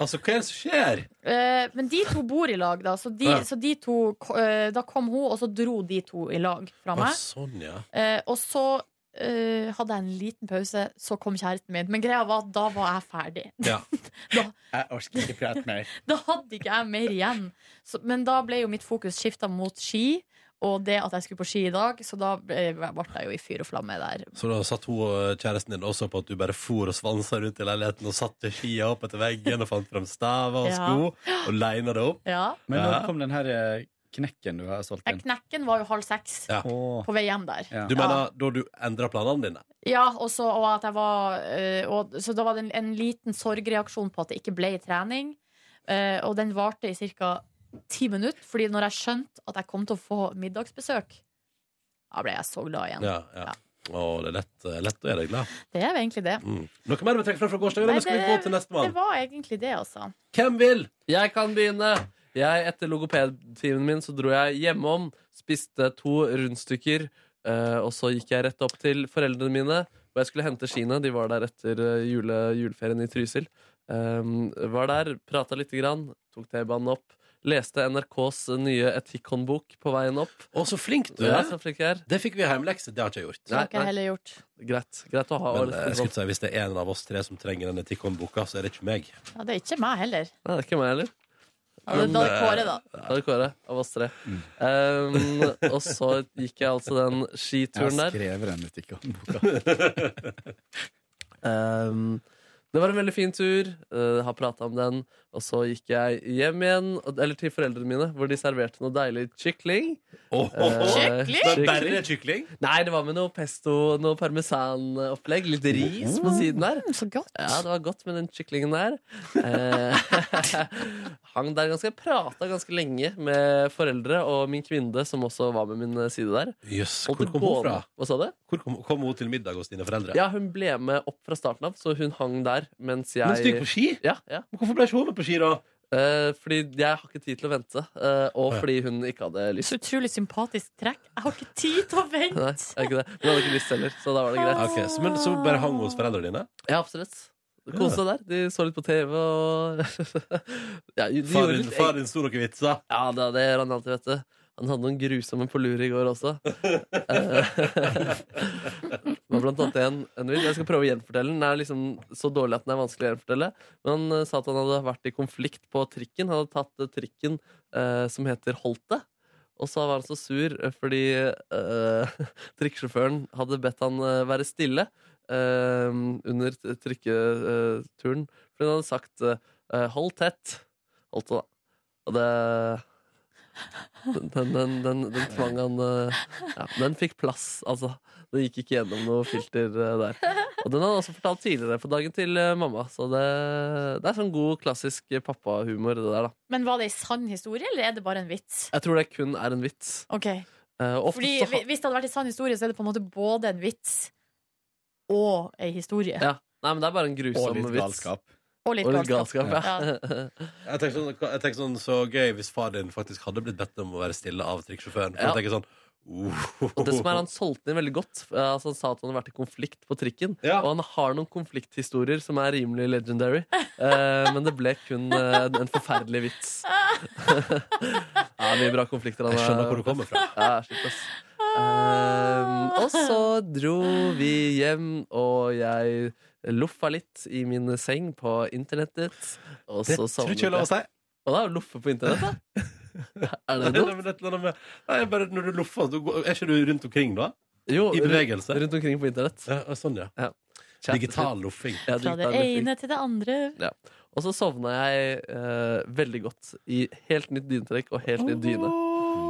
Speaker 2: Altså, hva er det som skjer?
Speaker 3: Eh, men de to bor i lag, da. Så de,
Speaker 2: Ja.
Speaker 3: så de to ko- eh, Da kom hun, og så dro de to i lag fra
Speaker 2: Å,
Speaker 3: meg.
Speaker 2: sånn, ja.
Speaker 3: Eh, og så eh, hadde jeg en liten pause, så kom kjæresten min. Men greia var at da var jeg ferdig.
Speaker 10: Ja.
Speaker 3: Da-
Speaker 10: Jeg orker ikke prate mer.
Speaker 3: Da hadde ikke jeg mer igjen. Så, men da ble jo mitt fokus skifta mot ski. Og det at jeg skulle på ski i dag, så da ble ble jeg jo i fyr og flamme der.
Speaker 2: Så da satt hun og kjæresten din også på at du bare for og svansa rundt i leiligheten og satte skia opp etter veggen og fant fram staver og
Speaker 3: Ja.
Speaker 2: sko og leina det opp?
Speaker 3: Ja.
Speaker 10: Men når
Speaker 2: Ja.
Speaker 10: kom den her eh, knekken du har solgt inn?
Speaker 3: Knekken var jo halv seks
Speaker 2: Ja.
Speaker 3: på vei hjem der.
Speaker 2: Du mener da du endra planene dine?
Speaker 3: Ja, og så, og at jeg var, eh, og, så da var det en, en liten sorgreaksjon på at det ikke ble trening. eh, og den varte i ca. ti minutter, fordi når jeg skjønte at jeg kom til å få middagsbesøk, da ble jeg så glad igjen.
Speaker 2: Ja, ja. Å, det er lett, eh, lett å gjøre deg glad.
Speaker 3: Det er jo egentlig det.
Speaker 2: Mm. Noe mer du vil trekke fram fra gårsdagen?
Speaker 3: Nei,
Speaker 2: Eller skal vi gå til
Speaker 3: det
Speaker 2: nestemann?
Speaker 3: var egentlig det, altså.
Speaker 2: Hvem vil?
Speaker 4: Jeg kan begynne. Jeg, etter logopedtimen min så dro jeg hjemom, spiste to rundstykker, eh, og så gikk jeg rett opp til foreldrene mine. Og jeg skulle hente skiene. De var der etter eh, Ehm, jule, juleferien i Trysil. Um, var der, prata lite grann, tok T-banen opp. Leste NRKs nye etikkhåndbok på veien opp.
Speaker 2: Å, så flink
Speaker 4: du ja, så flink jeg er.
Speaker 2: Det fikk vi hjemlekse. Det har ikke jeg gjort.
Speaker 3: Det har ikke jeg heller gjort.
Speaker 4: Greit, greit å ha
Speaker 2: Men
Speaker 4: litt
Speaker 2: eh, jeg
Speaker 4: kontroll.
Speaker 2: skulle si, hvis det er en av oss tre som trenger den etikkhåndboka, så er det ikke meg.
Speaker 3: Ja, det er ikke meg heller.
Speaker 4: Nei, det er ikke meg heller.
Speaker 3: Ja, det er da
Speaker 2: eh,
Speaker 3: er Kåre, da.
Speaker 4: Da er det Kåre av oss tre. Um, og så gikk jeg altså den skituren der.
Speaker 10: Jeg skrev den litt ikke om
Speaker 4: Um, det var en veldig fin tur. Uh, har prata om den. Og så gikk jeg hjem igjen, og- eller til foreldrene mine, hvor de serverte noe deilig kykling. Eh,
Speaker 2: Men Bare kykling?
Speaker 4: Nei, det var med noe pesto, noe parmesanopplegg. Litt ris på siden der.
Speaker 3: Så godt.
Speaker 4: Ja, det var godt med den kyklingen der. Eh, hang der ganske, prata ganske lenge med foreldre og min kvinne, som også var med min eh, side der.
Speaker 2: Jøss,
Speaker 4: Holdt
Speaker 2: hvor
Speaker 4: det
Speaker 2: kom hun
Speaker 4: gående.
Speaker 2: fra?
Speaker 4: Hva sa du?
Speaker 2: Hvor kom, kom hun til middag hos dine foreldre?
Speaker 4: Ja, hun ble med opp fra starten av, så hun hang der mens jeg
Speaker 2: Mens du gikk på ski?
Speaker 4: Ja, ja.
Speaker 2: Hvorfor ble ikke hun med på ski, da?
Speaker 4: Eh, fordi jeg har ikke tid til å vente, eh, og
Speaker 2: Å, ja.
Speaker 4: fordi hun ikke hadde lyst.
Speaker 3: Så utrolig sympatisk trekk. Jeg har ikke tid til å vente!
Speaker 4: Nei, jeg er ikke det. Hun hadde ikke lyst heller, så da var det greit.
Speaker 2: Ok, så, men så bare hang hos foreldrene dine?
Speaker 4: Ja, absolutt. Kose seg der. De så litt på TV og ja, de
Speaker 2: Far
Speaker 4: gjorde
Speaker 2: din-
Speaker 4: litt-
Speaker 2: far din sto noen vitser.
Speaker 4: Ja, det, det gjør han alltid, vet du. Han hadde noen grusomme på lur i går også. Eh, det var blant annet en, en vits. Jeg skal prøve å gjenfortelle den. Den er liksom så dårlig at den er vanskelig å gjenfortelle. Men han eh, sa at han hadde vært i konflikt på trikken. Han hadde tatt eh, trikken eh, som heter Holte. Og så var han så sur eh, fordi eh, trikkesjåføren hadde bedt han eh, være stille eh, under t- trikketuren. Fordi han hadde sagt eh, eh, 'hold tett'. Holdt det, da. Og det den, den, den, den, den tvang han eh, ja, Den fikk plass, altså. Den gikk ikke gjennom noe filter eh, der. Og den har han også fortalt tidligere på dagen til eh, mamma, så det, det er sånn god, klassisk eh, pappahumor, det der, da.
Speaker 3: Men var det ei sann historie, eller er det bare en vits?
Speaker 4: Jeg tror det kun er en vits.
Speaker 3: Ok,
Speaker 4: Eh, og ofte
Speaker 3: Fordi
Speaker 4: så ha-
Speaker 3: hvi- Hvis det hadde vært en sann historie, så er det på en måte både en vits og ei historie.
Speaker 4: ja. Nei, men det er bare en grusom
Speaker 10: Og litt
Speaker 4: vits.
Speaker 10: galskap.
Speaker 3: Og litt galskap.
Speaker 4: ja.
Speaker 2: Jeg tenker, sånn, jeg tenker sånn Så gøy hvis far din faktisk hadde blitt bedt om å være stille av trikksjåføren. For
Speaker 4: Ja.
Speaker 2: jeg tenker sånn oh.
Speaker 4: Og det som er, Han solgte den veldig godt. Eh, Altså, han sa at han hadde vært i konflikt på trikken. Og han har noen konflikthistorier som er rimelig legendary. Eh, men det ble kun eh, en- en forferdelig vits. ja, mye bra konflikter. Han
Speaker 2: Jeg
Speaker 4: har-
Speaker 2: skjønner hvor du kommer fra.
Speaker 4: Ja, shit, ass. Eh, og så dro vi hjem, og jeg loffa litt i min seng på internettet. Og
Speaker 2: Det
Speaker 4: så
Speaker 2: tror jeg ikke er lov å si.
Speaker 4: Hva da? Loffe på internett, da? Er det
Speaker 2: Nei,
Speaker 4: dumt?
Speaker 2: men et eller annet med- Nei, jeg bare, når du loffer, så går- er ikke du rundt omkring da?
Speaker 4: Jo,
Speaker 2: I bevegelse?
Speaker 4: Rundt omkring på internett.
Speaker 2: Ja, sånn, ja.
Speaker 4: Chat-
Speaker 2: Digital loffing.
Speaker 4: Ja,
Speaker 3: Fra det
Speaker 4: digital loffing.
Speaker 3: ene til det andre.
Speaker 4: Ja. Og så sovna jeg eh, veldig godt i helt nytt dynetrekk og helt ny dyne.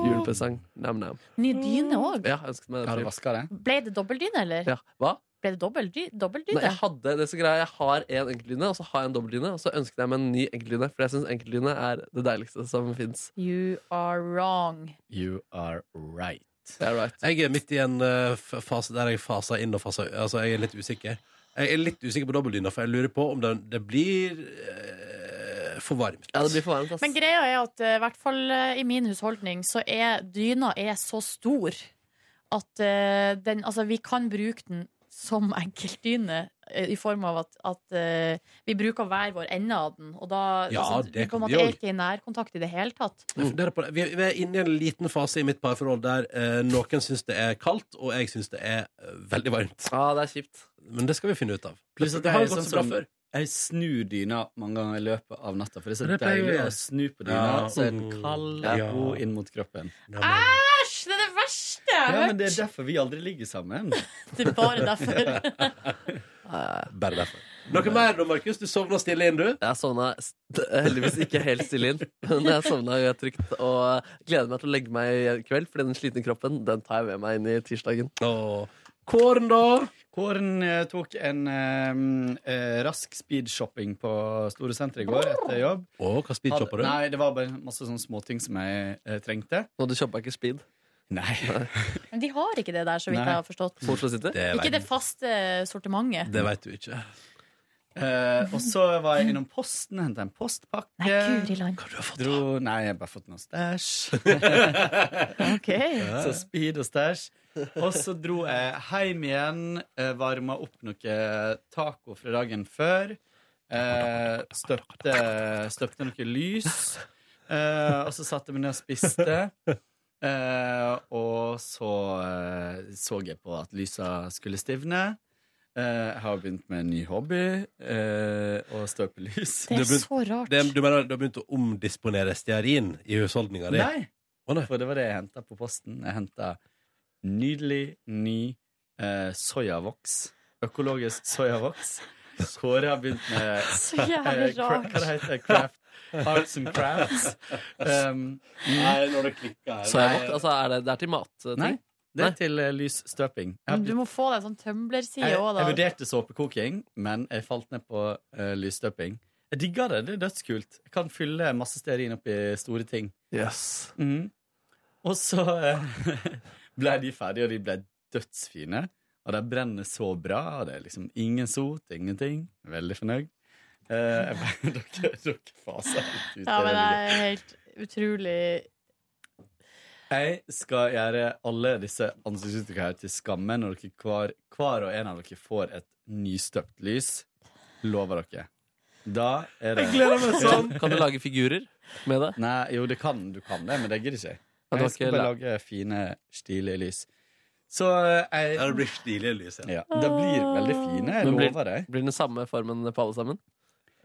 Speaker 4: Julepresang. Nam-nam.
Speaker 3: Ny dyne òg.
Speaker 4: Ja, jeg ønsket meg den.
Speaker 3: Ble det dobbeldyne, eller?
Speaker 4: Ja. Hva?
Speaker 3: Ble det dobbeldy-
Speaker 4: Nei,
Speaker 3: dobbeldyne?
Speaker 4: jeg hadde det er så greia, jeg har en enkeltdyne, og så har jeg en dobbeltdyne, og så ønsket jeg meg en ny enkeltdyne, for jeg syns enkeltdyne er det deiligste som fins.
Speaker 3: You are wrong.
Speaker 10: You are right.
Speaker 2: Jeg er midt i en eh, f- fase der jeg faser inn og faser ut. Altså, jeg er litt usikker. Jeg er litt usikker på dobbeltdyna, for jeg lurer på om det, det blir eh, for varmt.
Speaker 4: Ja, det blir for varmt, ass.
Speaker 3: Men greia er at eh, i hvert fall eh, i min husholdning så er dyna er så stor at eh, den Altså, vi kan bruke den som enkeltdyne eh, i form av at, at eh, vi bruker hver vår ende av den, og da
Speaker 2: Ja,
Speaker 3: altså,
Speaker 2: det
Speaker 3: på
Speaker 2: kan
Speaker 3: en
Speaker 2: vi
Speaker 3: måte er
Speaker 2: også.
Speaker 3: ikke i nærkontakt i det hele tatt.
Speaker 2: Jeg funderer på det. Vi vi er inne i en liten fase i mitt parforhold der eh, noen syns det er kaldt, og jeg syns det er eh, veldig varmt.
Speaker 4: Ja, det er kjipt.
Speaker 2: Men det skal vi finne ut av.
Speaker 10: Pluss at
Speaker 2: det
Speaker 10: jeg
Speaker 2: har
Speaker 10: er
Speaker 2: gått
Speaker 10: sånn
Speaker 2: så bra
Speaker 10: som-
Speaker 2: før.
Speaker 10: Jeg snur dyna mange ganger i løpet av natta, for det er så
Speaker 2: Det pleier
Speaker 10: deilig
Speaker 2: jeg.
Speaker 10: å snu på dyna.
Speaker 2: Ja.
Speaker 10: Så er den kald og
Speaker 2: Ja.
Speaker 10: god inn mot kroppen.
Speaker 3: Æsj! Det er det verste jeg har
Speaker 10: Ja, men
Speaker 3: hørt!
Speaker 10: Det er derfor vi aldri ligger sammen.
Speaker 3: Det er bare derfor.
Speaker 2: Bare derfor. Noe mer da, Markus? Du sovna stille inn, du?
Speaker 4: Jeg sovna st- heldigvis ikke helt stille inn, men jeg sovna jo trygt og gleder meg til å legge meg i kveld, fordi den slitne kroppen den tar jeg med meg inn i tirsdagen.
Speaker 2: Kåren, da?
Speaker 10: Kåren eh, tok en eh, eh, rask speedshopping på Store Senter i går etter jobb.
Speaker 2: Å, hva speedshopper du?
Speaker 10: Hadde- Nei, Det var bare masse sånne småting som jeg eh, trengte.
Speaker 4: Og du shoppa ikke speed?
Speaker 10: Nei.
Speaker 3: Men de har ikke det der, så vidt
Speaker 10: Nei.
Speaker 3: jeg har forstått.
Speaker 4: På Oslo City?
Speaker 3: Ikke det faste eh, sortimentet.
Speaker 2: Det veit du ikke.
Speaker 10: Eh, og så var jeg innom Posten, henta en postpakke.
Speaker 3: Nei, guri land.
Speaker 10: Dro, nei, jeg har bare fått noe stæsj. Så speed og stæsj. Og så dro jeg hjem igjen, eh, varma opp noe taco fra dagen før. Eh, støpte, støpte noe lys. Eh, og så satte jeg meg ned og spiste. Eh, og så eh, så jeg på at lysa skulle stivne. Eh, jeg har begynt med en ny hobby, eh, å støpe lys.
Speaker 3: Det er Du har begynt- så rart.
Speaker 2: Det, du mener du har begynt å omdisponere stearin i husholdninga di?
Speaker 10: Nei. For det var det jeg henta på posten. Jeg henta nydelig, ny eh, soyavoks. Økologisk soyavoks. Kåre har begynt med
Speaker 12: Så jævlig
Speaker 10: eh, cra-
Speaker 12: rart.
Speaker 10: Hva det heter det? Craft. Arts and crafts. Um,
Speaker 2: Nei, når det klikker
Speaker 4: Så jeg måtte, altså, er det, det er til matting?
Speaker 10: Nei, det er til eh, lysstøping. Jeg, har
Speaker 3: Men du må få deg en sånn
Speaker 10: jeg,
Speaker 3: Tumbler-side òg,
Speaker 10: jeg
Speaker 3: da.
Speaker 10: vurderte såpekoking, men jeg falt ned på eh, lysstøping. Jeg digger det. Det er dødskult. Jeg kan fylle masse stearin opp i store ting.
Speaker 4: Yes.
Speaker 10: Mhm. Og så eh, ble de ferdige, og de ble dødsfine. Og de brenner så bra, og det er liksom ingen sot, ingenting. Veldig fornøyd. Eh, jeg bare, dere, dere faser helt ut.
Speaker 3: Ja, men det
Speaker 10: Det er veldig
Speaker 3: er helt utrolig
Speaker 10: jeg skal gjøre alle disse ansiktsuttrykkene her til skamme når dere hver, hver og en av dere får et nystøpt lys. Lover dere. Da er det
Speaker 4: Jeg gleder meg sånn. Kan du lage figurer med det?
Speaker 10: Nei, jo, det kan du kan det, men det gidder ikke jeg.
Speaker 4: Ja, du har
Speaker 10: Jeg skal
Speaker 4: ikke
Speaker 10: bare
Speaker 4: la-
Speaker 10: lage fine, stilige lys. Så eh, jeg
Speaker 2: Ja, det blir stilige lys,
Speaker 10: ja. Det blir veldig fine, jeg
Speaker 4: Men blir-
Speaker 10: lover deg.
Speaker 4: Blir den samme formen på alle sammen?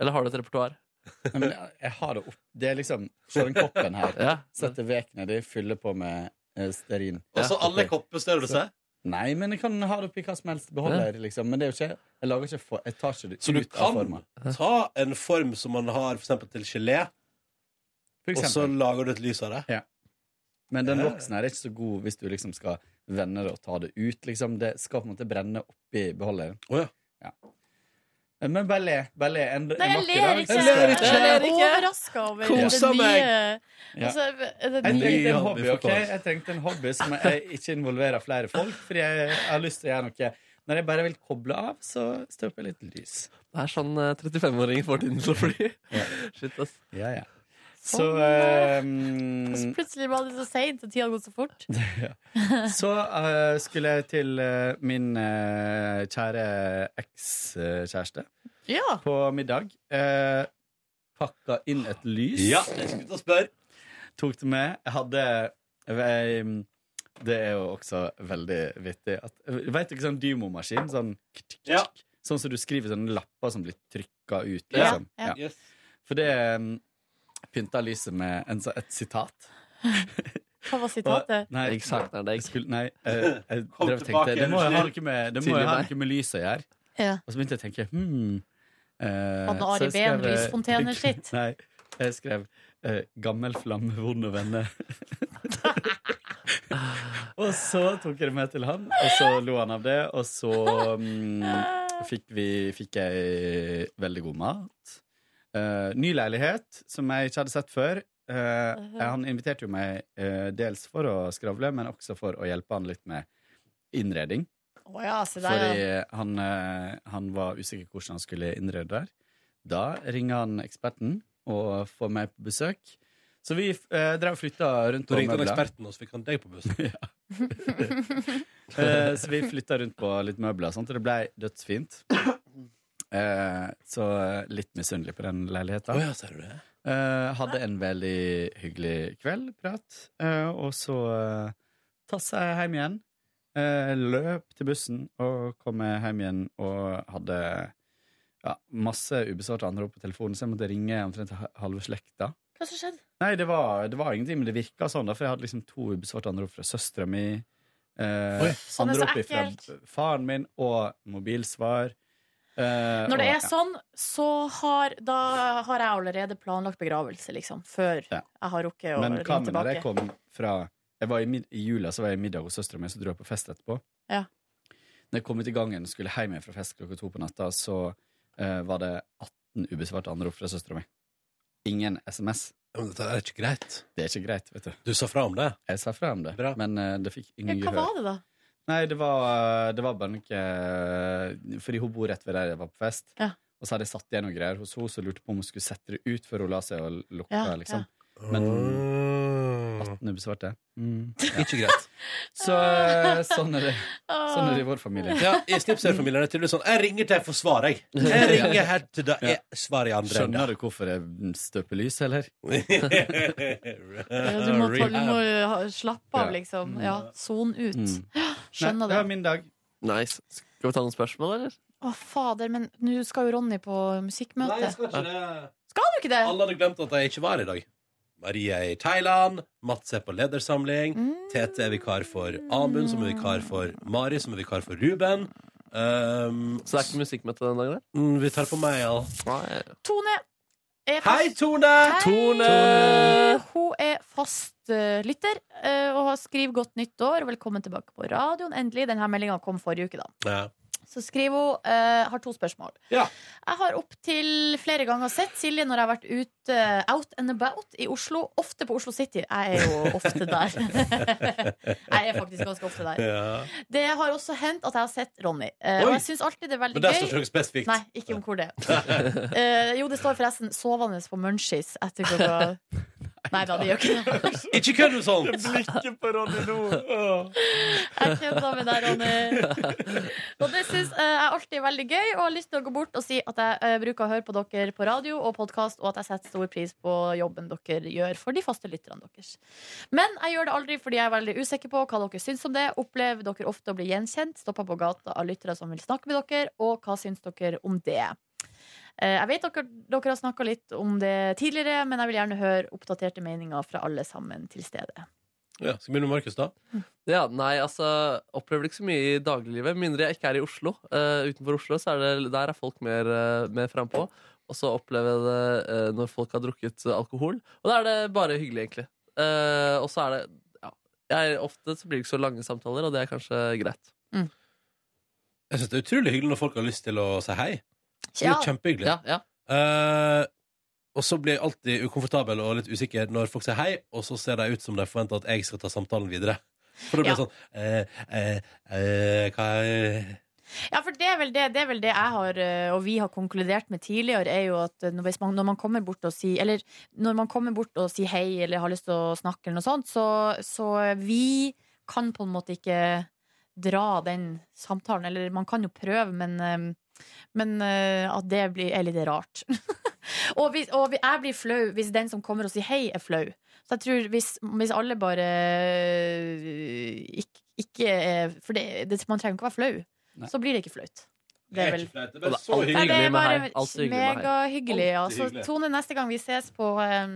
Speaker 4: Eller har du et repertoar?
Speaker 10: Nei, men jeg, jeg har det opp Det er liksom Se den koppen her.
Speaker 4: Ja.
Speaker 10: Setter vek nedi, fyller på med eh, stearin.
Speaker 2: Og så
Speaker 10: Ja.
Speaker 2: alle koppestørrelse?
Speaker 10: Nei, men jeg kan ha det oppi hva som helst. Beholder, liksom. Men det er jo ikke Jeg lager ikke for, Jeg tar ikke det
Speaker 2: Så du
Speaker 10: ut av
Speaker 2: kan
Speaker 10: formen.
Speaker 2: ta en form som man har for eksempel til gelé, og
Speaker 10: For
Speaker 2: så
Speaker 10: eksempel.
Speaker 2: lager du et lys av det?
Speaker 10: Men den
Speaker 2: Ja.
Speaker 10: voksen her er ikke så god hvis du liksom skal vende det og ta det ut. Liksom. Det skal på en måte brenne oppi beholderen. Ja. Men bare le. Bare le. En,
Speaker 3: Nei, jeg
Speaker 10: en vakker
Speaker 3: ler
Speaker 10: dag
Speaker 3: ikke!
Speaker 10: så skal
Speaker 3: Jeg
Speaker 10: Jeg
Speaker 3: er overraska over
Speaker 10: Kosa
Speaker 3: det nye
Speaker 10: meg. Ja.
Speaker 3: altså, det
Speaker 10: Jeg
Speaker 3: nye.
Speaker 10: trengte en hobby, ok? Jeg trengte en hobby som jeg ikke involverer flere folk, fordi jeg, jeg har lyst til å gjøre noe. Når jeg bare vil koble av, så støper jeg litt lys.
Speaker 4: Det er sånn eh, 35-åringer får tiden til å fly. Shit, ass.
Speaker 10: Ja, ja. Så, ehm,
Speaker 3: Så plutselig var det så seint, og tida har gått så fort.
Speaker 10: så eh, skulle jeg til eh, min eh, kjære ekskjæreste på middag. Eh, pakka inn et lys.
Speaker 2: Ja, jeg skulle til å spørre.
Speaker 10: Tok det med. Jeg hadde jeg, Det er jo også veldig vittig. at- Vet du ikke sånn dymomaskin? Sånn, kk, kk, kk, sånn som du skriver sånne lapper som blir trykka ut.
Speaker 2: Ja,
Speaker 10: Liksom.
Speaker 2: ja. Yes.
Speaker 10: For det um, pynta lyset med en, så- et sitat.
Speaker 3: Hva var sitatet?
Speaker 10: Nei, jeg savner deg. Skulle, nei, eh, jeg
Speaker 2: Kom
Speaker 10: drev og
Speaker 2: tilbake,
Speaker 10: tenkte Det må jo ha
Speaker 2: unnskyld.
Speaker 10: noe med, det må
Speaker 2: Tidlig
Speaker 10: jo ha
Speaker 2: meg.
Speaker 10: noe med lys å gjøre.
Speaker 3: Ja.
Speaker 10: Og så begynte jeg å tenke hmm, eh,
Speaker 3: Hadde
Speaker 10: så
Speaker 3: Ari
Speaker 10: jeg skrev,
Speaker 3: Behn
Speaker 10: eh,
Speaker 3: lysfontener sitt?
Speaker 10: Nei, jeg skrev eh, 'Gammel flamme, vond å vende'. og så tok jeg det med til han, og så lo han av det. Og så mm, fikk, vi, fikk jeg veldig god mat. Eh, ny leilighet, som jeg ikke hadde sett før. Eh, Han inviterte jo meg eh, dels for å skravle, men også for å hjelpe han litt med innredning.
Speaker 3: Å ja, se der,
Speaker 10: Fordi
Speaker 3: ja.
Speaker 10: han, eh, han var usikker hvordan han skulle innrede der. Da ringer han eksperten og får meg på besøk. Så vi eh, drev og flytta rundt
Speaker 2: Da
Speaker 10: på
Speaker 2: ringte han
Speaker 10: møbler.
Speaker 2: eksperten, og så fikk han deg på bussen.
Speaker 10: Eh, så vi flytta rundt på litt møbler, og sånt, og det ble dødsfint. Eh, så litt misunnelig på den leiligheta.
Speaker 2: Å ja, ser du det?
Speaker 10: Eh, hadde en veldig hyggelig kveld, prat, eh, og så eh, tassa jeg hjem igjen. Eh, løp til bussen og kom meg hjem igjen og hadde ja, masse ubesvarte anrop på telefonen, så jeg måtte ringe omtrent ha- halve slekta.
Speaker 3: Hva som skjedde?
Speaker 10: Nei, det var, det var ingenting, men det virka sånn, da, for jeg hadde liksom to ubesvarte anrop fra søstera mi. Eh,
Speaker 3: Sånn er så
Speaker 10: anrop fra
Speaker 3: ekkelt.
Speaker 10: faren min og mobilsvar. Eh,
Speaker 3: Når det
Speaker 10: og-
Speaker 3: er sånn, så har, da har jeg allerede planlagt begravelse, liksom. Før jeg har rukket å
Speaker 10: Men
Speaker 3: ringe
Speaker 10: hva med når jeg
Speaker 3: tilbake.
Speaker 10: kom fra jeg var i, mid- I jula så var jeg i middag hos søstera mi, så dro jeg på fest etterpå.
Speaker 3: Ja.
Speaker 10: Når jeg kom ut i gangen og skulle hjem igjen fra fest klokka to på natta, så eh, var det 18 ubesvarte anrop fra søstera mi. Ingen SMS.
Speaker 2: Men dette er ikke greit.
Speaker 10: Det er ikke greit, vet du.
Speaker 2: Du sa fra om det?
Speaker 10: Jeg sa fra om det, men eh, det fikk
Speaker 3: Ja,
Speaker 10: ingen
Speaker 3: hva var det, da?
Speaker 10: Nei, det var, det var bare noe Fordi hun bor rett ved der jeg var på fest.
Speaker 3: Ja.
Speaker 10: Og så hadde jeg satt igjen noen greier liksom. hos henne, så lurte jeg på om hun skulle sette det ut før hun la seg og lukka.
Speaker 3: Ja,
Speaker 10: liksom.
Speaker 3: ja.
Speaker 10: Men 18 ubesvarte. Mm.
Speaker 2: Ikke greit.
Speaker 10: Så eh, sånn er det. Sånn er det i vår familie.
Speaker 2: Ja, I Snipser-familien er det tydeligvis sånn Jeg ringer til jeg får svar, jeg. Jeg ringer her til da er svaret i andre enden.
Speaker 10: Skjønner du hvorfor jeg støper lys, eller?
Speaker 3: Ja, Du må, ta, du må jo ha- slappe av, liksom. Ja, Son ut.
Speaker 10: Mm.
Speaker 3: Skjønner
Speaker 10: Nei,
Speaker 3: det.
Speaker 10: det var min dag.
Speaker 4: Nice. Skal vi ta noen spørsmål, eller?
Speaker 3: Å, fader, men nå skal jo Ronny på musikkmøte.
Speaker 2: Nei, jeg skal ikke det.
Speaker 3: Skal du ikke det?
Speaker 2: Alle hadde glemt at jeg ikke var her i dag. Marie er i Thailand, Mats er på ledersamling,
Speaker 3: Mm.
Speaker 2: Tete er vikar for Amund, som er vikar for Mari, som er vikar for Ruben.
Speaker 4: så det er ikke musikkmøte den dagen?
Speaker 2: Mm, vi tar på mail.
Speaker 3: Tone er fast.
Speaker 2: Hei, Tone!
Speaker 3: Hun er fast eh, lytter eh, og har skriver 'Godt nytt år' og 'Velkommen tilbake på radioen'. Endelig. Denne meldinga kom forrige uke, da.
Speaker 2: Ja.
Speaker 3: Så skriver hun eh, har to spørsmål.
Speaker 2: Ja.
Speaker 3: Jeg har opptil flere ganger sett Silje når jeg har vært ute out and about i Oslo. Ofte på Oslo City. Jeg er jo ofte der. jeg er faktisk ganske ofte der.
Speaker 2: Ja.
Speaker 3: Det har også hendt at jeg har sett Ronny. Eh, og
Speaker 2: Oi.
Speaker 3: jeg syns alltid det er veldig
Speaker 2: Men der
Speaker 3: gøy.
Speaker 2: står ikke noe spesifikt.
Speaker 3: Nei, ikke om hvor det er. Eh, jo, det står forresten 'sovende på munchies' etter klokka Nei da, det gjør ikke det.
Speaker 2: Ikke kødd med sånt!
Speaker 4: Blikket på Ronny nå.
Speaker 3: Jeg kødda med deg, Ronny. Og det syns jeg er alltid veldig gøy, og har lyst til å gå bort og si at jeg eh, bruker å høre på dere på radio og podkast, og at jeg setter stor pris på jobben dere gjør for de faste lytterne deres. Men jeg gjør det aldri fordi jeg er veldig usikker på hva dere syns om det. Opplever dere ofte å bli gjenkjent, stoppa på gata av lyttere som vil snakke med dere, og hva syns dere om det? Eh, Jeg vet dere, dere har snakka litt om det tidligere, men jeg vil gjerne høre oppdaterte meninger fra alle sammen til stede.
Speaker 2: Ja, skal vi begynne med Markus, da?
Speaker 4: Ja, nei, altså Opplever det ikke så mye i dagliglivet. Med mindre jeg ikke er i Oslo. Eh, utenfor Oslo så er det, der er folk mer, eh, mer frampå. Og så opplever jeg det eh, når folk har drukket eh, alkohol. Og da er det bare hyggelig, egentlig. Eh, og så er det ja, jeg, Ofte så blir det ikke så lange samtaler, og det er kanskje greit.
Speaker 2: Jeg synes det er utrolig hyggelig når folk har lyst til å si hei. Det er
Speaker 4: Ja.
Speaker 2: kjempehyggelig.
Speaker 4: Ja, ja.
Speaker 2: Eh, og så blir jeg alltid ukomfortabel og litt usikker når folk sier hei, og så ser de ut som de forventer at jeg skal ta samtalen videre. For da blir det sånn eh, eh, eh, Hva er
Speaker 3: Ja, for det er vel det, det, er vel det jeg har, eh, og vi har konkludert med tidligere, er jo at eh, når- hvis man, når man kommer bort og sier Eller når man kommer bort og sier hei eller har lyst til å snakke eller noe sånt, så, så vi kan på en måte ikke dra den samtalen. Eller man kan jo prøve, men, eh, men eh, at det blir, er litt rart. og hvis, og jeg blir flau hvis den som kommer og sier hei, er flau. Så jeg tror hvis, hvis alle bare eh, ikke, ikke er For det, det, man trenger ikke å være flau. Så blir det ikke flaut.
Speaker 2: Det er
Speaker 3: vel-
Speaker 2: ikke flaut, det er bare
Speaker 3: Og
Speaker 2: så
Speaker 3: alltid
Speaker 2: hyggelig
Speaker 3: Nei, det er
Speaker 2: med
Speaker 3: bare
Speaker 2: hei. Alltid hyggelig med hei.
Speaker 3: Megahyggelig.
Speaker 2: Alltid
Speaker 3: Altså,
Speaker 2: hyggelig.
Speaker 3: Tone, neste gang vi ses på em,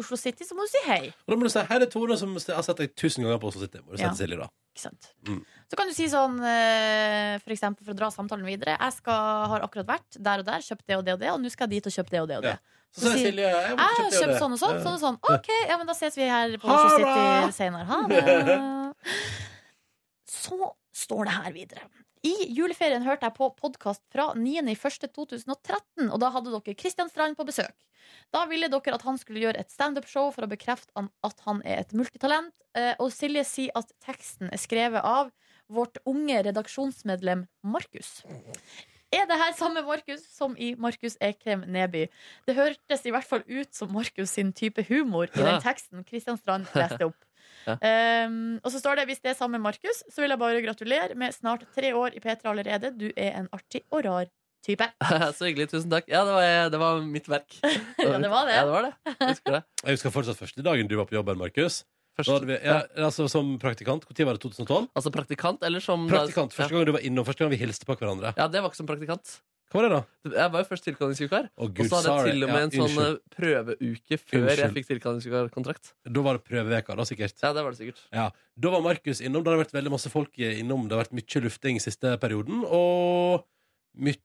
Speaker 3: Oslo City, så må du si hei.
Speaker 2: Og da må du si her er Tone som jeg har sett deg tusen ganger på Oslo City. Må du si
Speaker 3: Ja.
Speaker 2: til Silje, da.
Speaker 3: Ikke sant?
Speaker 2: Mm.
Speaker 3: Så kan du si sånn, eh, for eksempel for å dra samtalen videre Jeg skal, har akkurat vært der og der, kjøpt det og det og det, og nå skal jeg dit og kjøpe det og det og det.
Speaker 2: Så sier Silje jeg
Speaker 3: Jeg
Speaker 2: må
Speaker 3: har
Speaker 2: kjøpe det og
Speaker 3: kjøpt
Speaker 2: det.
Speaker 3: sånn og sånn,
Speaker 2: Ja.
Speaker 3: sånn og sånn. OK, ja, men da ses vi her på
Speaker 2: Ha
Speaker 3: Oslo
Speaker 2: det!
Speaker 3: City senere. Ha det. Så står det her videre. I juleferien hørte jeg på podkast fra 9.1.2013, og da hadde dere Kristian Strand på besøk. Da ville dere at han skulle gjøre et standup-show for å bekrefte an- at han er et multitalent, eh, og Silje sier at teksten er skrevet av vårt unge redaksjonsmedlem Markus. Er det her samme Markus som i Markus Ekrem Neby? Det hørtes i hvert fall ut som Markus sin type humor i den
Speaker 11: Ja.
Speaker 3: teksten Kristian Strand leste opp.
Speaker 11: Ja.
Speaker 3: Um, og så står det hvis det er samme Markus, så vil jeg bare gratulere med snart tre år i P3 allerede. Du er en artig og rar type.
Speaker 4: så hyggelig. Tusen takk. Ja, det var, det var mitt verk.
Speaker 3: Ja, det var det.
Speaker 4: Ja, det var det.
Speaker 2: Jeg husker fortsatt første dagen du var på jobben, Markus. Da hadde vi- Ja, altså, som praktikant. Når var det? 2012?
Speaker 4: Altså praktikant, eller som
Speaker 2: Praktikant. Første gang du var innom, første gang vi hilste på hverandre.
Speaker 4: Ja, det var ikke som praktikant.
Speaker 2: Hva var det da?
Speaker 4: Jeg var jo først tilkallingsvikar.
Speaker 2: Å,
Speaker 4: Og
Speaker 2: Gud,
Speaker 4: så hadde
Speaker 2: sorry.
Speaker 4: jeg til og
Speaker 2: Ja,
Speaker 4: med en sånn
Speaker 2: unnskyld.
Speaker 4: eh, prøveuke før jeg
Speaker 2: Unnskyld.
Speaker 4: fikk tilkallingsvikarkontrakt.
Speaker 2: Da var det prøveveka, da sikkert.
Speaker 4: Ja, det var det sikkert.
Speaker 2: Ja. Da var Markus innom. Da har det vært veldig masse folk innom. Det har vært mye lufting siste perioden, og mye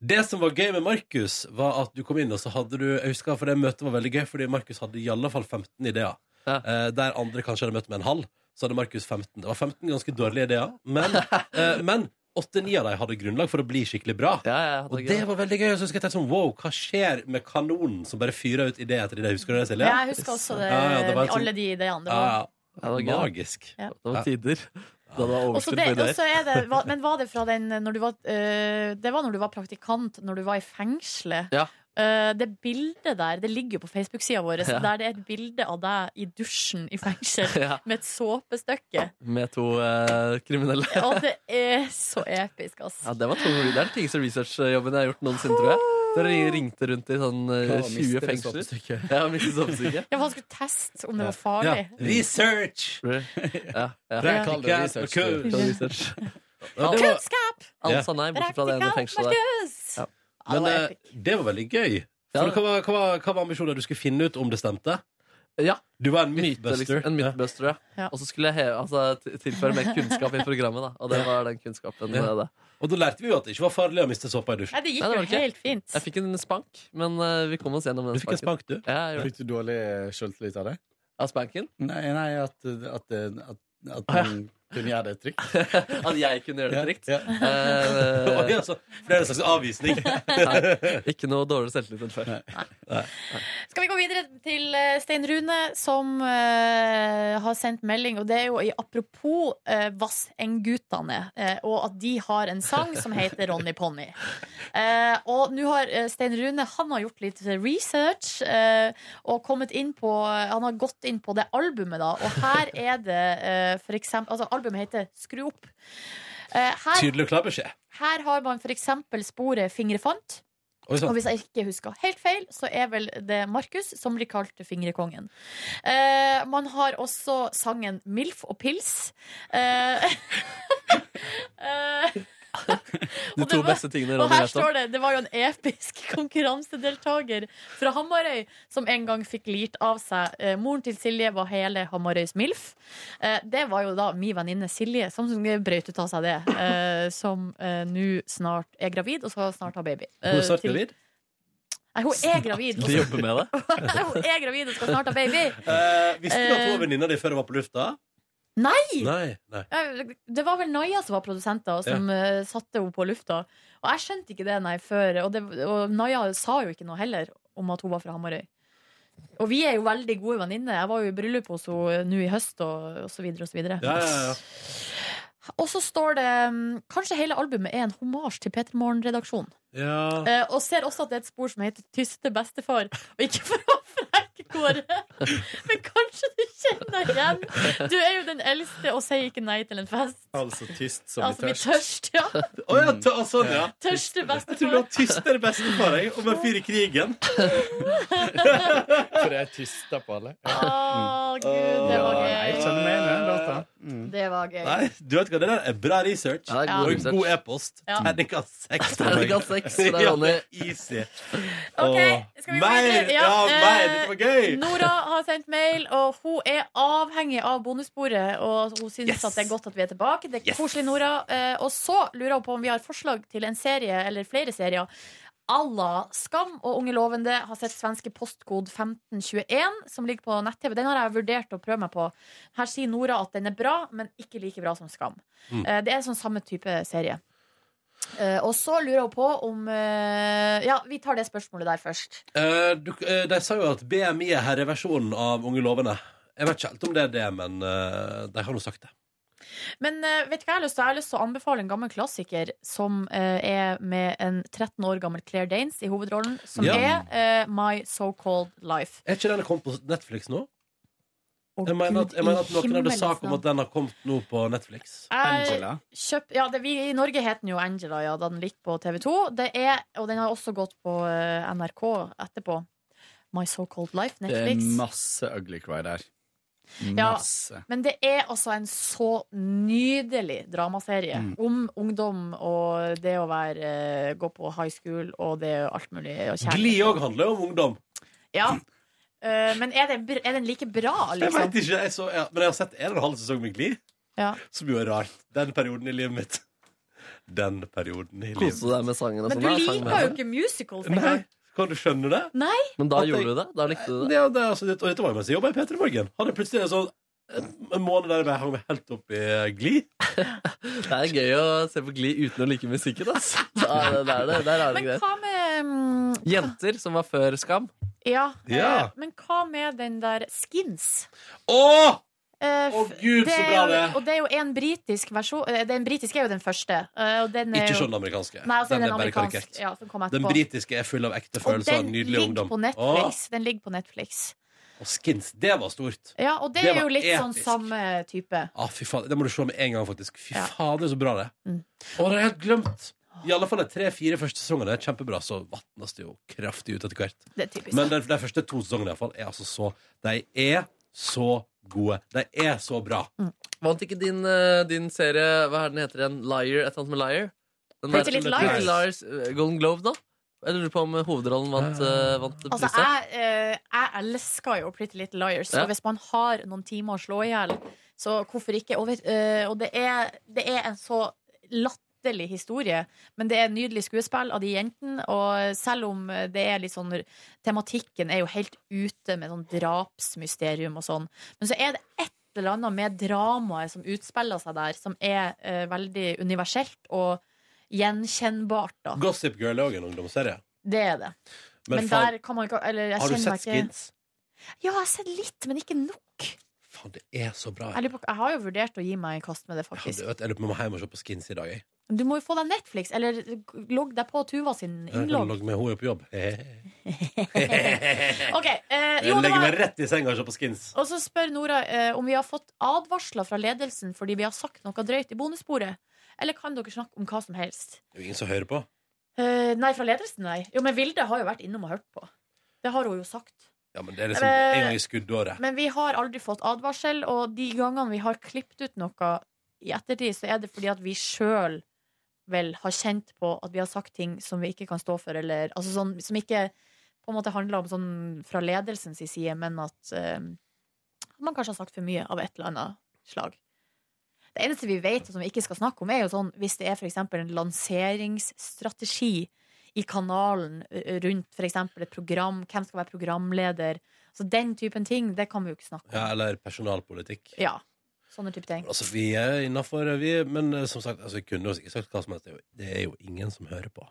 Speaker 2: det som var gøy med Markus, var at du kom inn, og så hadde du Jeg husker for det møtet var veldig gøy, fordi Markus hadde i alle fall 15 ideer. Eh, der andre kanskje hadde møtt med en halv, så hadde Markus 15. Det var 15 ganske dårlige ideer, men, eh, men 8-9 av dem hadde grunnlag for å bli skikkelig bra. og
Speaker 4: gøy.
Speaker 2: det var veldig gøy. Og så husker jeg tenkte sånn, wow, hva skjer med kanonen som bare fyrer ut idé etter idé? Husker du det, Silje?
Speaker 3: Jeg husker også det,
Speaker 2: Ja, ja, det var en sånn-
Speaker 3: alle de ideene. Det
Speaker 2: ja,
Speaker 3: var.
Speaker 2: ja.
Speaker 4: det var gøy, da.
Speaker 2: Magisk.
Speaker 3: Ja.
Speaker 4: Det var tider da det var
Speaker 3: Og så
Speaker 4: overskudd
Speaker 3: det,
Speaker 4: på
Speaker 3: og så er det,
Speaker 4: ideer.
Speaker 3: var- men var det fra den når du var, eh, Det var når du var praktikant, når du var i fengselet.
Speaker 4: Ja.
Speaker 3: eh, Eh, det bildet der det ligger jo på Facebook-sida vår,
Speaker 4: Ja.
Speaker 3: der det er et bilde av deg i dusjen i fengsel
Speaker 4: Ja.
Speaker 3: med et såpestykke.
Speaker 4: Med to eh, kriminelle.
Speaker 3: Og det er så episk, ass.
Speaker 4: Ja, det, var tung, det er den tyngste researchjobben jeg har gjort noensinne, tror jeg. Dere ringte rundt i sånn eh,
Speaker 2: Ja, mister
Speaker 4: 20
Speaker 2: det
Speaker 4: fengsler.
Speaker 2: soppestykket.
Speaker 4: Ja, mistet soppestykket.
Speaker 3: Ja, for han skulle teste om det var farlig.
Speaker 2: Research!
Speaker 4: Ja, ja.
Speaker 2: Praktikant
Speaker 4: Ja. Research,
Speaker 2: og
Speaker 4: du.
Speaker 2: kurs.
Speaker 4: Research.
Speaker 2: Ja, det var-
Speaker 3: Kunnskap!
Speaker 4: Alle sa nei, bortsett fra det ene fengselet der.
Speaker 3: Markus!
Speaker 4: Ja.
Speaker 2: Men eh, det var veldig gøy. For hva, var, hva, var, hva var ambisjonen? Du skulle finne ut om det stemte?
Speaker 4: Ja.
Speaker 2: Du var en
Speaker 4: Myte,
Speaker 2: mythbuster.
Speaker 4: liksom. En mythbuster, ja. Og så skulle jeg heve, altså, t- tilføre mer kunnskap i programmet, da. Og det var den kunnskapen.
Speaker 2: Ja.
Speaker 4: eh, Det.
Speaker 2: Og da lærte vi jo at det ikke var farlig å miste såpa i
Speaker 3: Nei,
Speaker 2: dusjen.
Speaker 3: det gikk
Speaker 4: Nei, det var
Speaker 3: jo
Speaker 4: det ikke.
Speaker 3: helt fint.
Speaker 4: Jeg fikk en spank, men eh, vi kom oss gjennom den
Speaker 10: Du fikk en
Speaker 4: spanken.
Speaker 10: spank, du?
Speaker 4: Ja, jeg gjorde det.
Speaker 10: Fikk du dårlig sjøltillit av det?
Speaker 4: Av spanken?
Speaker 10: Nei, nei at, at, at, at
Speaker 4: Å, ja.
Speaker 10: man kunne gjøre det trygt.
Speaker 4: At jeg kunne gjøre det trygt?
Speaker 10: Ja.
Speaker 4: Eh,
Speaker 2: Oi, altså, for det er en slags avvisning.
Speaker 4: Nei, ikke noe dårlig selvtillit enn før.
Speaker 3: Skal vi gå videre til eh, Stein Rune, som eh, har sendt melding. Og det er jo i apropos uh, Vassengutane, eh, og at de har en sang som heter Ronny Ponni. Eh, og nå har eh, Stein Rune han har gjort litt research eh, og kommet inn på Han har gått inn på det albumet, da. Og her er det eh, for eksempel Altså, albumet heter Skru opp. Eh, her,
Speaker 2: Tydelig og klar beskjed.
Speaker 3: her har man for eksempel sporet Fingrefant.
Speaker 2: Oi, sånn. sant.
Speaker 3: Og hvis jeg ikke husker helt feil, så er vel det Markus som blir kalt Fingrekongen. Eh, man har også sangen Milf og pils. Eh, eh,
Speaker 4: De
Speaker 3: og det
Speaker 4: to
Speaker 3: var-
Speaker 4: beste tingene
Speaker 3: og
Speaker 4: Ronny
Speaker 3: her
Speaker 4: vet om.
Speaker 3: står det det var jo en episk konkurransedeltaker fra Hamarøy som en gang fikk lirt av seg. Eh, moren til Silje var hele Hamarøys MILF. Eh, det var jo da min venninne Silje som brøyt ut av seg det. Eh, som eh, nå snart er gravid, og skal snart ha baby.
Speaker 2: Hun
Speaker 3: Eh,
Speaker 2: er snart
Speaker 3: til-
Speaker 2: gravid.
Speaker 3: Nei, hun er gravid.
Speaker 4: De jobber med det.
Speaker 3: hun er gravid og skal snart ha baby.
Speaker 2: Eh, visste du at hun
Speaker 3: Eh.
Speaker 2: var venninna di før hun var på lufta?
Speaker 3: Nei!
Speaker 2: Nei, nei.
Speaker 3: Eh, Det var vel Naja som var produsent da, og som eh, satte henne på lufta. Og jeg skjønte ikke det, nei, før. Og, det, og Naja sa jo ikke noe heller om at hun var fra Hamarøy. Og vi er jo veldig gode venninner. Jeg var jo i bryllup hos henne nå i høst, og, og så videre og så videre.
Speaker 2: Ja, ja, ja.
Speaker 3: Og så står det mm, Kanskje hele albumet er en hommage til Peter Morgen-redaksjonen.
Speaker 2: Ja.
Speaker 3: Eh, og ser også at det er et spor som heter 'Tyste bestefar'. Og ikke for å frekke Kåre, men kanskje du kjenner deg igjen. Du er jo den eldste og sier ikke nei til en fest.
Speaker 10: Altså tyst som
Speaker 3: Altså,
Speaker 10: i
Speaker 3: blir tørst,
Speaker 10: tørst.
Speaker 3: ja.
Speaker 2: Å ja, t- å, sånn, ja.
Speaker 3: Tørste
Speaker 2: Jeg tror du
Speaker 3: bestefar.
Speaker 2: var tyster bestefar jeg, om en fyr i krigen.
Speaker 10: For jeg tyster på alle.
Speaker 3: Å, gud, det var
Speaker 10: Nei, jeg
Speaker 3: gøy.
Speaker 10: kjenner meg igjen i den låta.
Speaker 3: Det var gøy.
Speaker 2: Nei, du vet hva, Det der er bra research.
Speaker 4: Ja, det er god
Speaker 2: og
Speaker 4: research.
Speaker 2: en god e-post.
Speaker 3: Ja.
Speaker 2: Terningkast seks. for meg.
Speaker 4: Terningkast seks fra Ronny.
Speaker 2: Ja, easy.
Speaker 3: Ok, skal vi gå
Speaker 2: mer!
Speaker 3: videre?
Speaker 2: Ja, mer!
Speaker 3: eh,
Speaker 2: Dette var gøy!
Speaker 3: Nora har sendt mail, og hun er avhengig av bonussporet. Og hun syns
Speaker 2: Yes.
Speaker 3: at det er godt at vi er tilbake. Det er
Speaker 2: Yes.
Speaker 3: koselig, Nora. Eh, Og så lurer hun på om vi har forslag til en serie, eller flere serier. Alla Skam og Unge lovende har sett svenske postkod 1521, som ligger på nett-TV. Den har jeg vurdert å prøve meg på. Her sier Nora at den er bra, men ikke like bra som Skam.
Speaker 2: Mm.
Speaker 3: Eh, Det er en sånn samme type serie. Eh, og så lurer hun på om eh, Ja, vi tar det spørsmålet der først.
Speaker 2: Eh, du, eh, de sa jo at BMI er herreversjonen av Unge lovende. Jeg vet ikke helt om det er det, men eh, de har nå sagt det.
Speaker 3: Men eh, vet du hva jeg har lyst til? Jeg har lyst til å anbefale en gammel klassiker som eh, er med en 13 år gammel Claire Danes i hovedrollen, som
Speaker 2: Ja.
Speaker 3: er eh, My So-Called Life.
Speaker 2: Er ikke den kommet på Netflix nå?
Speaker 3: Å,
Speaker 2: Jeg mener at, jeg mener at
Speaker 3: Gud i
Speaker 2: noen hadde
Speaker 3: liksom. himmelens
Speaker 2: sak om
Speaker 4: altså.
Speaker 3: navn.
Speaker 2: at den har kommet nå på Netflix.
Speaker 3: Jeg Kjøp, ja, det, vi, I Norge het den jo Angela, ja, da den gikk på TV 2. Det er, og den har også gått på eh, NRK etterpå. My So-Called Life,
Speaker 10: Det er
Speaker 3: Netflix.
Speaker 10: masse ugly cry der.
Speaker 3: Ja.
Speaker 10: Masse.
Speaker 3: Men det er altså en så nydelig dramaserie
Speaker 10: Mm.
Speaker 3: om ungdom og det å være, eh, gå på high school og det og alt mulig. Og
Speaker 2: Gli
Speaker 3: kjærlighet.
Speaker 2: òg handler jo om ungdom.
Speaker 3: Ja. Eh, men er, det, br- er den like bra,
Speaker 2: Jeg
Speaker 3: liksom?
Speaker 2: vet ikke, jeg så, ja, Men jeg har sett en og en halv sesong med Gli,
Speaker 3: Ja.
Speaker 2: som jo er rart. Den perioden i livet mitt. Den perioden i livet
Speaker 4: Koste du deg med
Speaker 2: Altså,
Speaker 4: sangen og
Speaker 3: Men
Speaker 4: sånn?
Speaker 3: du
Speaker 4: da? Sang
Speaker 3: liker
Speaker 4: med
Speaker 3: jo
Speaker 4: den.
Speaker 3: ikke musicals
Speaker 2: Nei,
Speaker 3: engang.
Speaker 2: kan du skjønne det?
Speaker 3: Nei?
Speaker 4: Men da
Speaker 2: At jeg-
Speaker 4: gjorde du det? Da likte du det?
Speaker 2: det, er- det er altså, dette- og dette var jo mens jeg jobba i P3 Morgen. Hadde plutselig en sånn en måned der jeg hang meg helt opp i gli.
Speaker 4: Det er gøy å se på Gli uten å like musikken, ass. Da er det, der er det, der er det
Speaker 3: Men
Speaker 4: greier.
Speaker 3: hva med mm,
Speaker 4: Jenter som var før Skam.
Speaker 3: ja, eh,
Speaker 2: Ja.
Speaker 3: Men hva med den der Skins?
Speaker 2: Åh!
Speaker 3: Eh,
Speaker 2: Å,
Speaker 3: f-
Speaker 2: Gud, så
Speaker 3: er
Speaker 2: bra
Speaker 3: jo,
Speaker 2: det er.
Speaker 3: Og det er jo en britisk versjon eh, Den britiske er jo den første. eh, og den er
Speaker 2: Ikke
Speaker 3: jo-
Speaker 2: se den amerikanske.
Speaker 3: Nei, altså,
Speaker 2: Den
Speaker 3: den,
Speaker 2: er bare
Speaker 3: amerikanske,
Speaker 2: karikert.
Speaker 3: Ja, som kom
Speaker 2: Den
Speaker 3: etterpå.
Speaker 2: britiske er full av ekte følelser.
Speaker 3: den
Speaker 2: Nydelig
Speaker 3: ligger
Speaker 2: ungdom.
Speaker 3: på Netflix. Den ligger på
Speaker 2: Å,
Speaker 3: Netflix.
Speaker 2: og skins. Det var stort.
Speaker 3: Ja, og det,
Speaker 2: Det
Speaker 3: er jo
Speaker 2: var
Speaker 3: litt sånn
Speaker 2: episk.
Speaker 3: samme type.
Speaker 2: Ah, fy faen, Det må du se med en gang, faktisk. Fy
Speaker 3: Ja. Mm.
Speaker 2: fader, så bra det er. Å, det har jeg helt glemt! I alle fall de tre-fire første sesongene er kjempebra, så vatnes det jo kraftig ut etter hvert.
Speaker 3: Det er typisk.
Speaker 2: Men de, de første to sesongene i alle fall, er altså så De er så gode. De er så bra.
Speaker 4: Vant ikke din, eh, din serie Hva er den heter igjen? Liar? Et eller annet med Liar? Den
Speaker 3: Pretty Little Liars.
Speaker 4: Pretty Liars eh, Golden Globe, da? Jeg lurer på om hovedrollen
Speaker 2: Ah.
Speaker 4: vant, eh, vant
Speaker 3: Altså,
Speaker 4: prisen.
Speaker 3: jeg, eh, jeg elsker jo Pretty Little Liars,
Speaker 4: Ja.
Speaker 3: og hvis man har noen timer å slå i hjel, så hvorfor ikke? Og, vet- eh, og det, er, det er en så latterlig historie, men det er nydelig skuespill av de jentene, og selv om det er litt sånn Tematikken er jo helt ute med sånn drapsmysterium og sånn, men så er det ett eller annet med dramaet som utspiller seg der, som er eh, veldig universelt og gjenkjennbart, da.
Speaker 2: Gossip Girl er òg en ungdomsserie.
Speaker 3: Det er det.
Speaker 2: Men
Speaker 3: Ah. Men,
Speaker 2: faen-
Speaker 3: der kan man ikke eller, jeg
Speaker 2: Har du
Speaker 3: kjenner meg
Speaker 2: sett
Speaker 3: ikke-
Speaker 2: Skins?
Speaker 3: Ja, jeg har sett litt, men ikke nok.
Speaker 2: Faen, det er så bra.
Speaker 3: Jeg, lurer på, jeg har jo vurdert å gi meg i kast med det,
Speaker 2: Jeg
Speaker 3: faktisk.
Speaker 2: lurer på om jeg må hjem og se på Skins i dag. Jeg.
Speaker 3: Du må jo få deg Netflix, eller logg deg på Tuva sin
Speaker 2: Jeg kan
Speaker 3: innlogg.
Speaker 2: logge med henne på jobb.
Speaker 3: OK. Eh,
Speaker 2: Jeg
Speaker 3: jo, det
Speaker 2: legger meg
Speaker 3: var
Speaker 2: rett i senga og ser på Skins.
Speaker 3: og så spør Nora eh, om vi har fått advarsler fra ledelsen fordi vi har sagt noe drøyt i bonussporet. Eller kan dere snakke om hva som helst?
Speaker 2: Det er jo ingen som hører på.
Speaker 3: Eh, nei, fra ledelsen, nei. Jo, men Vilde har jo vært innom og hørt på. Det har hun jo sagt.
Speaker 2: Ja, men det er liksom
Speaker 3: Eh,
Speaker 2: en gang i skuddåret.
Speaker 3: Men vi har aldri fått advarsel, og de gangene vi har klippet ut noe i ettertid, så er det fordi at vi sjøl vel har kjent på at vi har sagt ting som vi ikke kan stå for, eller altså sånn som ikke på en måte handler om sånn fra ledelsens side, men at eh, man kanskje har sagt for mye av et eller annet slag. Det eneste vi vet og som vi ikke skal snakke om, er jo sånn hvis det er for eksempel en lanseringsstrategi i kanalen eh, rundt for eksempel et program, hvem skal være programleder, så den typen ting, det kan vi jo ikke snakke om.
Speaker 2: Ja, eller personalpolitikk.
Speaker 3: Ja, sånne type ting.
Speaker 2: Altså, vi er innafor, vi. Men eh, som sagt, altså, jeg kunne jo sikkert sagt hva som helst. Det er jo- Det er jo ingen som hører på.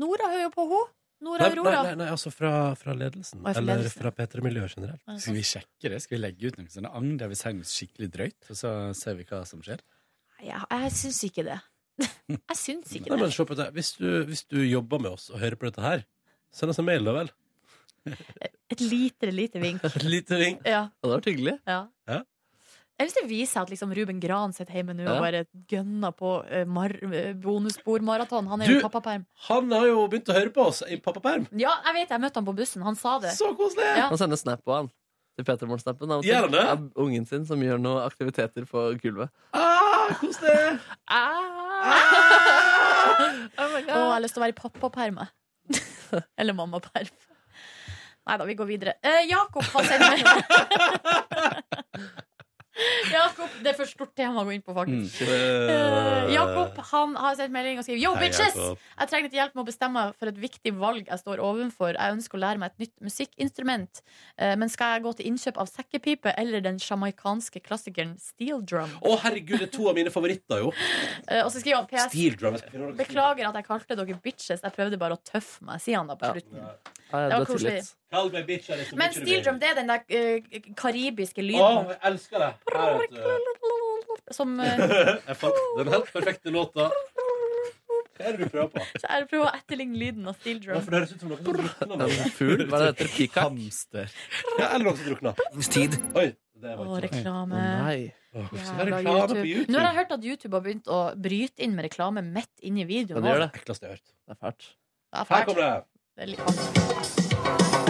Speaker 3: Nora hører jo på henne. Nora
Speaker 2: Nei,
Speaker 3: Aurora.
Speaker 2: nei, nei, nei altså fra, fra ledelsen.
Speaker 3: Å, fra
Speaker 2: Eller
Speaker 3: ledelsen.
Speaker 2: fra P3-miljøet generelt.
Speaker 3: Ja,
Speaker 10: Skal vi sjekke det? Skal vi legge ut noen sånne agn der vi sier noe skikkelig drøyt, og så ser vi hva som skjer?
Speaker 3: Nei, Jeg, jeg syns ikke det. Jeg syns ikke
Speaker 2: Nei, men
Speaker 3: det.
Speaker 2: se på det. Hvis, du, hvis du jobber med oss og hører på dette her, send oss en mail, da vel.
Speaker 3: Et lite, lite vink.
Speaker 2: Et lite ring.
Speaker 3: Ja.
Speaker 4: Det hadde vært hyggelig.
Speaker 3: Ja.
Speaker 2: Ja.
Speaker 3: Jeg synes det viser seg at liksom Ruben Gran sitter hjemme nå
Speaker 2: Ja.
Speaker 3: og bare gønner på eh, mar eh, bonusbordmaraton. Han er
Speaker 2: Du-
Speaker 3: jo pappaperm.
Speaker 2: Han har jo begynt å høre på oss i pappaperm.
Speaker 3: Ja, jeg vet, jeg møtte han på bussen. Han sa det.
Speaker 2: Så koselig!
Speaker 3: Ja.
Speaker 4: Han sender snap på han. Til Peter Morn-snappen. av og til.
Speaker 2: Gjør han det?
Speaker 4: Av Ungen sin som gjør noen aktiviteter på gulvet.
Speaker 2: Ah, kos deg!
Speaker 3: Ah! Å, jeg har lyst til å være i pappaperm, jeg. Eller mammaperm. Nei da, vi går videre. Eh, Jakob har sendt meg Jakob, det er for stort tema å gå inn på, faktisk.
Speaker 2: Mm.
Speaker 3: Eh, Jakob han har sendt melding og skriver Yo,
Speaker 12: Hei,
Speaker 3: bitches!
Speaker 12: Jakob.
Speaker 3: Jeg trenger litt hjelp med å bestemme meg for et viktig valg jeg står overfor. Jeg ønsker å lære meg et nytt musikkinstrument. Eh, Men skal jeg gå til innkjøp av sekkepipe eller den sjamaikanske klassikeren steel drum?
Speaker 2: Å, herregud, det er to av mine favoritter, jo.
Speaker 3: Eh, Og så skriver han PS
Speaker 2: Steel drum. Jeg skal finne noe-
Speaker 3: Beklager at jeg kalte dere bitches. Jeg prøvde bare å tøffe meg, sier han da på slutten.
Speaker 4: Ah,
Speaker 2: Ja,
Speaker 3: Det var
Speaker 2: du har
Speaker 3: koselig.
Speaker 2: tillit. Kall meg bitch, jeg er liksom
Speaker 3: Men
Speaker 2: bitch, du
Speaker 3: steel
Speaker 2: vil.
Speaker 3: drum, det er den der eh, karibiske
Speaker 2: Å,
Speaker 3: lyden
Speaker 2: jeg elsker det. Her, vet du.
Speaker 3: som eh,
Speaker 2: Jeg fant den helt perfekte låta. Hva er det du prøver på?
Speaker 3: Så jeg prøver å etterligne lyden av steel
Speaker 2: Ja,
Speaker 3: drum.
Speaker 2: for det høres ut som noe som drukner.
Speaker 4: En fugl? Hva er det heter? Peacock?
Speaker 2: Ja, eller noe som drukner. Oi, det var
Speaker 3: Å,
Speaker 2: ikke
Speaker 3: reklame.
Speaker 2: Å, så det er
Speaker 3: Jævla
Speaker 2: reklame på
Speaker 3: YouTube.
Speaker 2: YouTube.
Speaker 3: Nå har jeg hørt at YouTube har begynt å bryte inn med reklame midt inn i
Speaker 2: Ja,
Speaker 3: videoen.
Speaker 2: det gjør
Speaker 3: vår.
Speaker 2: det. Ekleste jeg har hørt.
Speaker 4: Det er fælt.
Speaker 3: Det er
Speaker 2: Her
Speaker 3: fælt.
Speaker 2: kommer det.
Speaker 3: Det er litt fælt.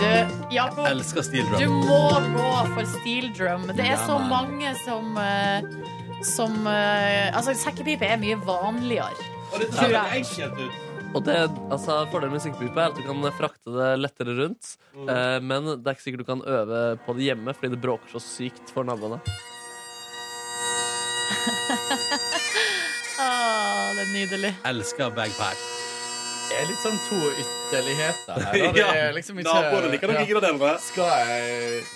Speaker 3: Du, Jakob,
Speaker 2: Elsker steel
Speaker 3: du
Speaker 2: drum.
Speaker 3: må gå for steel drum. Det er
Speaker 2: Ja,
Speaker 3: så
Speaker 2: man.
Speaker 3: mange som eh, som eh, Altså, sekkepipe er mye vanligere.
Speaker 2: Og dette
Speaker 3: Tror
Speaker 2: ser
Speaker 3: jeg.
Speaker 2: enkelt ut.
Speaker 4: Og det, altså, Fordelen med sikkepipe er at du kan frakte det lettere rundt.
Speaker 2: Mm.
Speaker 4: Eh, men det er ikke sikkert du kan øve på det hjemme, fordi det bråker så sykt for naboene.
Speaker 3: Ah, det er nydelig.
Speaker 2: Elsker bagpipe.
Speaker 10: Det er litt sånn to ytterligheter her. da. Det
Speaker 2: Ja,
Speaker 10: er liksom ikke
Speaker 2: naboene liker nok
Speaker 10: Ja.
Speaker 2: ingen av delene.
Speaker 10: Skal jeg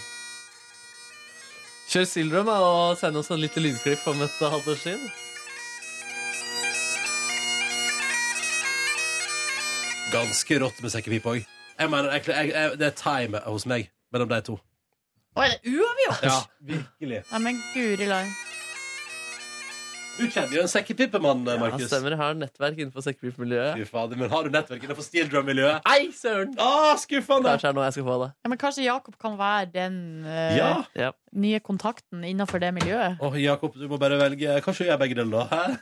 Speaker 4: Kjør Sildrum da, og send oss en liten lydklipp om et halvt års tid.
Speaker 2: Ganske rått med sekkepipe òg. Jeg mener, jeg, jeg, jeg, det er time hos meg mellom de to.
Speaker 3: Å, er det uavgjort?
Speaker 2: Ja, virkelig.
Speaker 3: Nei, men guri land.
Speaker 2: Du kjenner jo en sekkepipemann, Markus.
Speaker 4: Ja, stemmer. Jeg har nettverk innenfor sekkepipemiljøet.
Speaker 2: Fy fader, men har du nettverk innenfor steel drum-miljøet?
Speaker 4: Nei, søren!
Speaker 2: Ah, skuffende!
Speaker 4: Kanskje det er nå jeg skal få det.
Speaker 3: Ja, men kanskje Jakob kan være den eh,
Speaker 2: Ja.
Speaker 3: nye kontakten innenfor det miljøet?
Speaker 2: Åh, Jakob, du må bare velge. Kanskje jeg gjør begge deler, da? Hæ?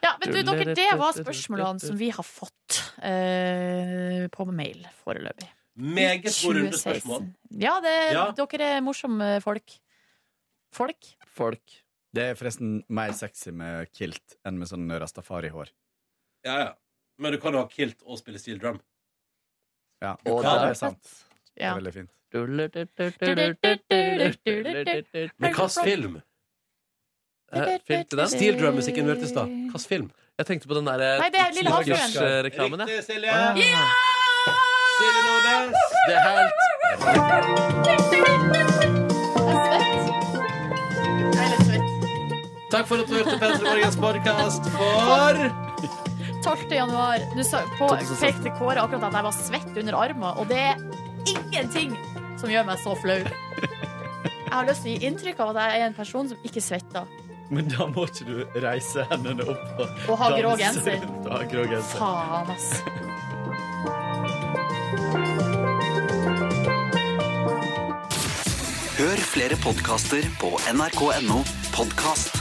Speaker 3: Ja, men du, dere, Det var spørsmålene som vi har fått eh, på mail foreløpig.
Speaker 2: Meget gode
Speaker 3: 2016.
Speaker 2: rundespørsmål.
Speaker 3: Ja, det,
Speaker 10: Ja.
Speaker 3: dere er morsomme folk. Folk?
Speaker 4: Folk.
Speaker 10: Det er forresten mer sexy med kilt enn med sånn rastafari-hår.
Speaker 2: Ja, ja. Men du kan jo ha kilt og spille steel drum.
Speaker 10: Ja,
Speaker 2: Du
Speaker 10: og
Speaker 2: kan
Speaker 10: det
Speaker 2: det.
Speaker 10: er sant. Det
Speaker 2: Ja.
Speaker 10: er veldig fint.
Speaker 2: Men hvilken film?
Speaker 4: Eh, film til den?
Speaker 2: Steel drum-musikken vi hørte i stad. Hvilken film?
Speaker 4: Jeg tenkte på den der eh,
Speaker 3: Nei, det er Lille Havfruen.
Speaker 4: Snickers-reklamen, jeg.
Speaker 2: Riktig, Silje. Silje Nordnes. Det er helt Takk for at du hørte Petter Morgens podkast for
Speaker 3: 12. januar. Nå sa- på-
Speaker 2: 2017.
Speaker 3: pekte Kåre akkurat at jeg var svett under armen, og det er ingenting som gjør meg så flau. Jeg har lyst til å gi inntrykk av at jeg er en person som ikke svetter.
Speaker 10: Men da må ikke du reise hendene opp og,
Speaker 3: Og ha grå
Speaker 10: danse
Speaker 3: genser.
Speaker 10: rundt og ha grå genser.
Speaker 3: Faen, ass.
Speaker 11: Hør flere podkaster på nrk.no podkast.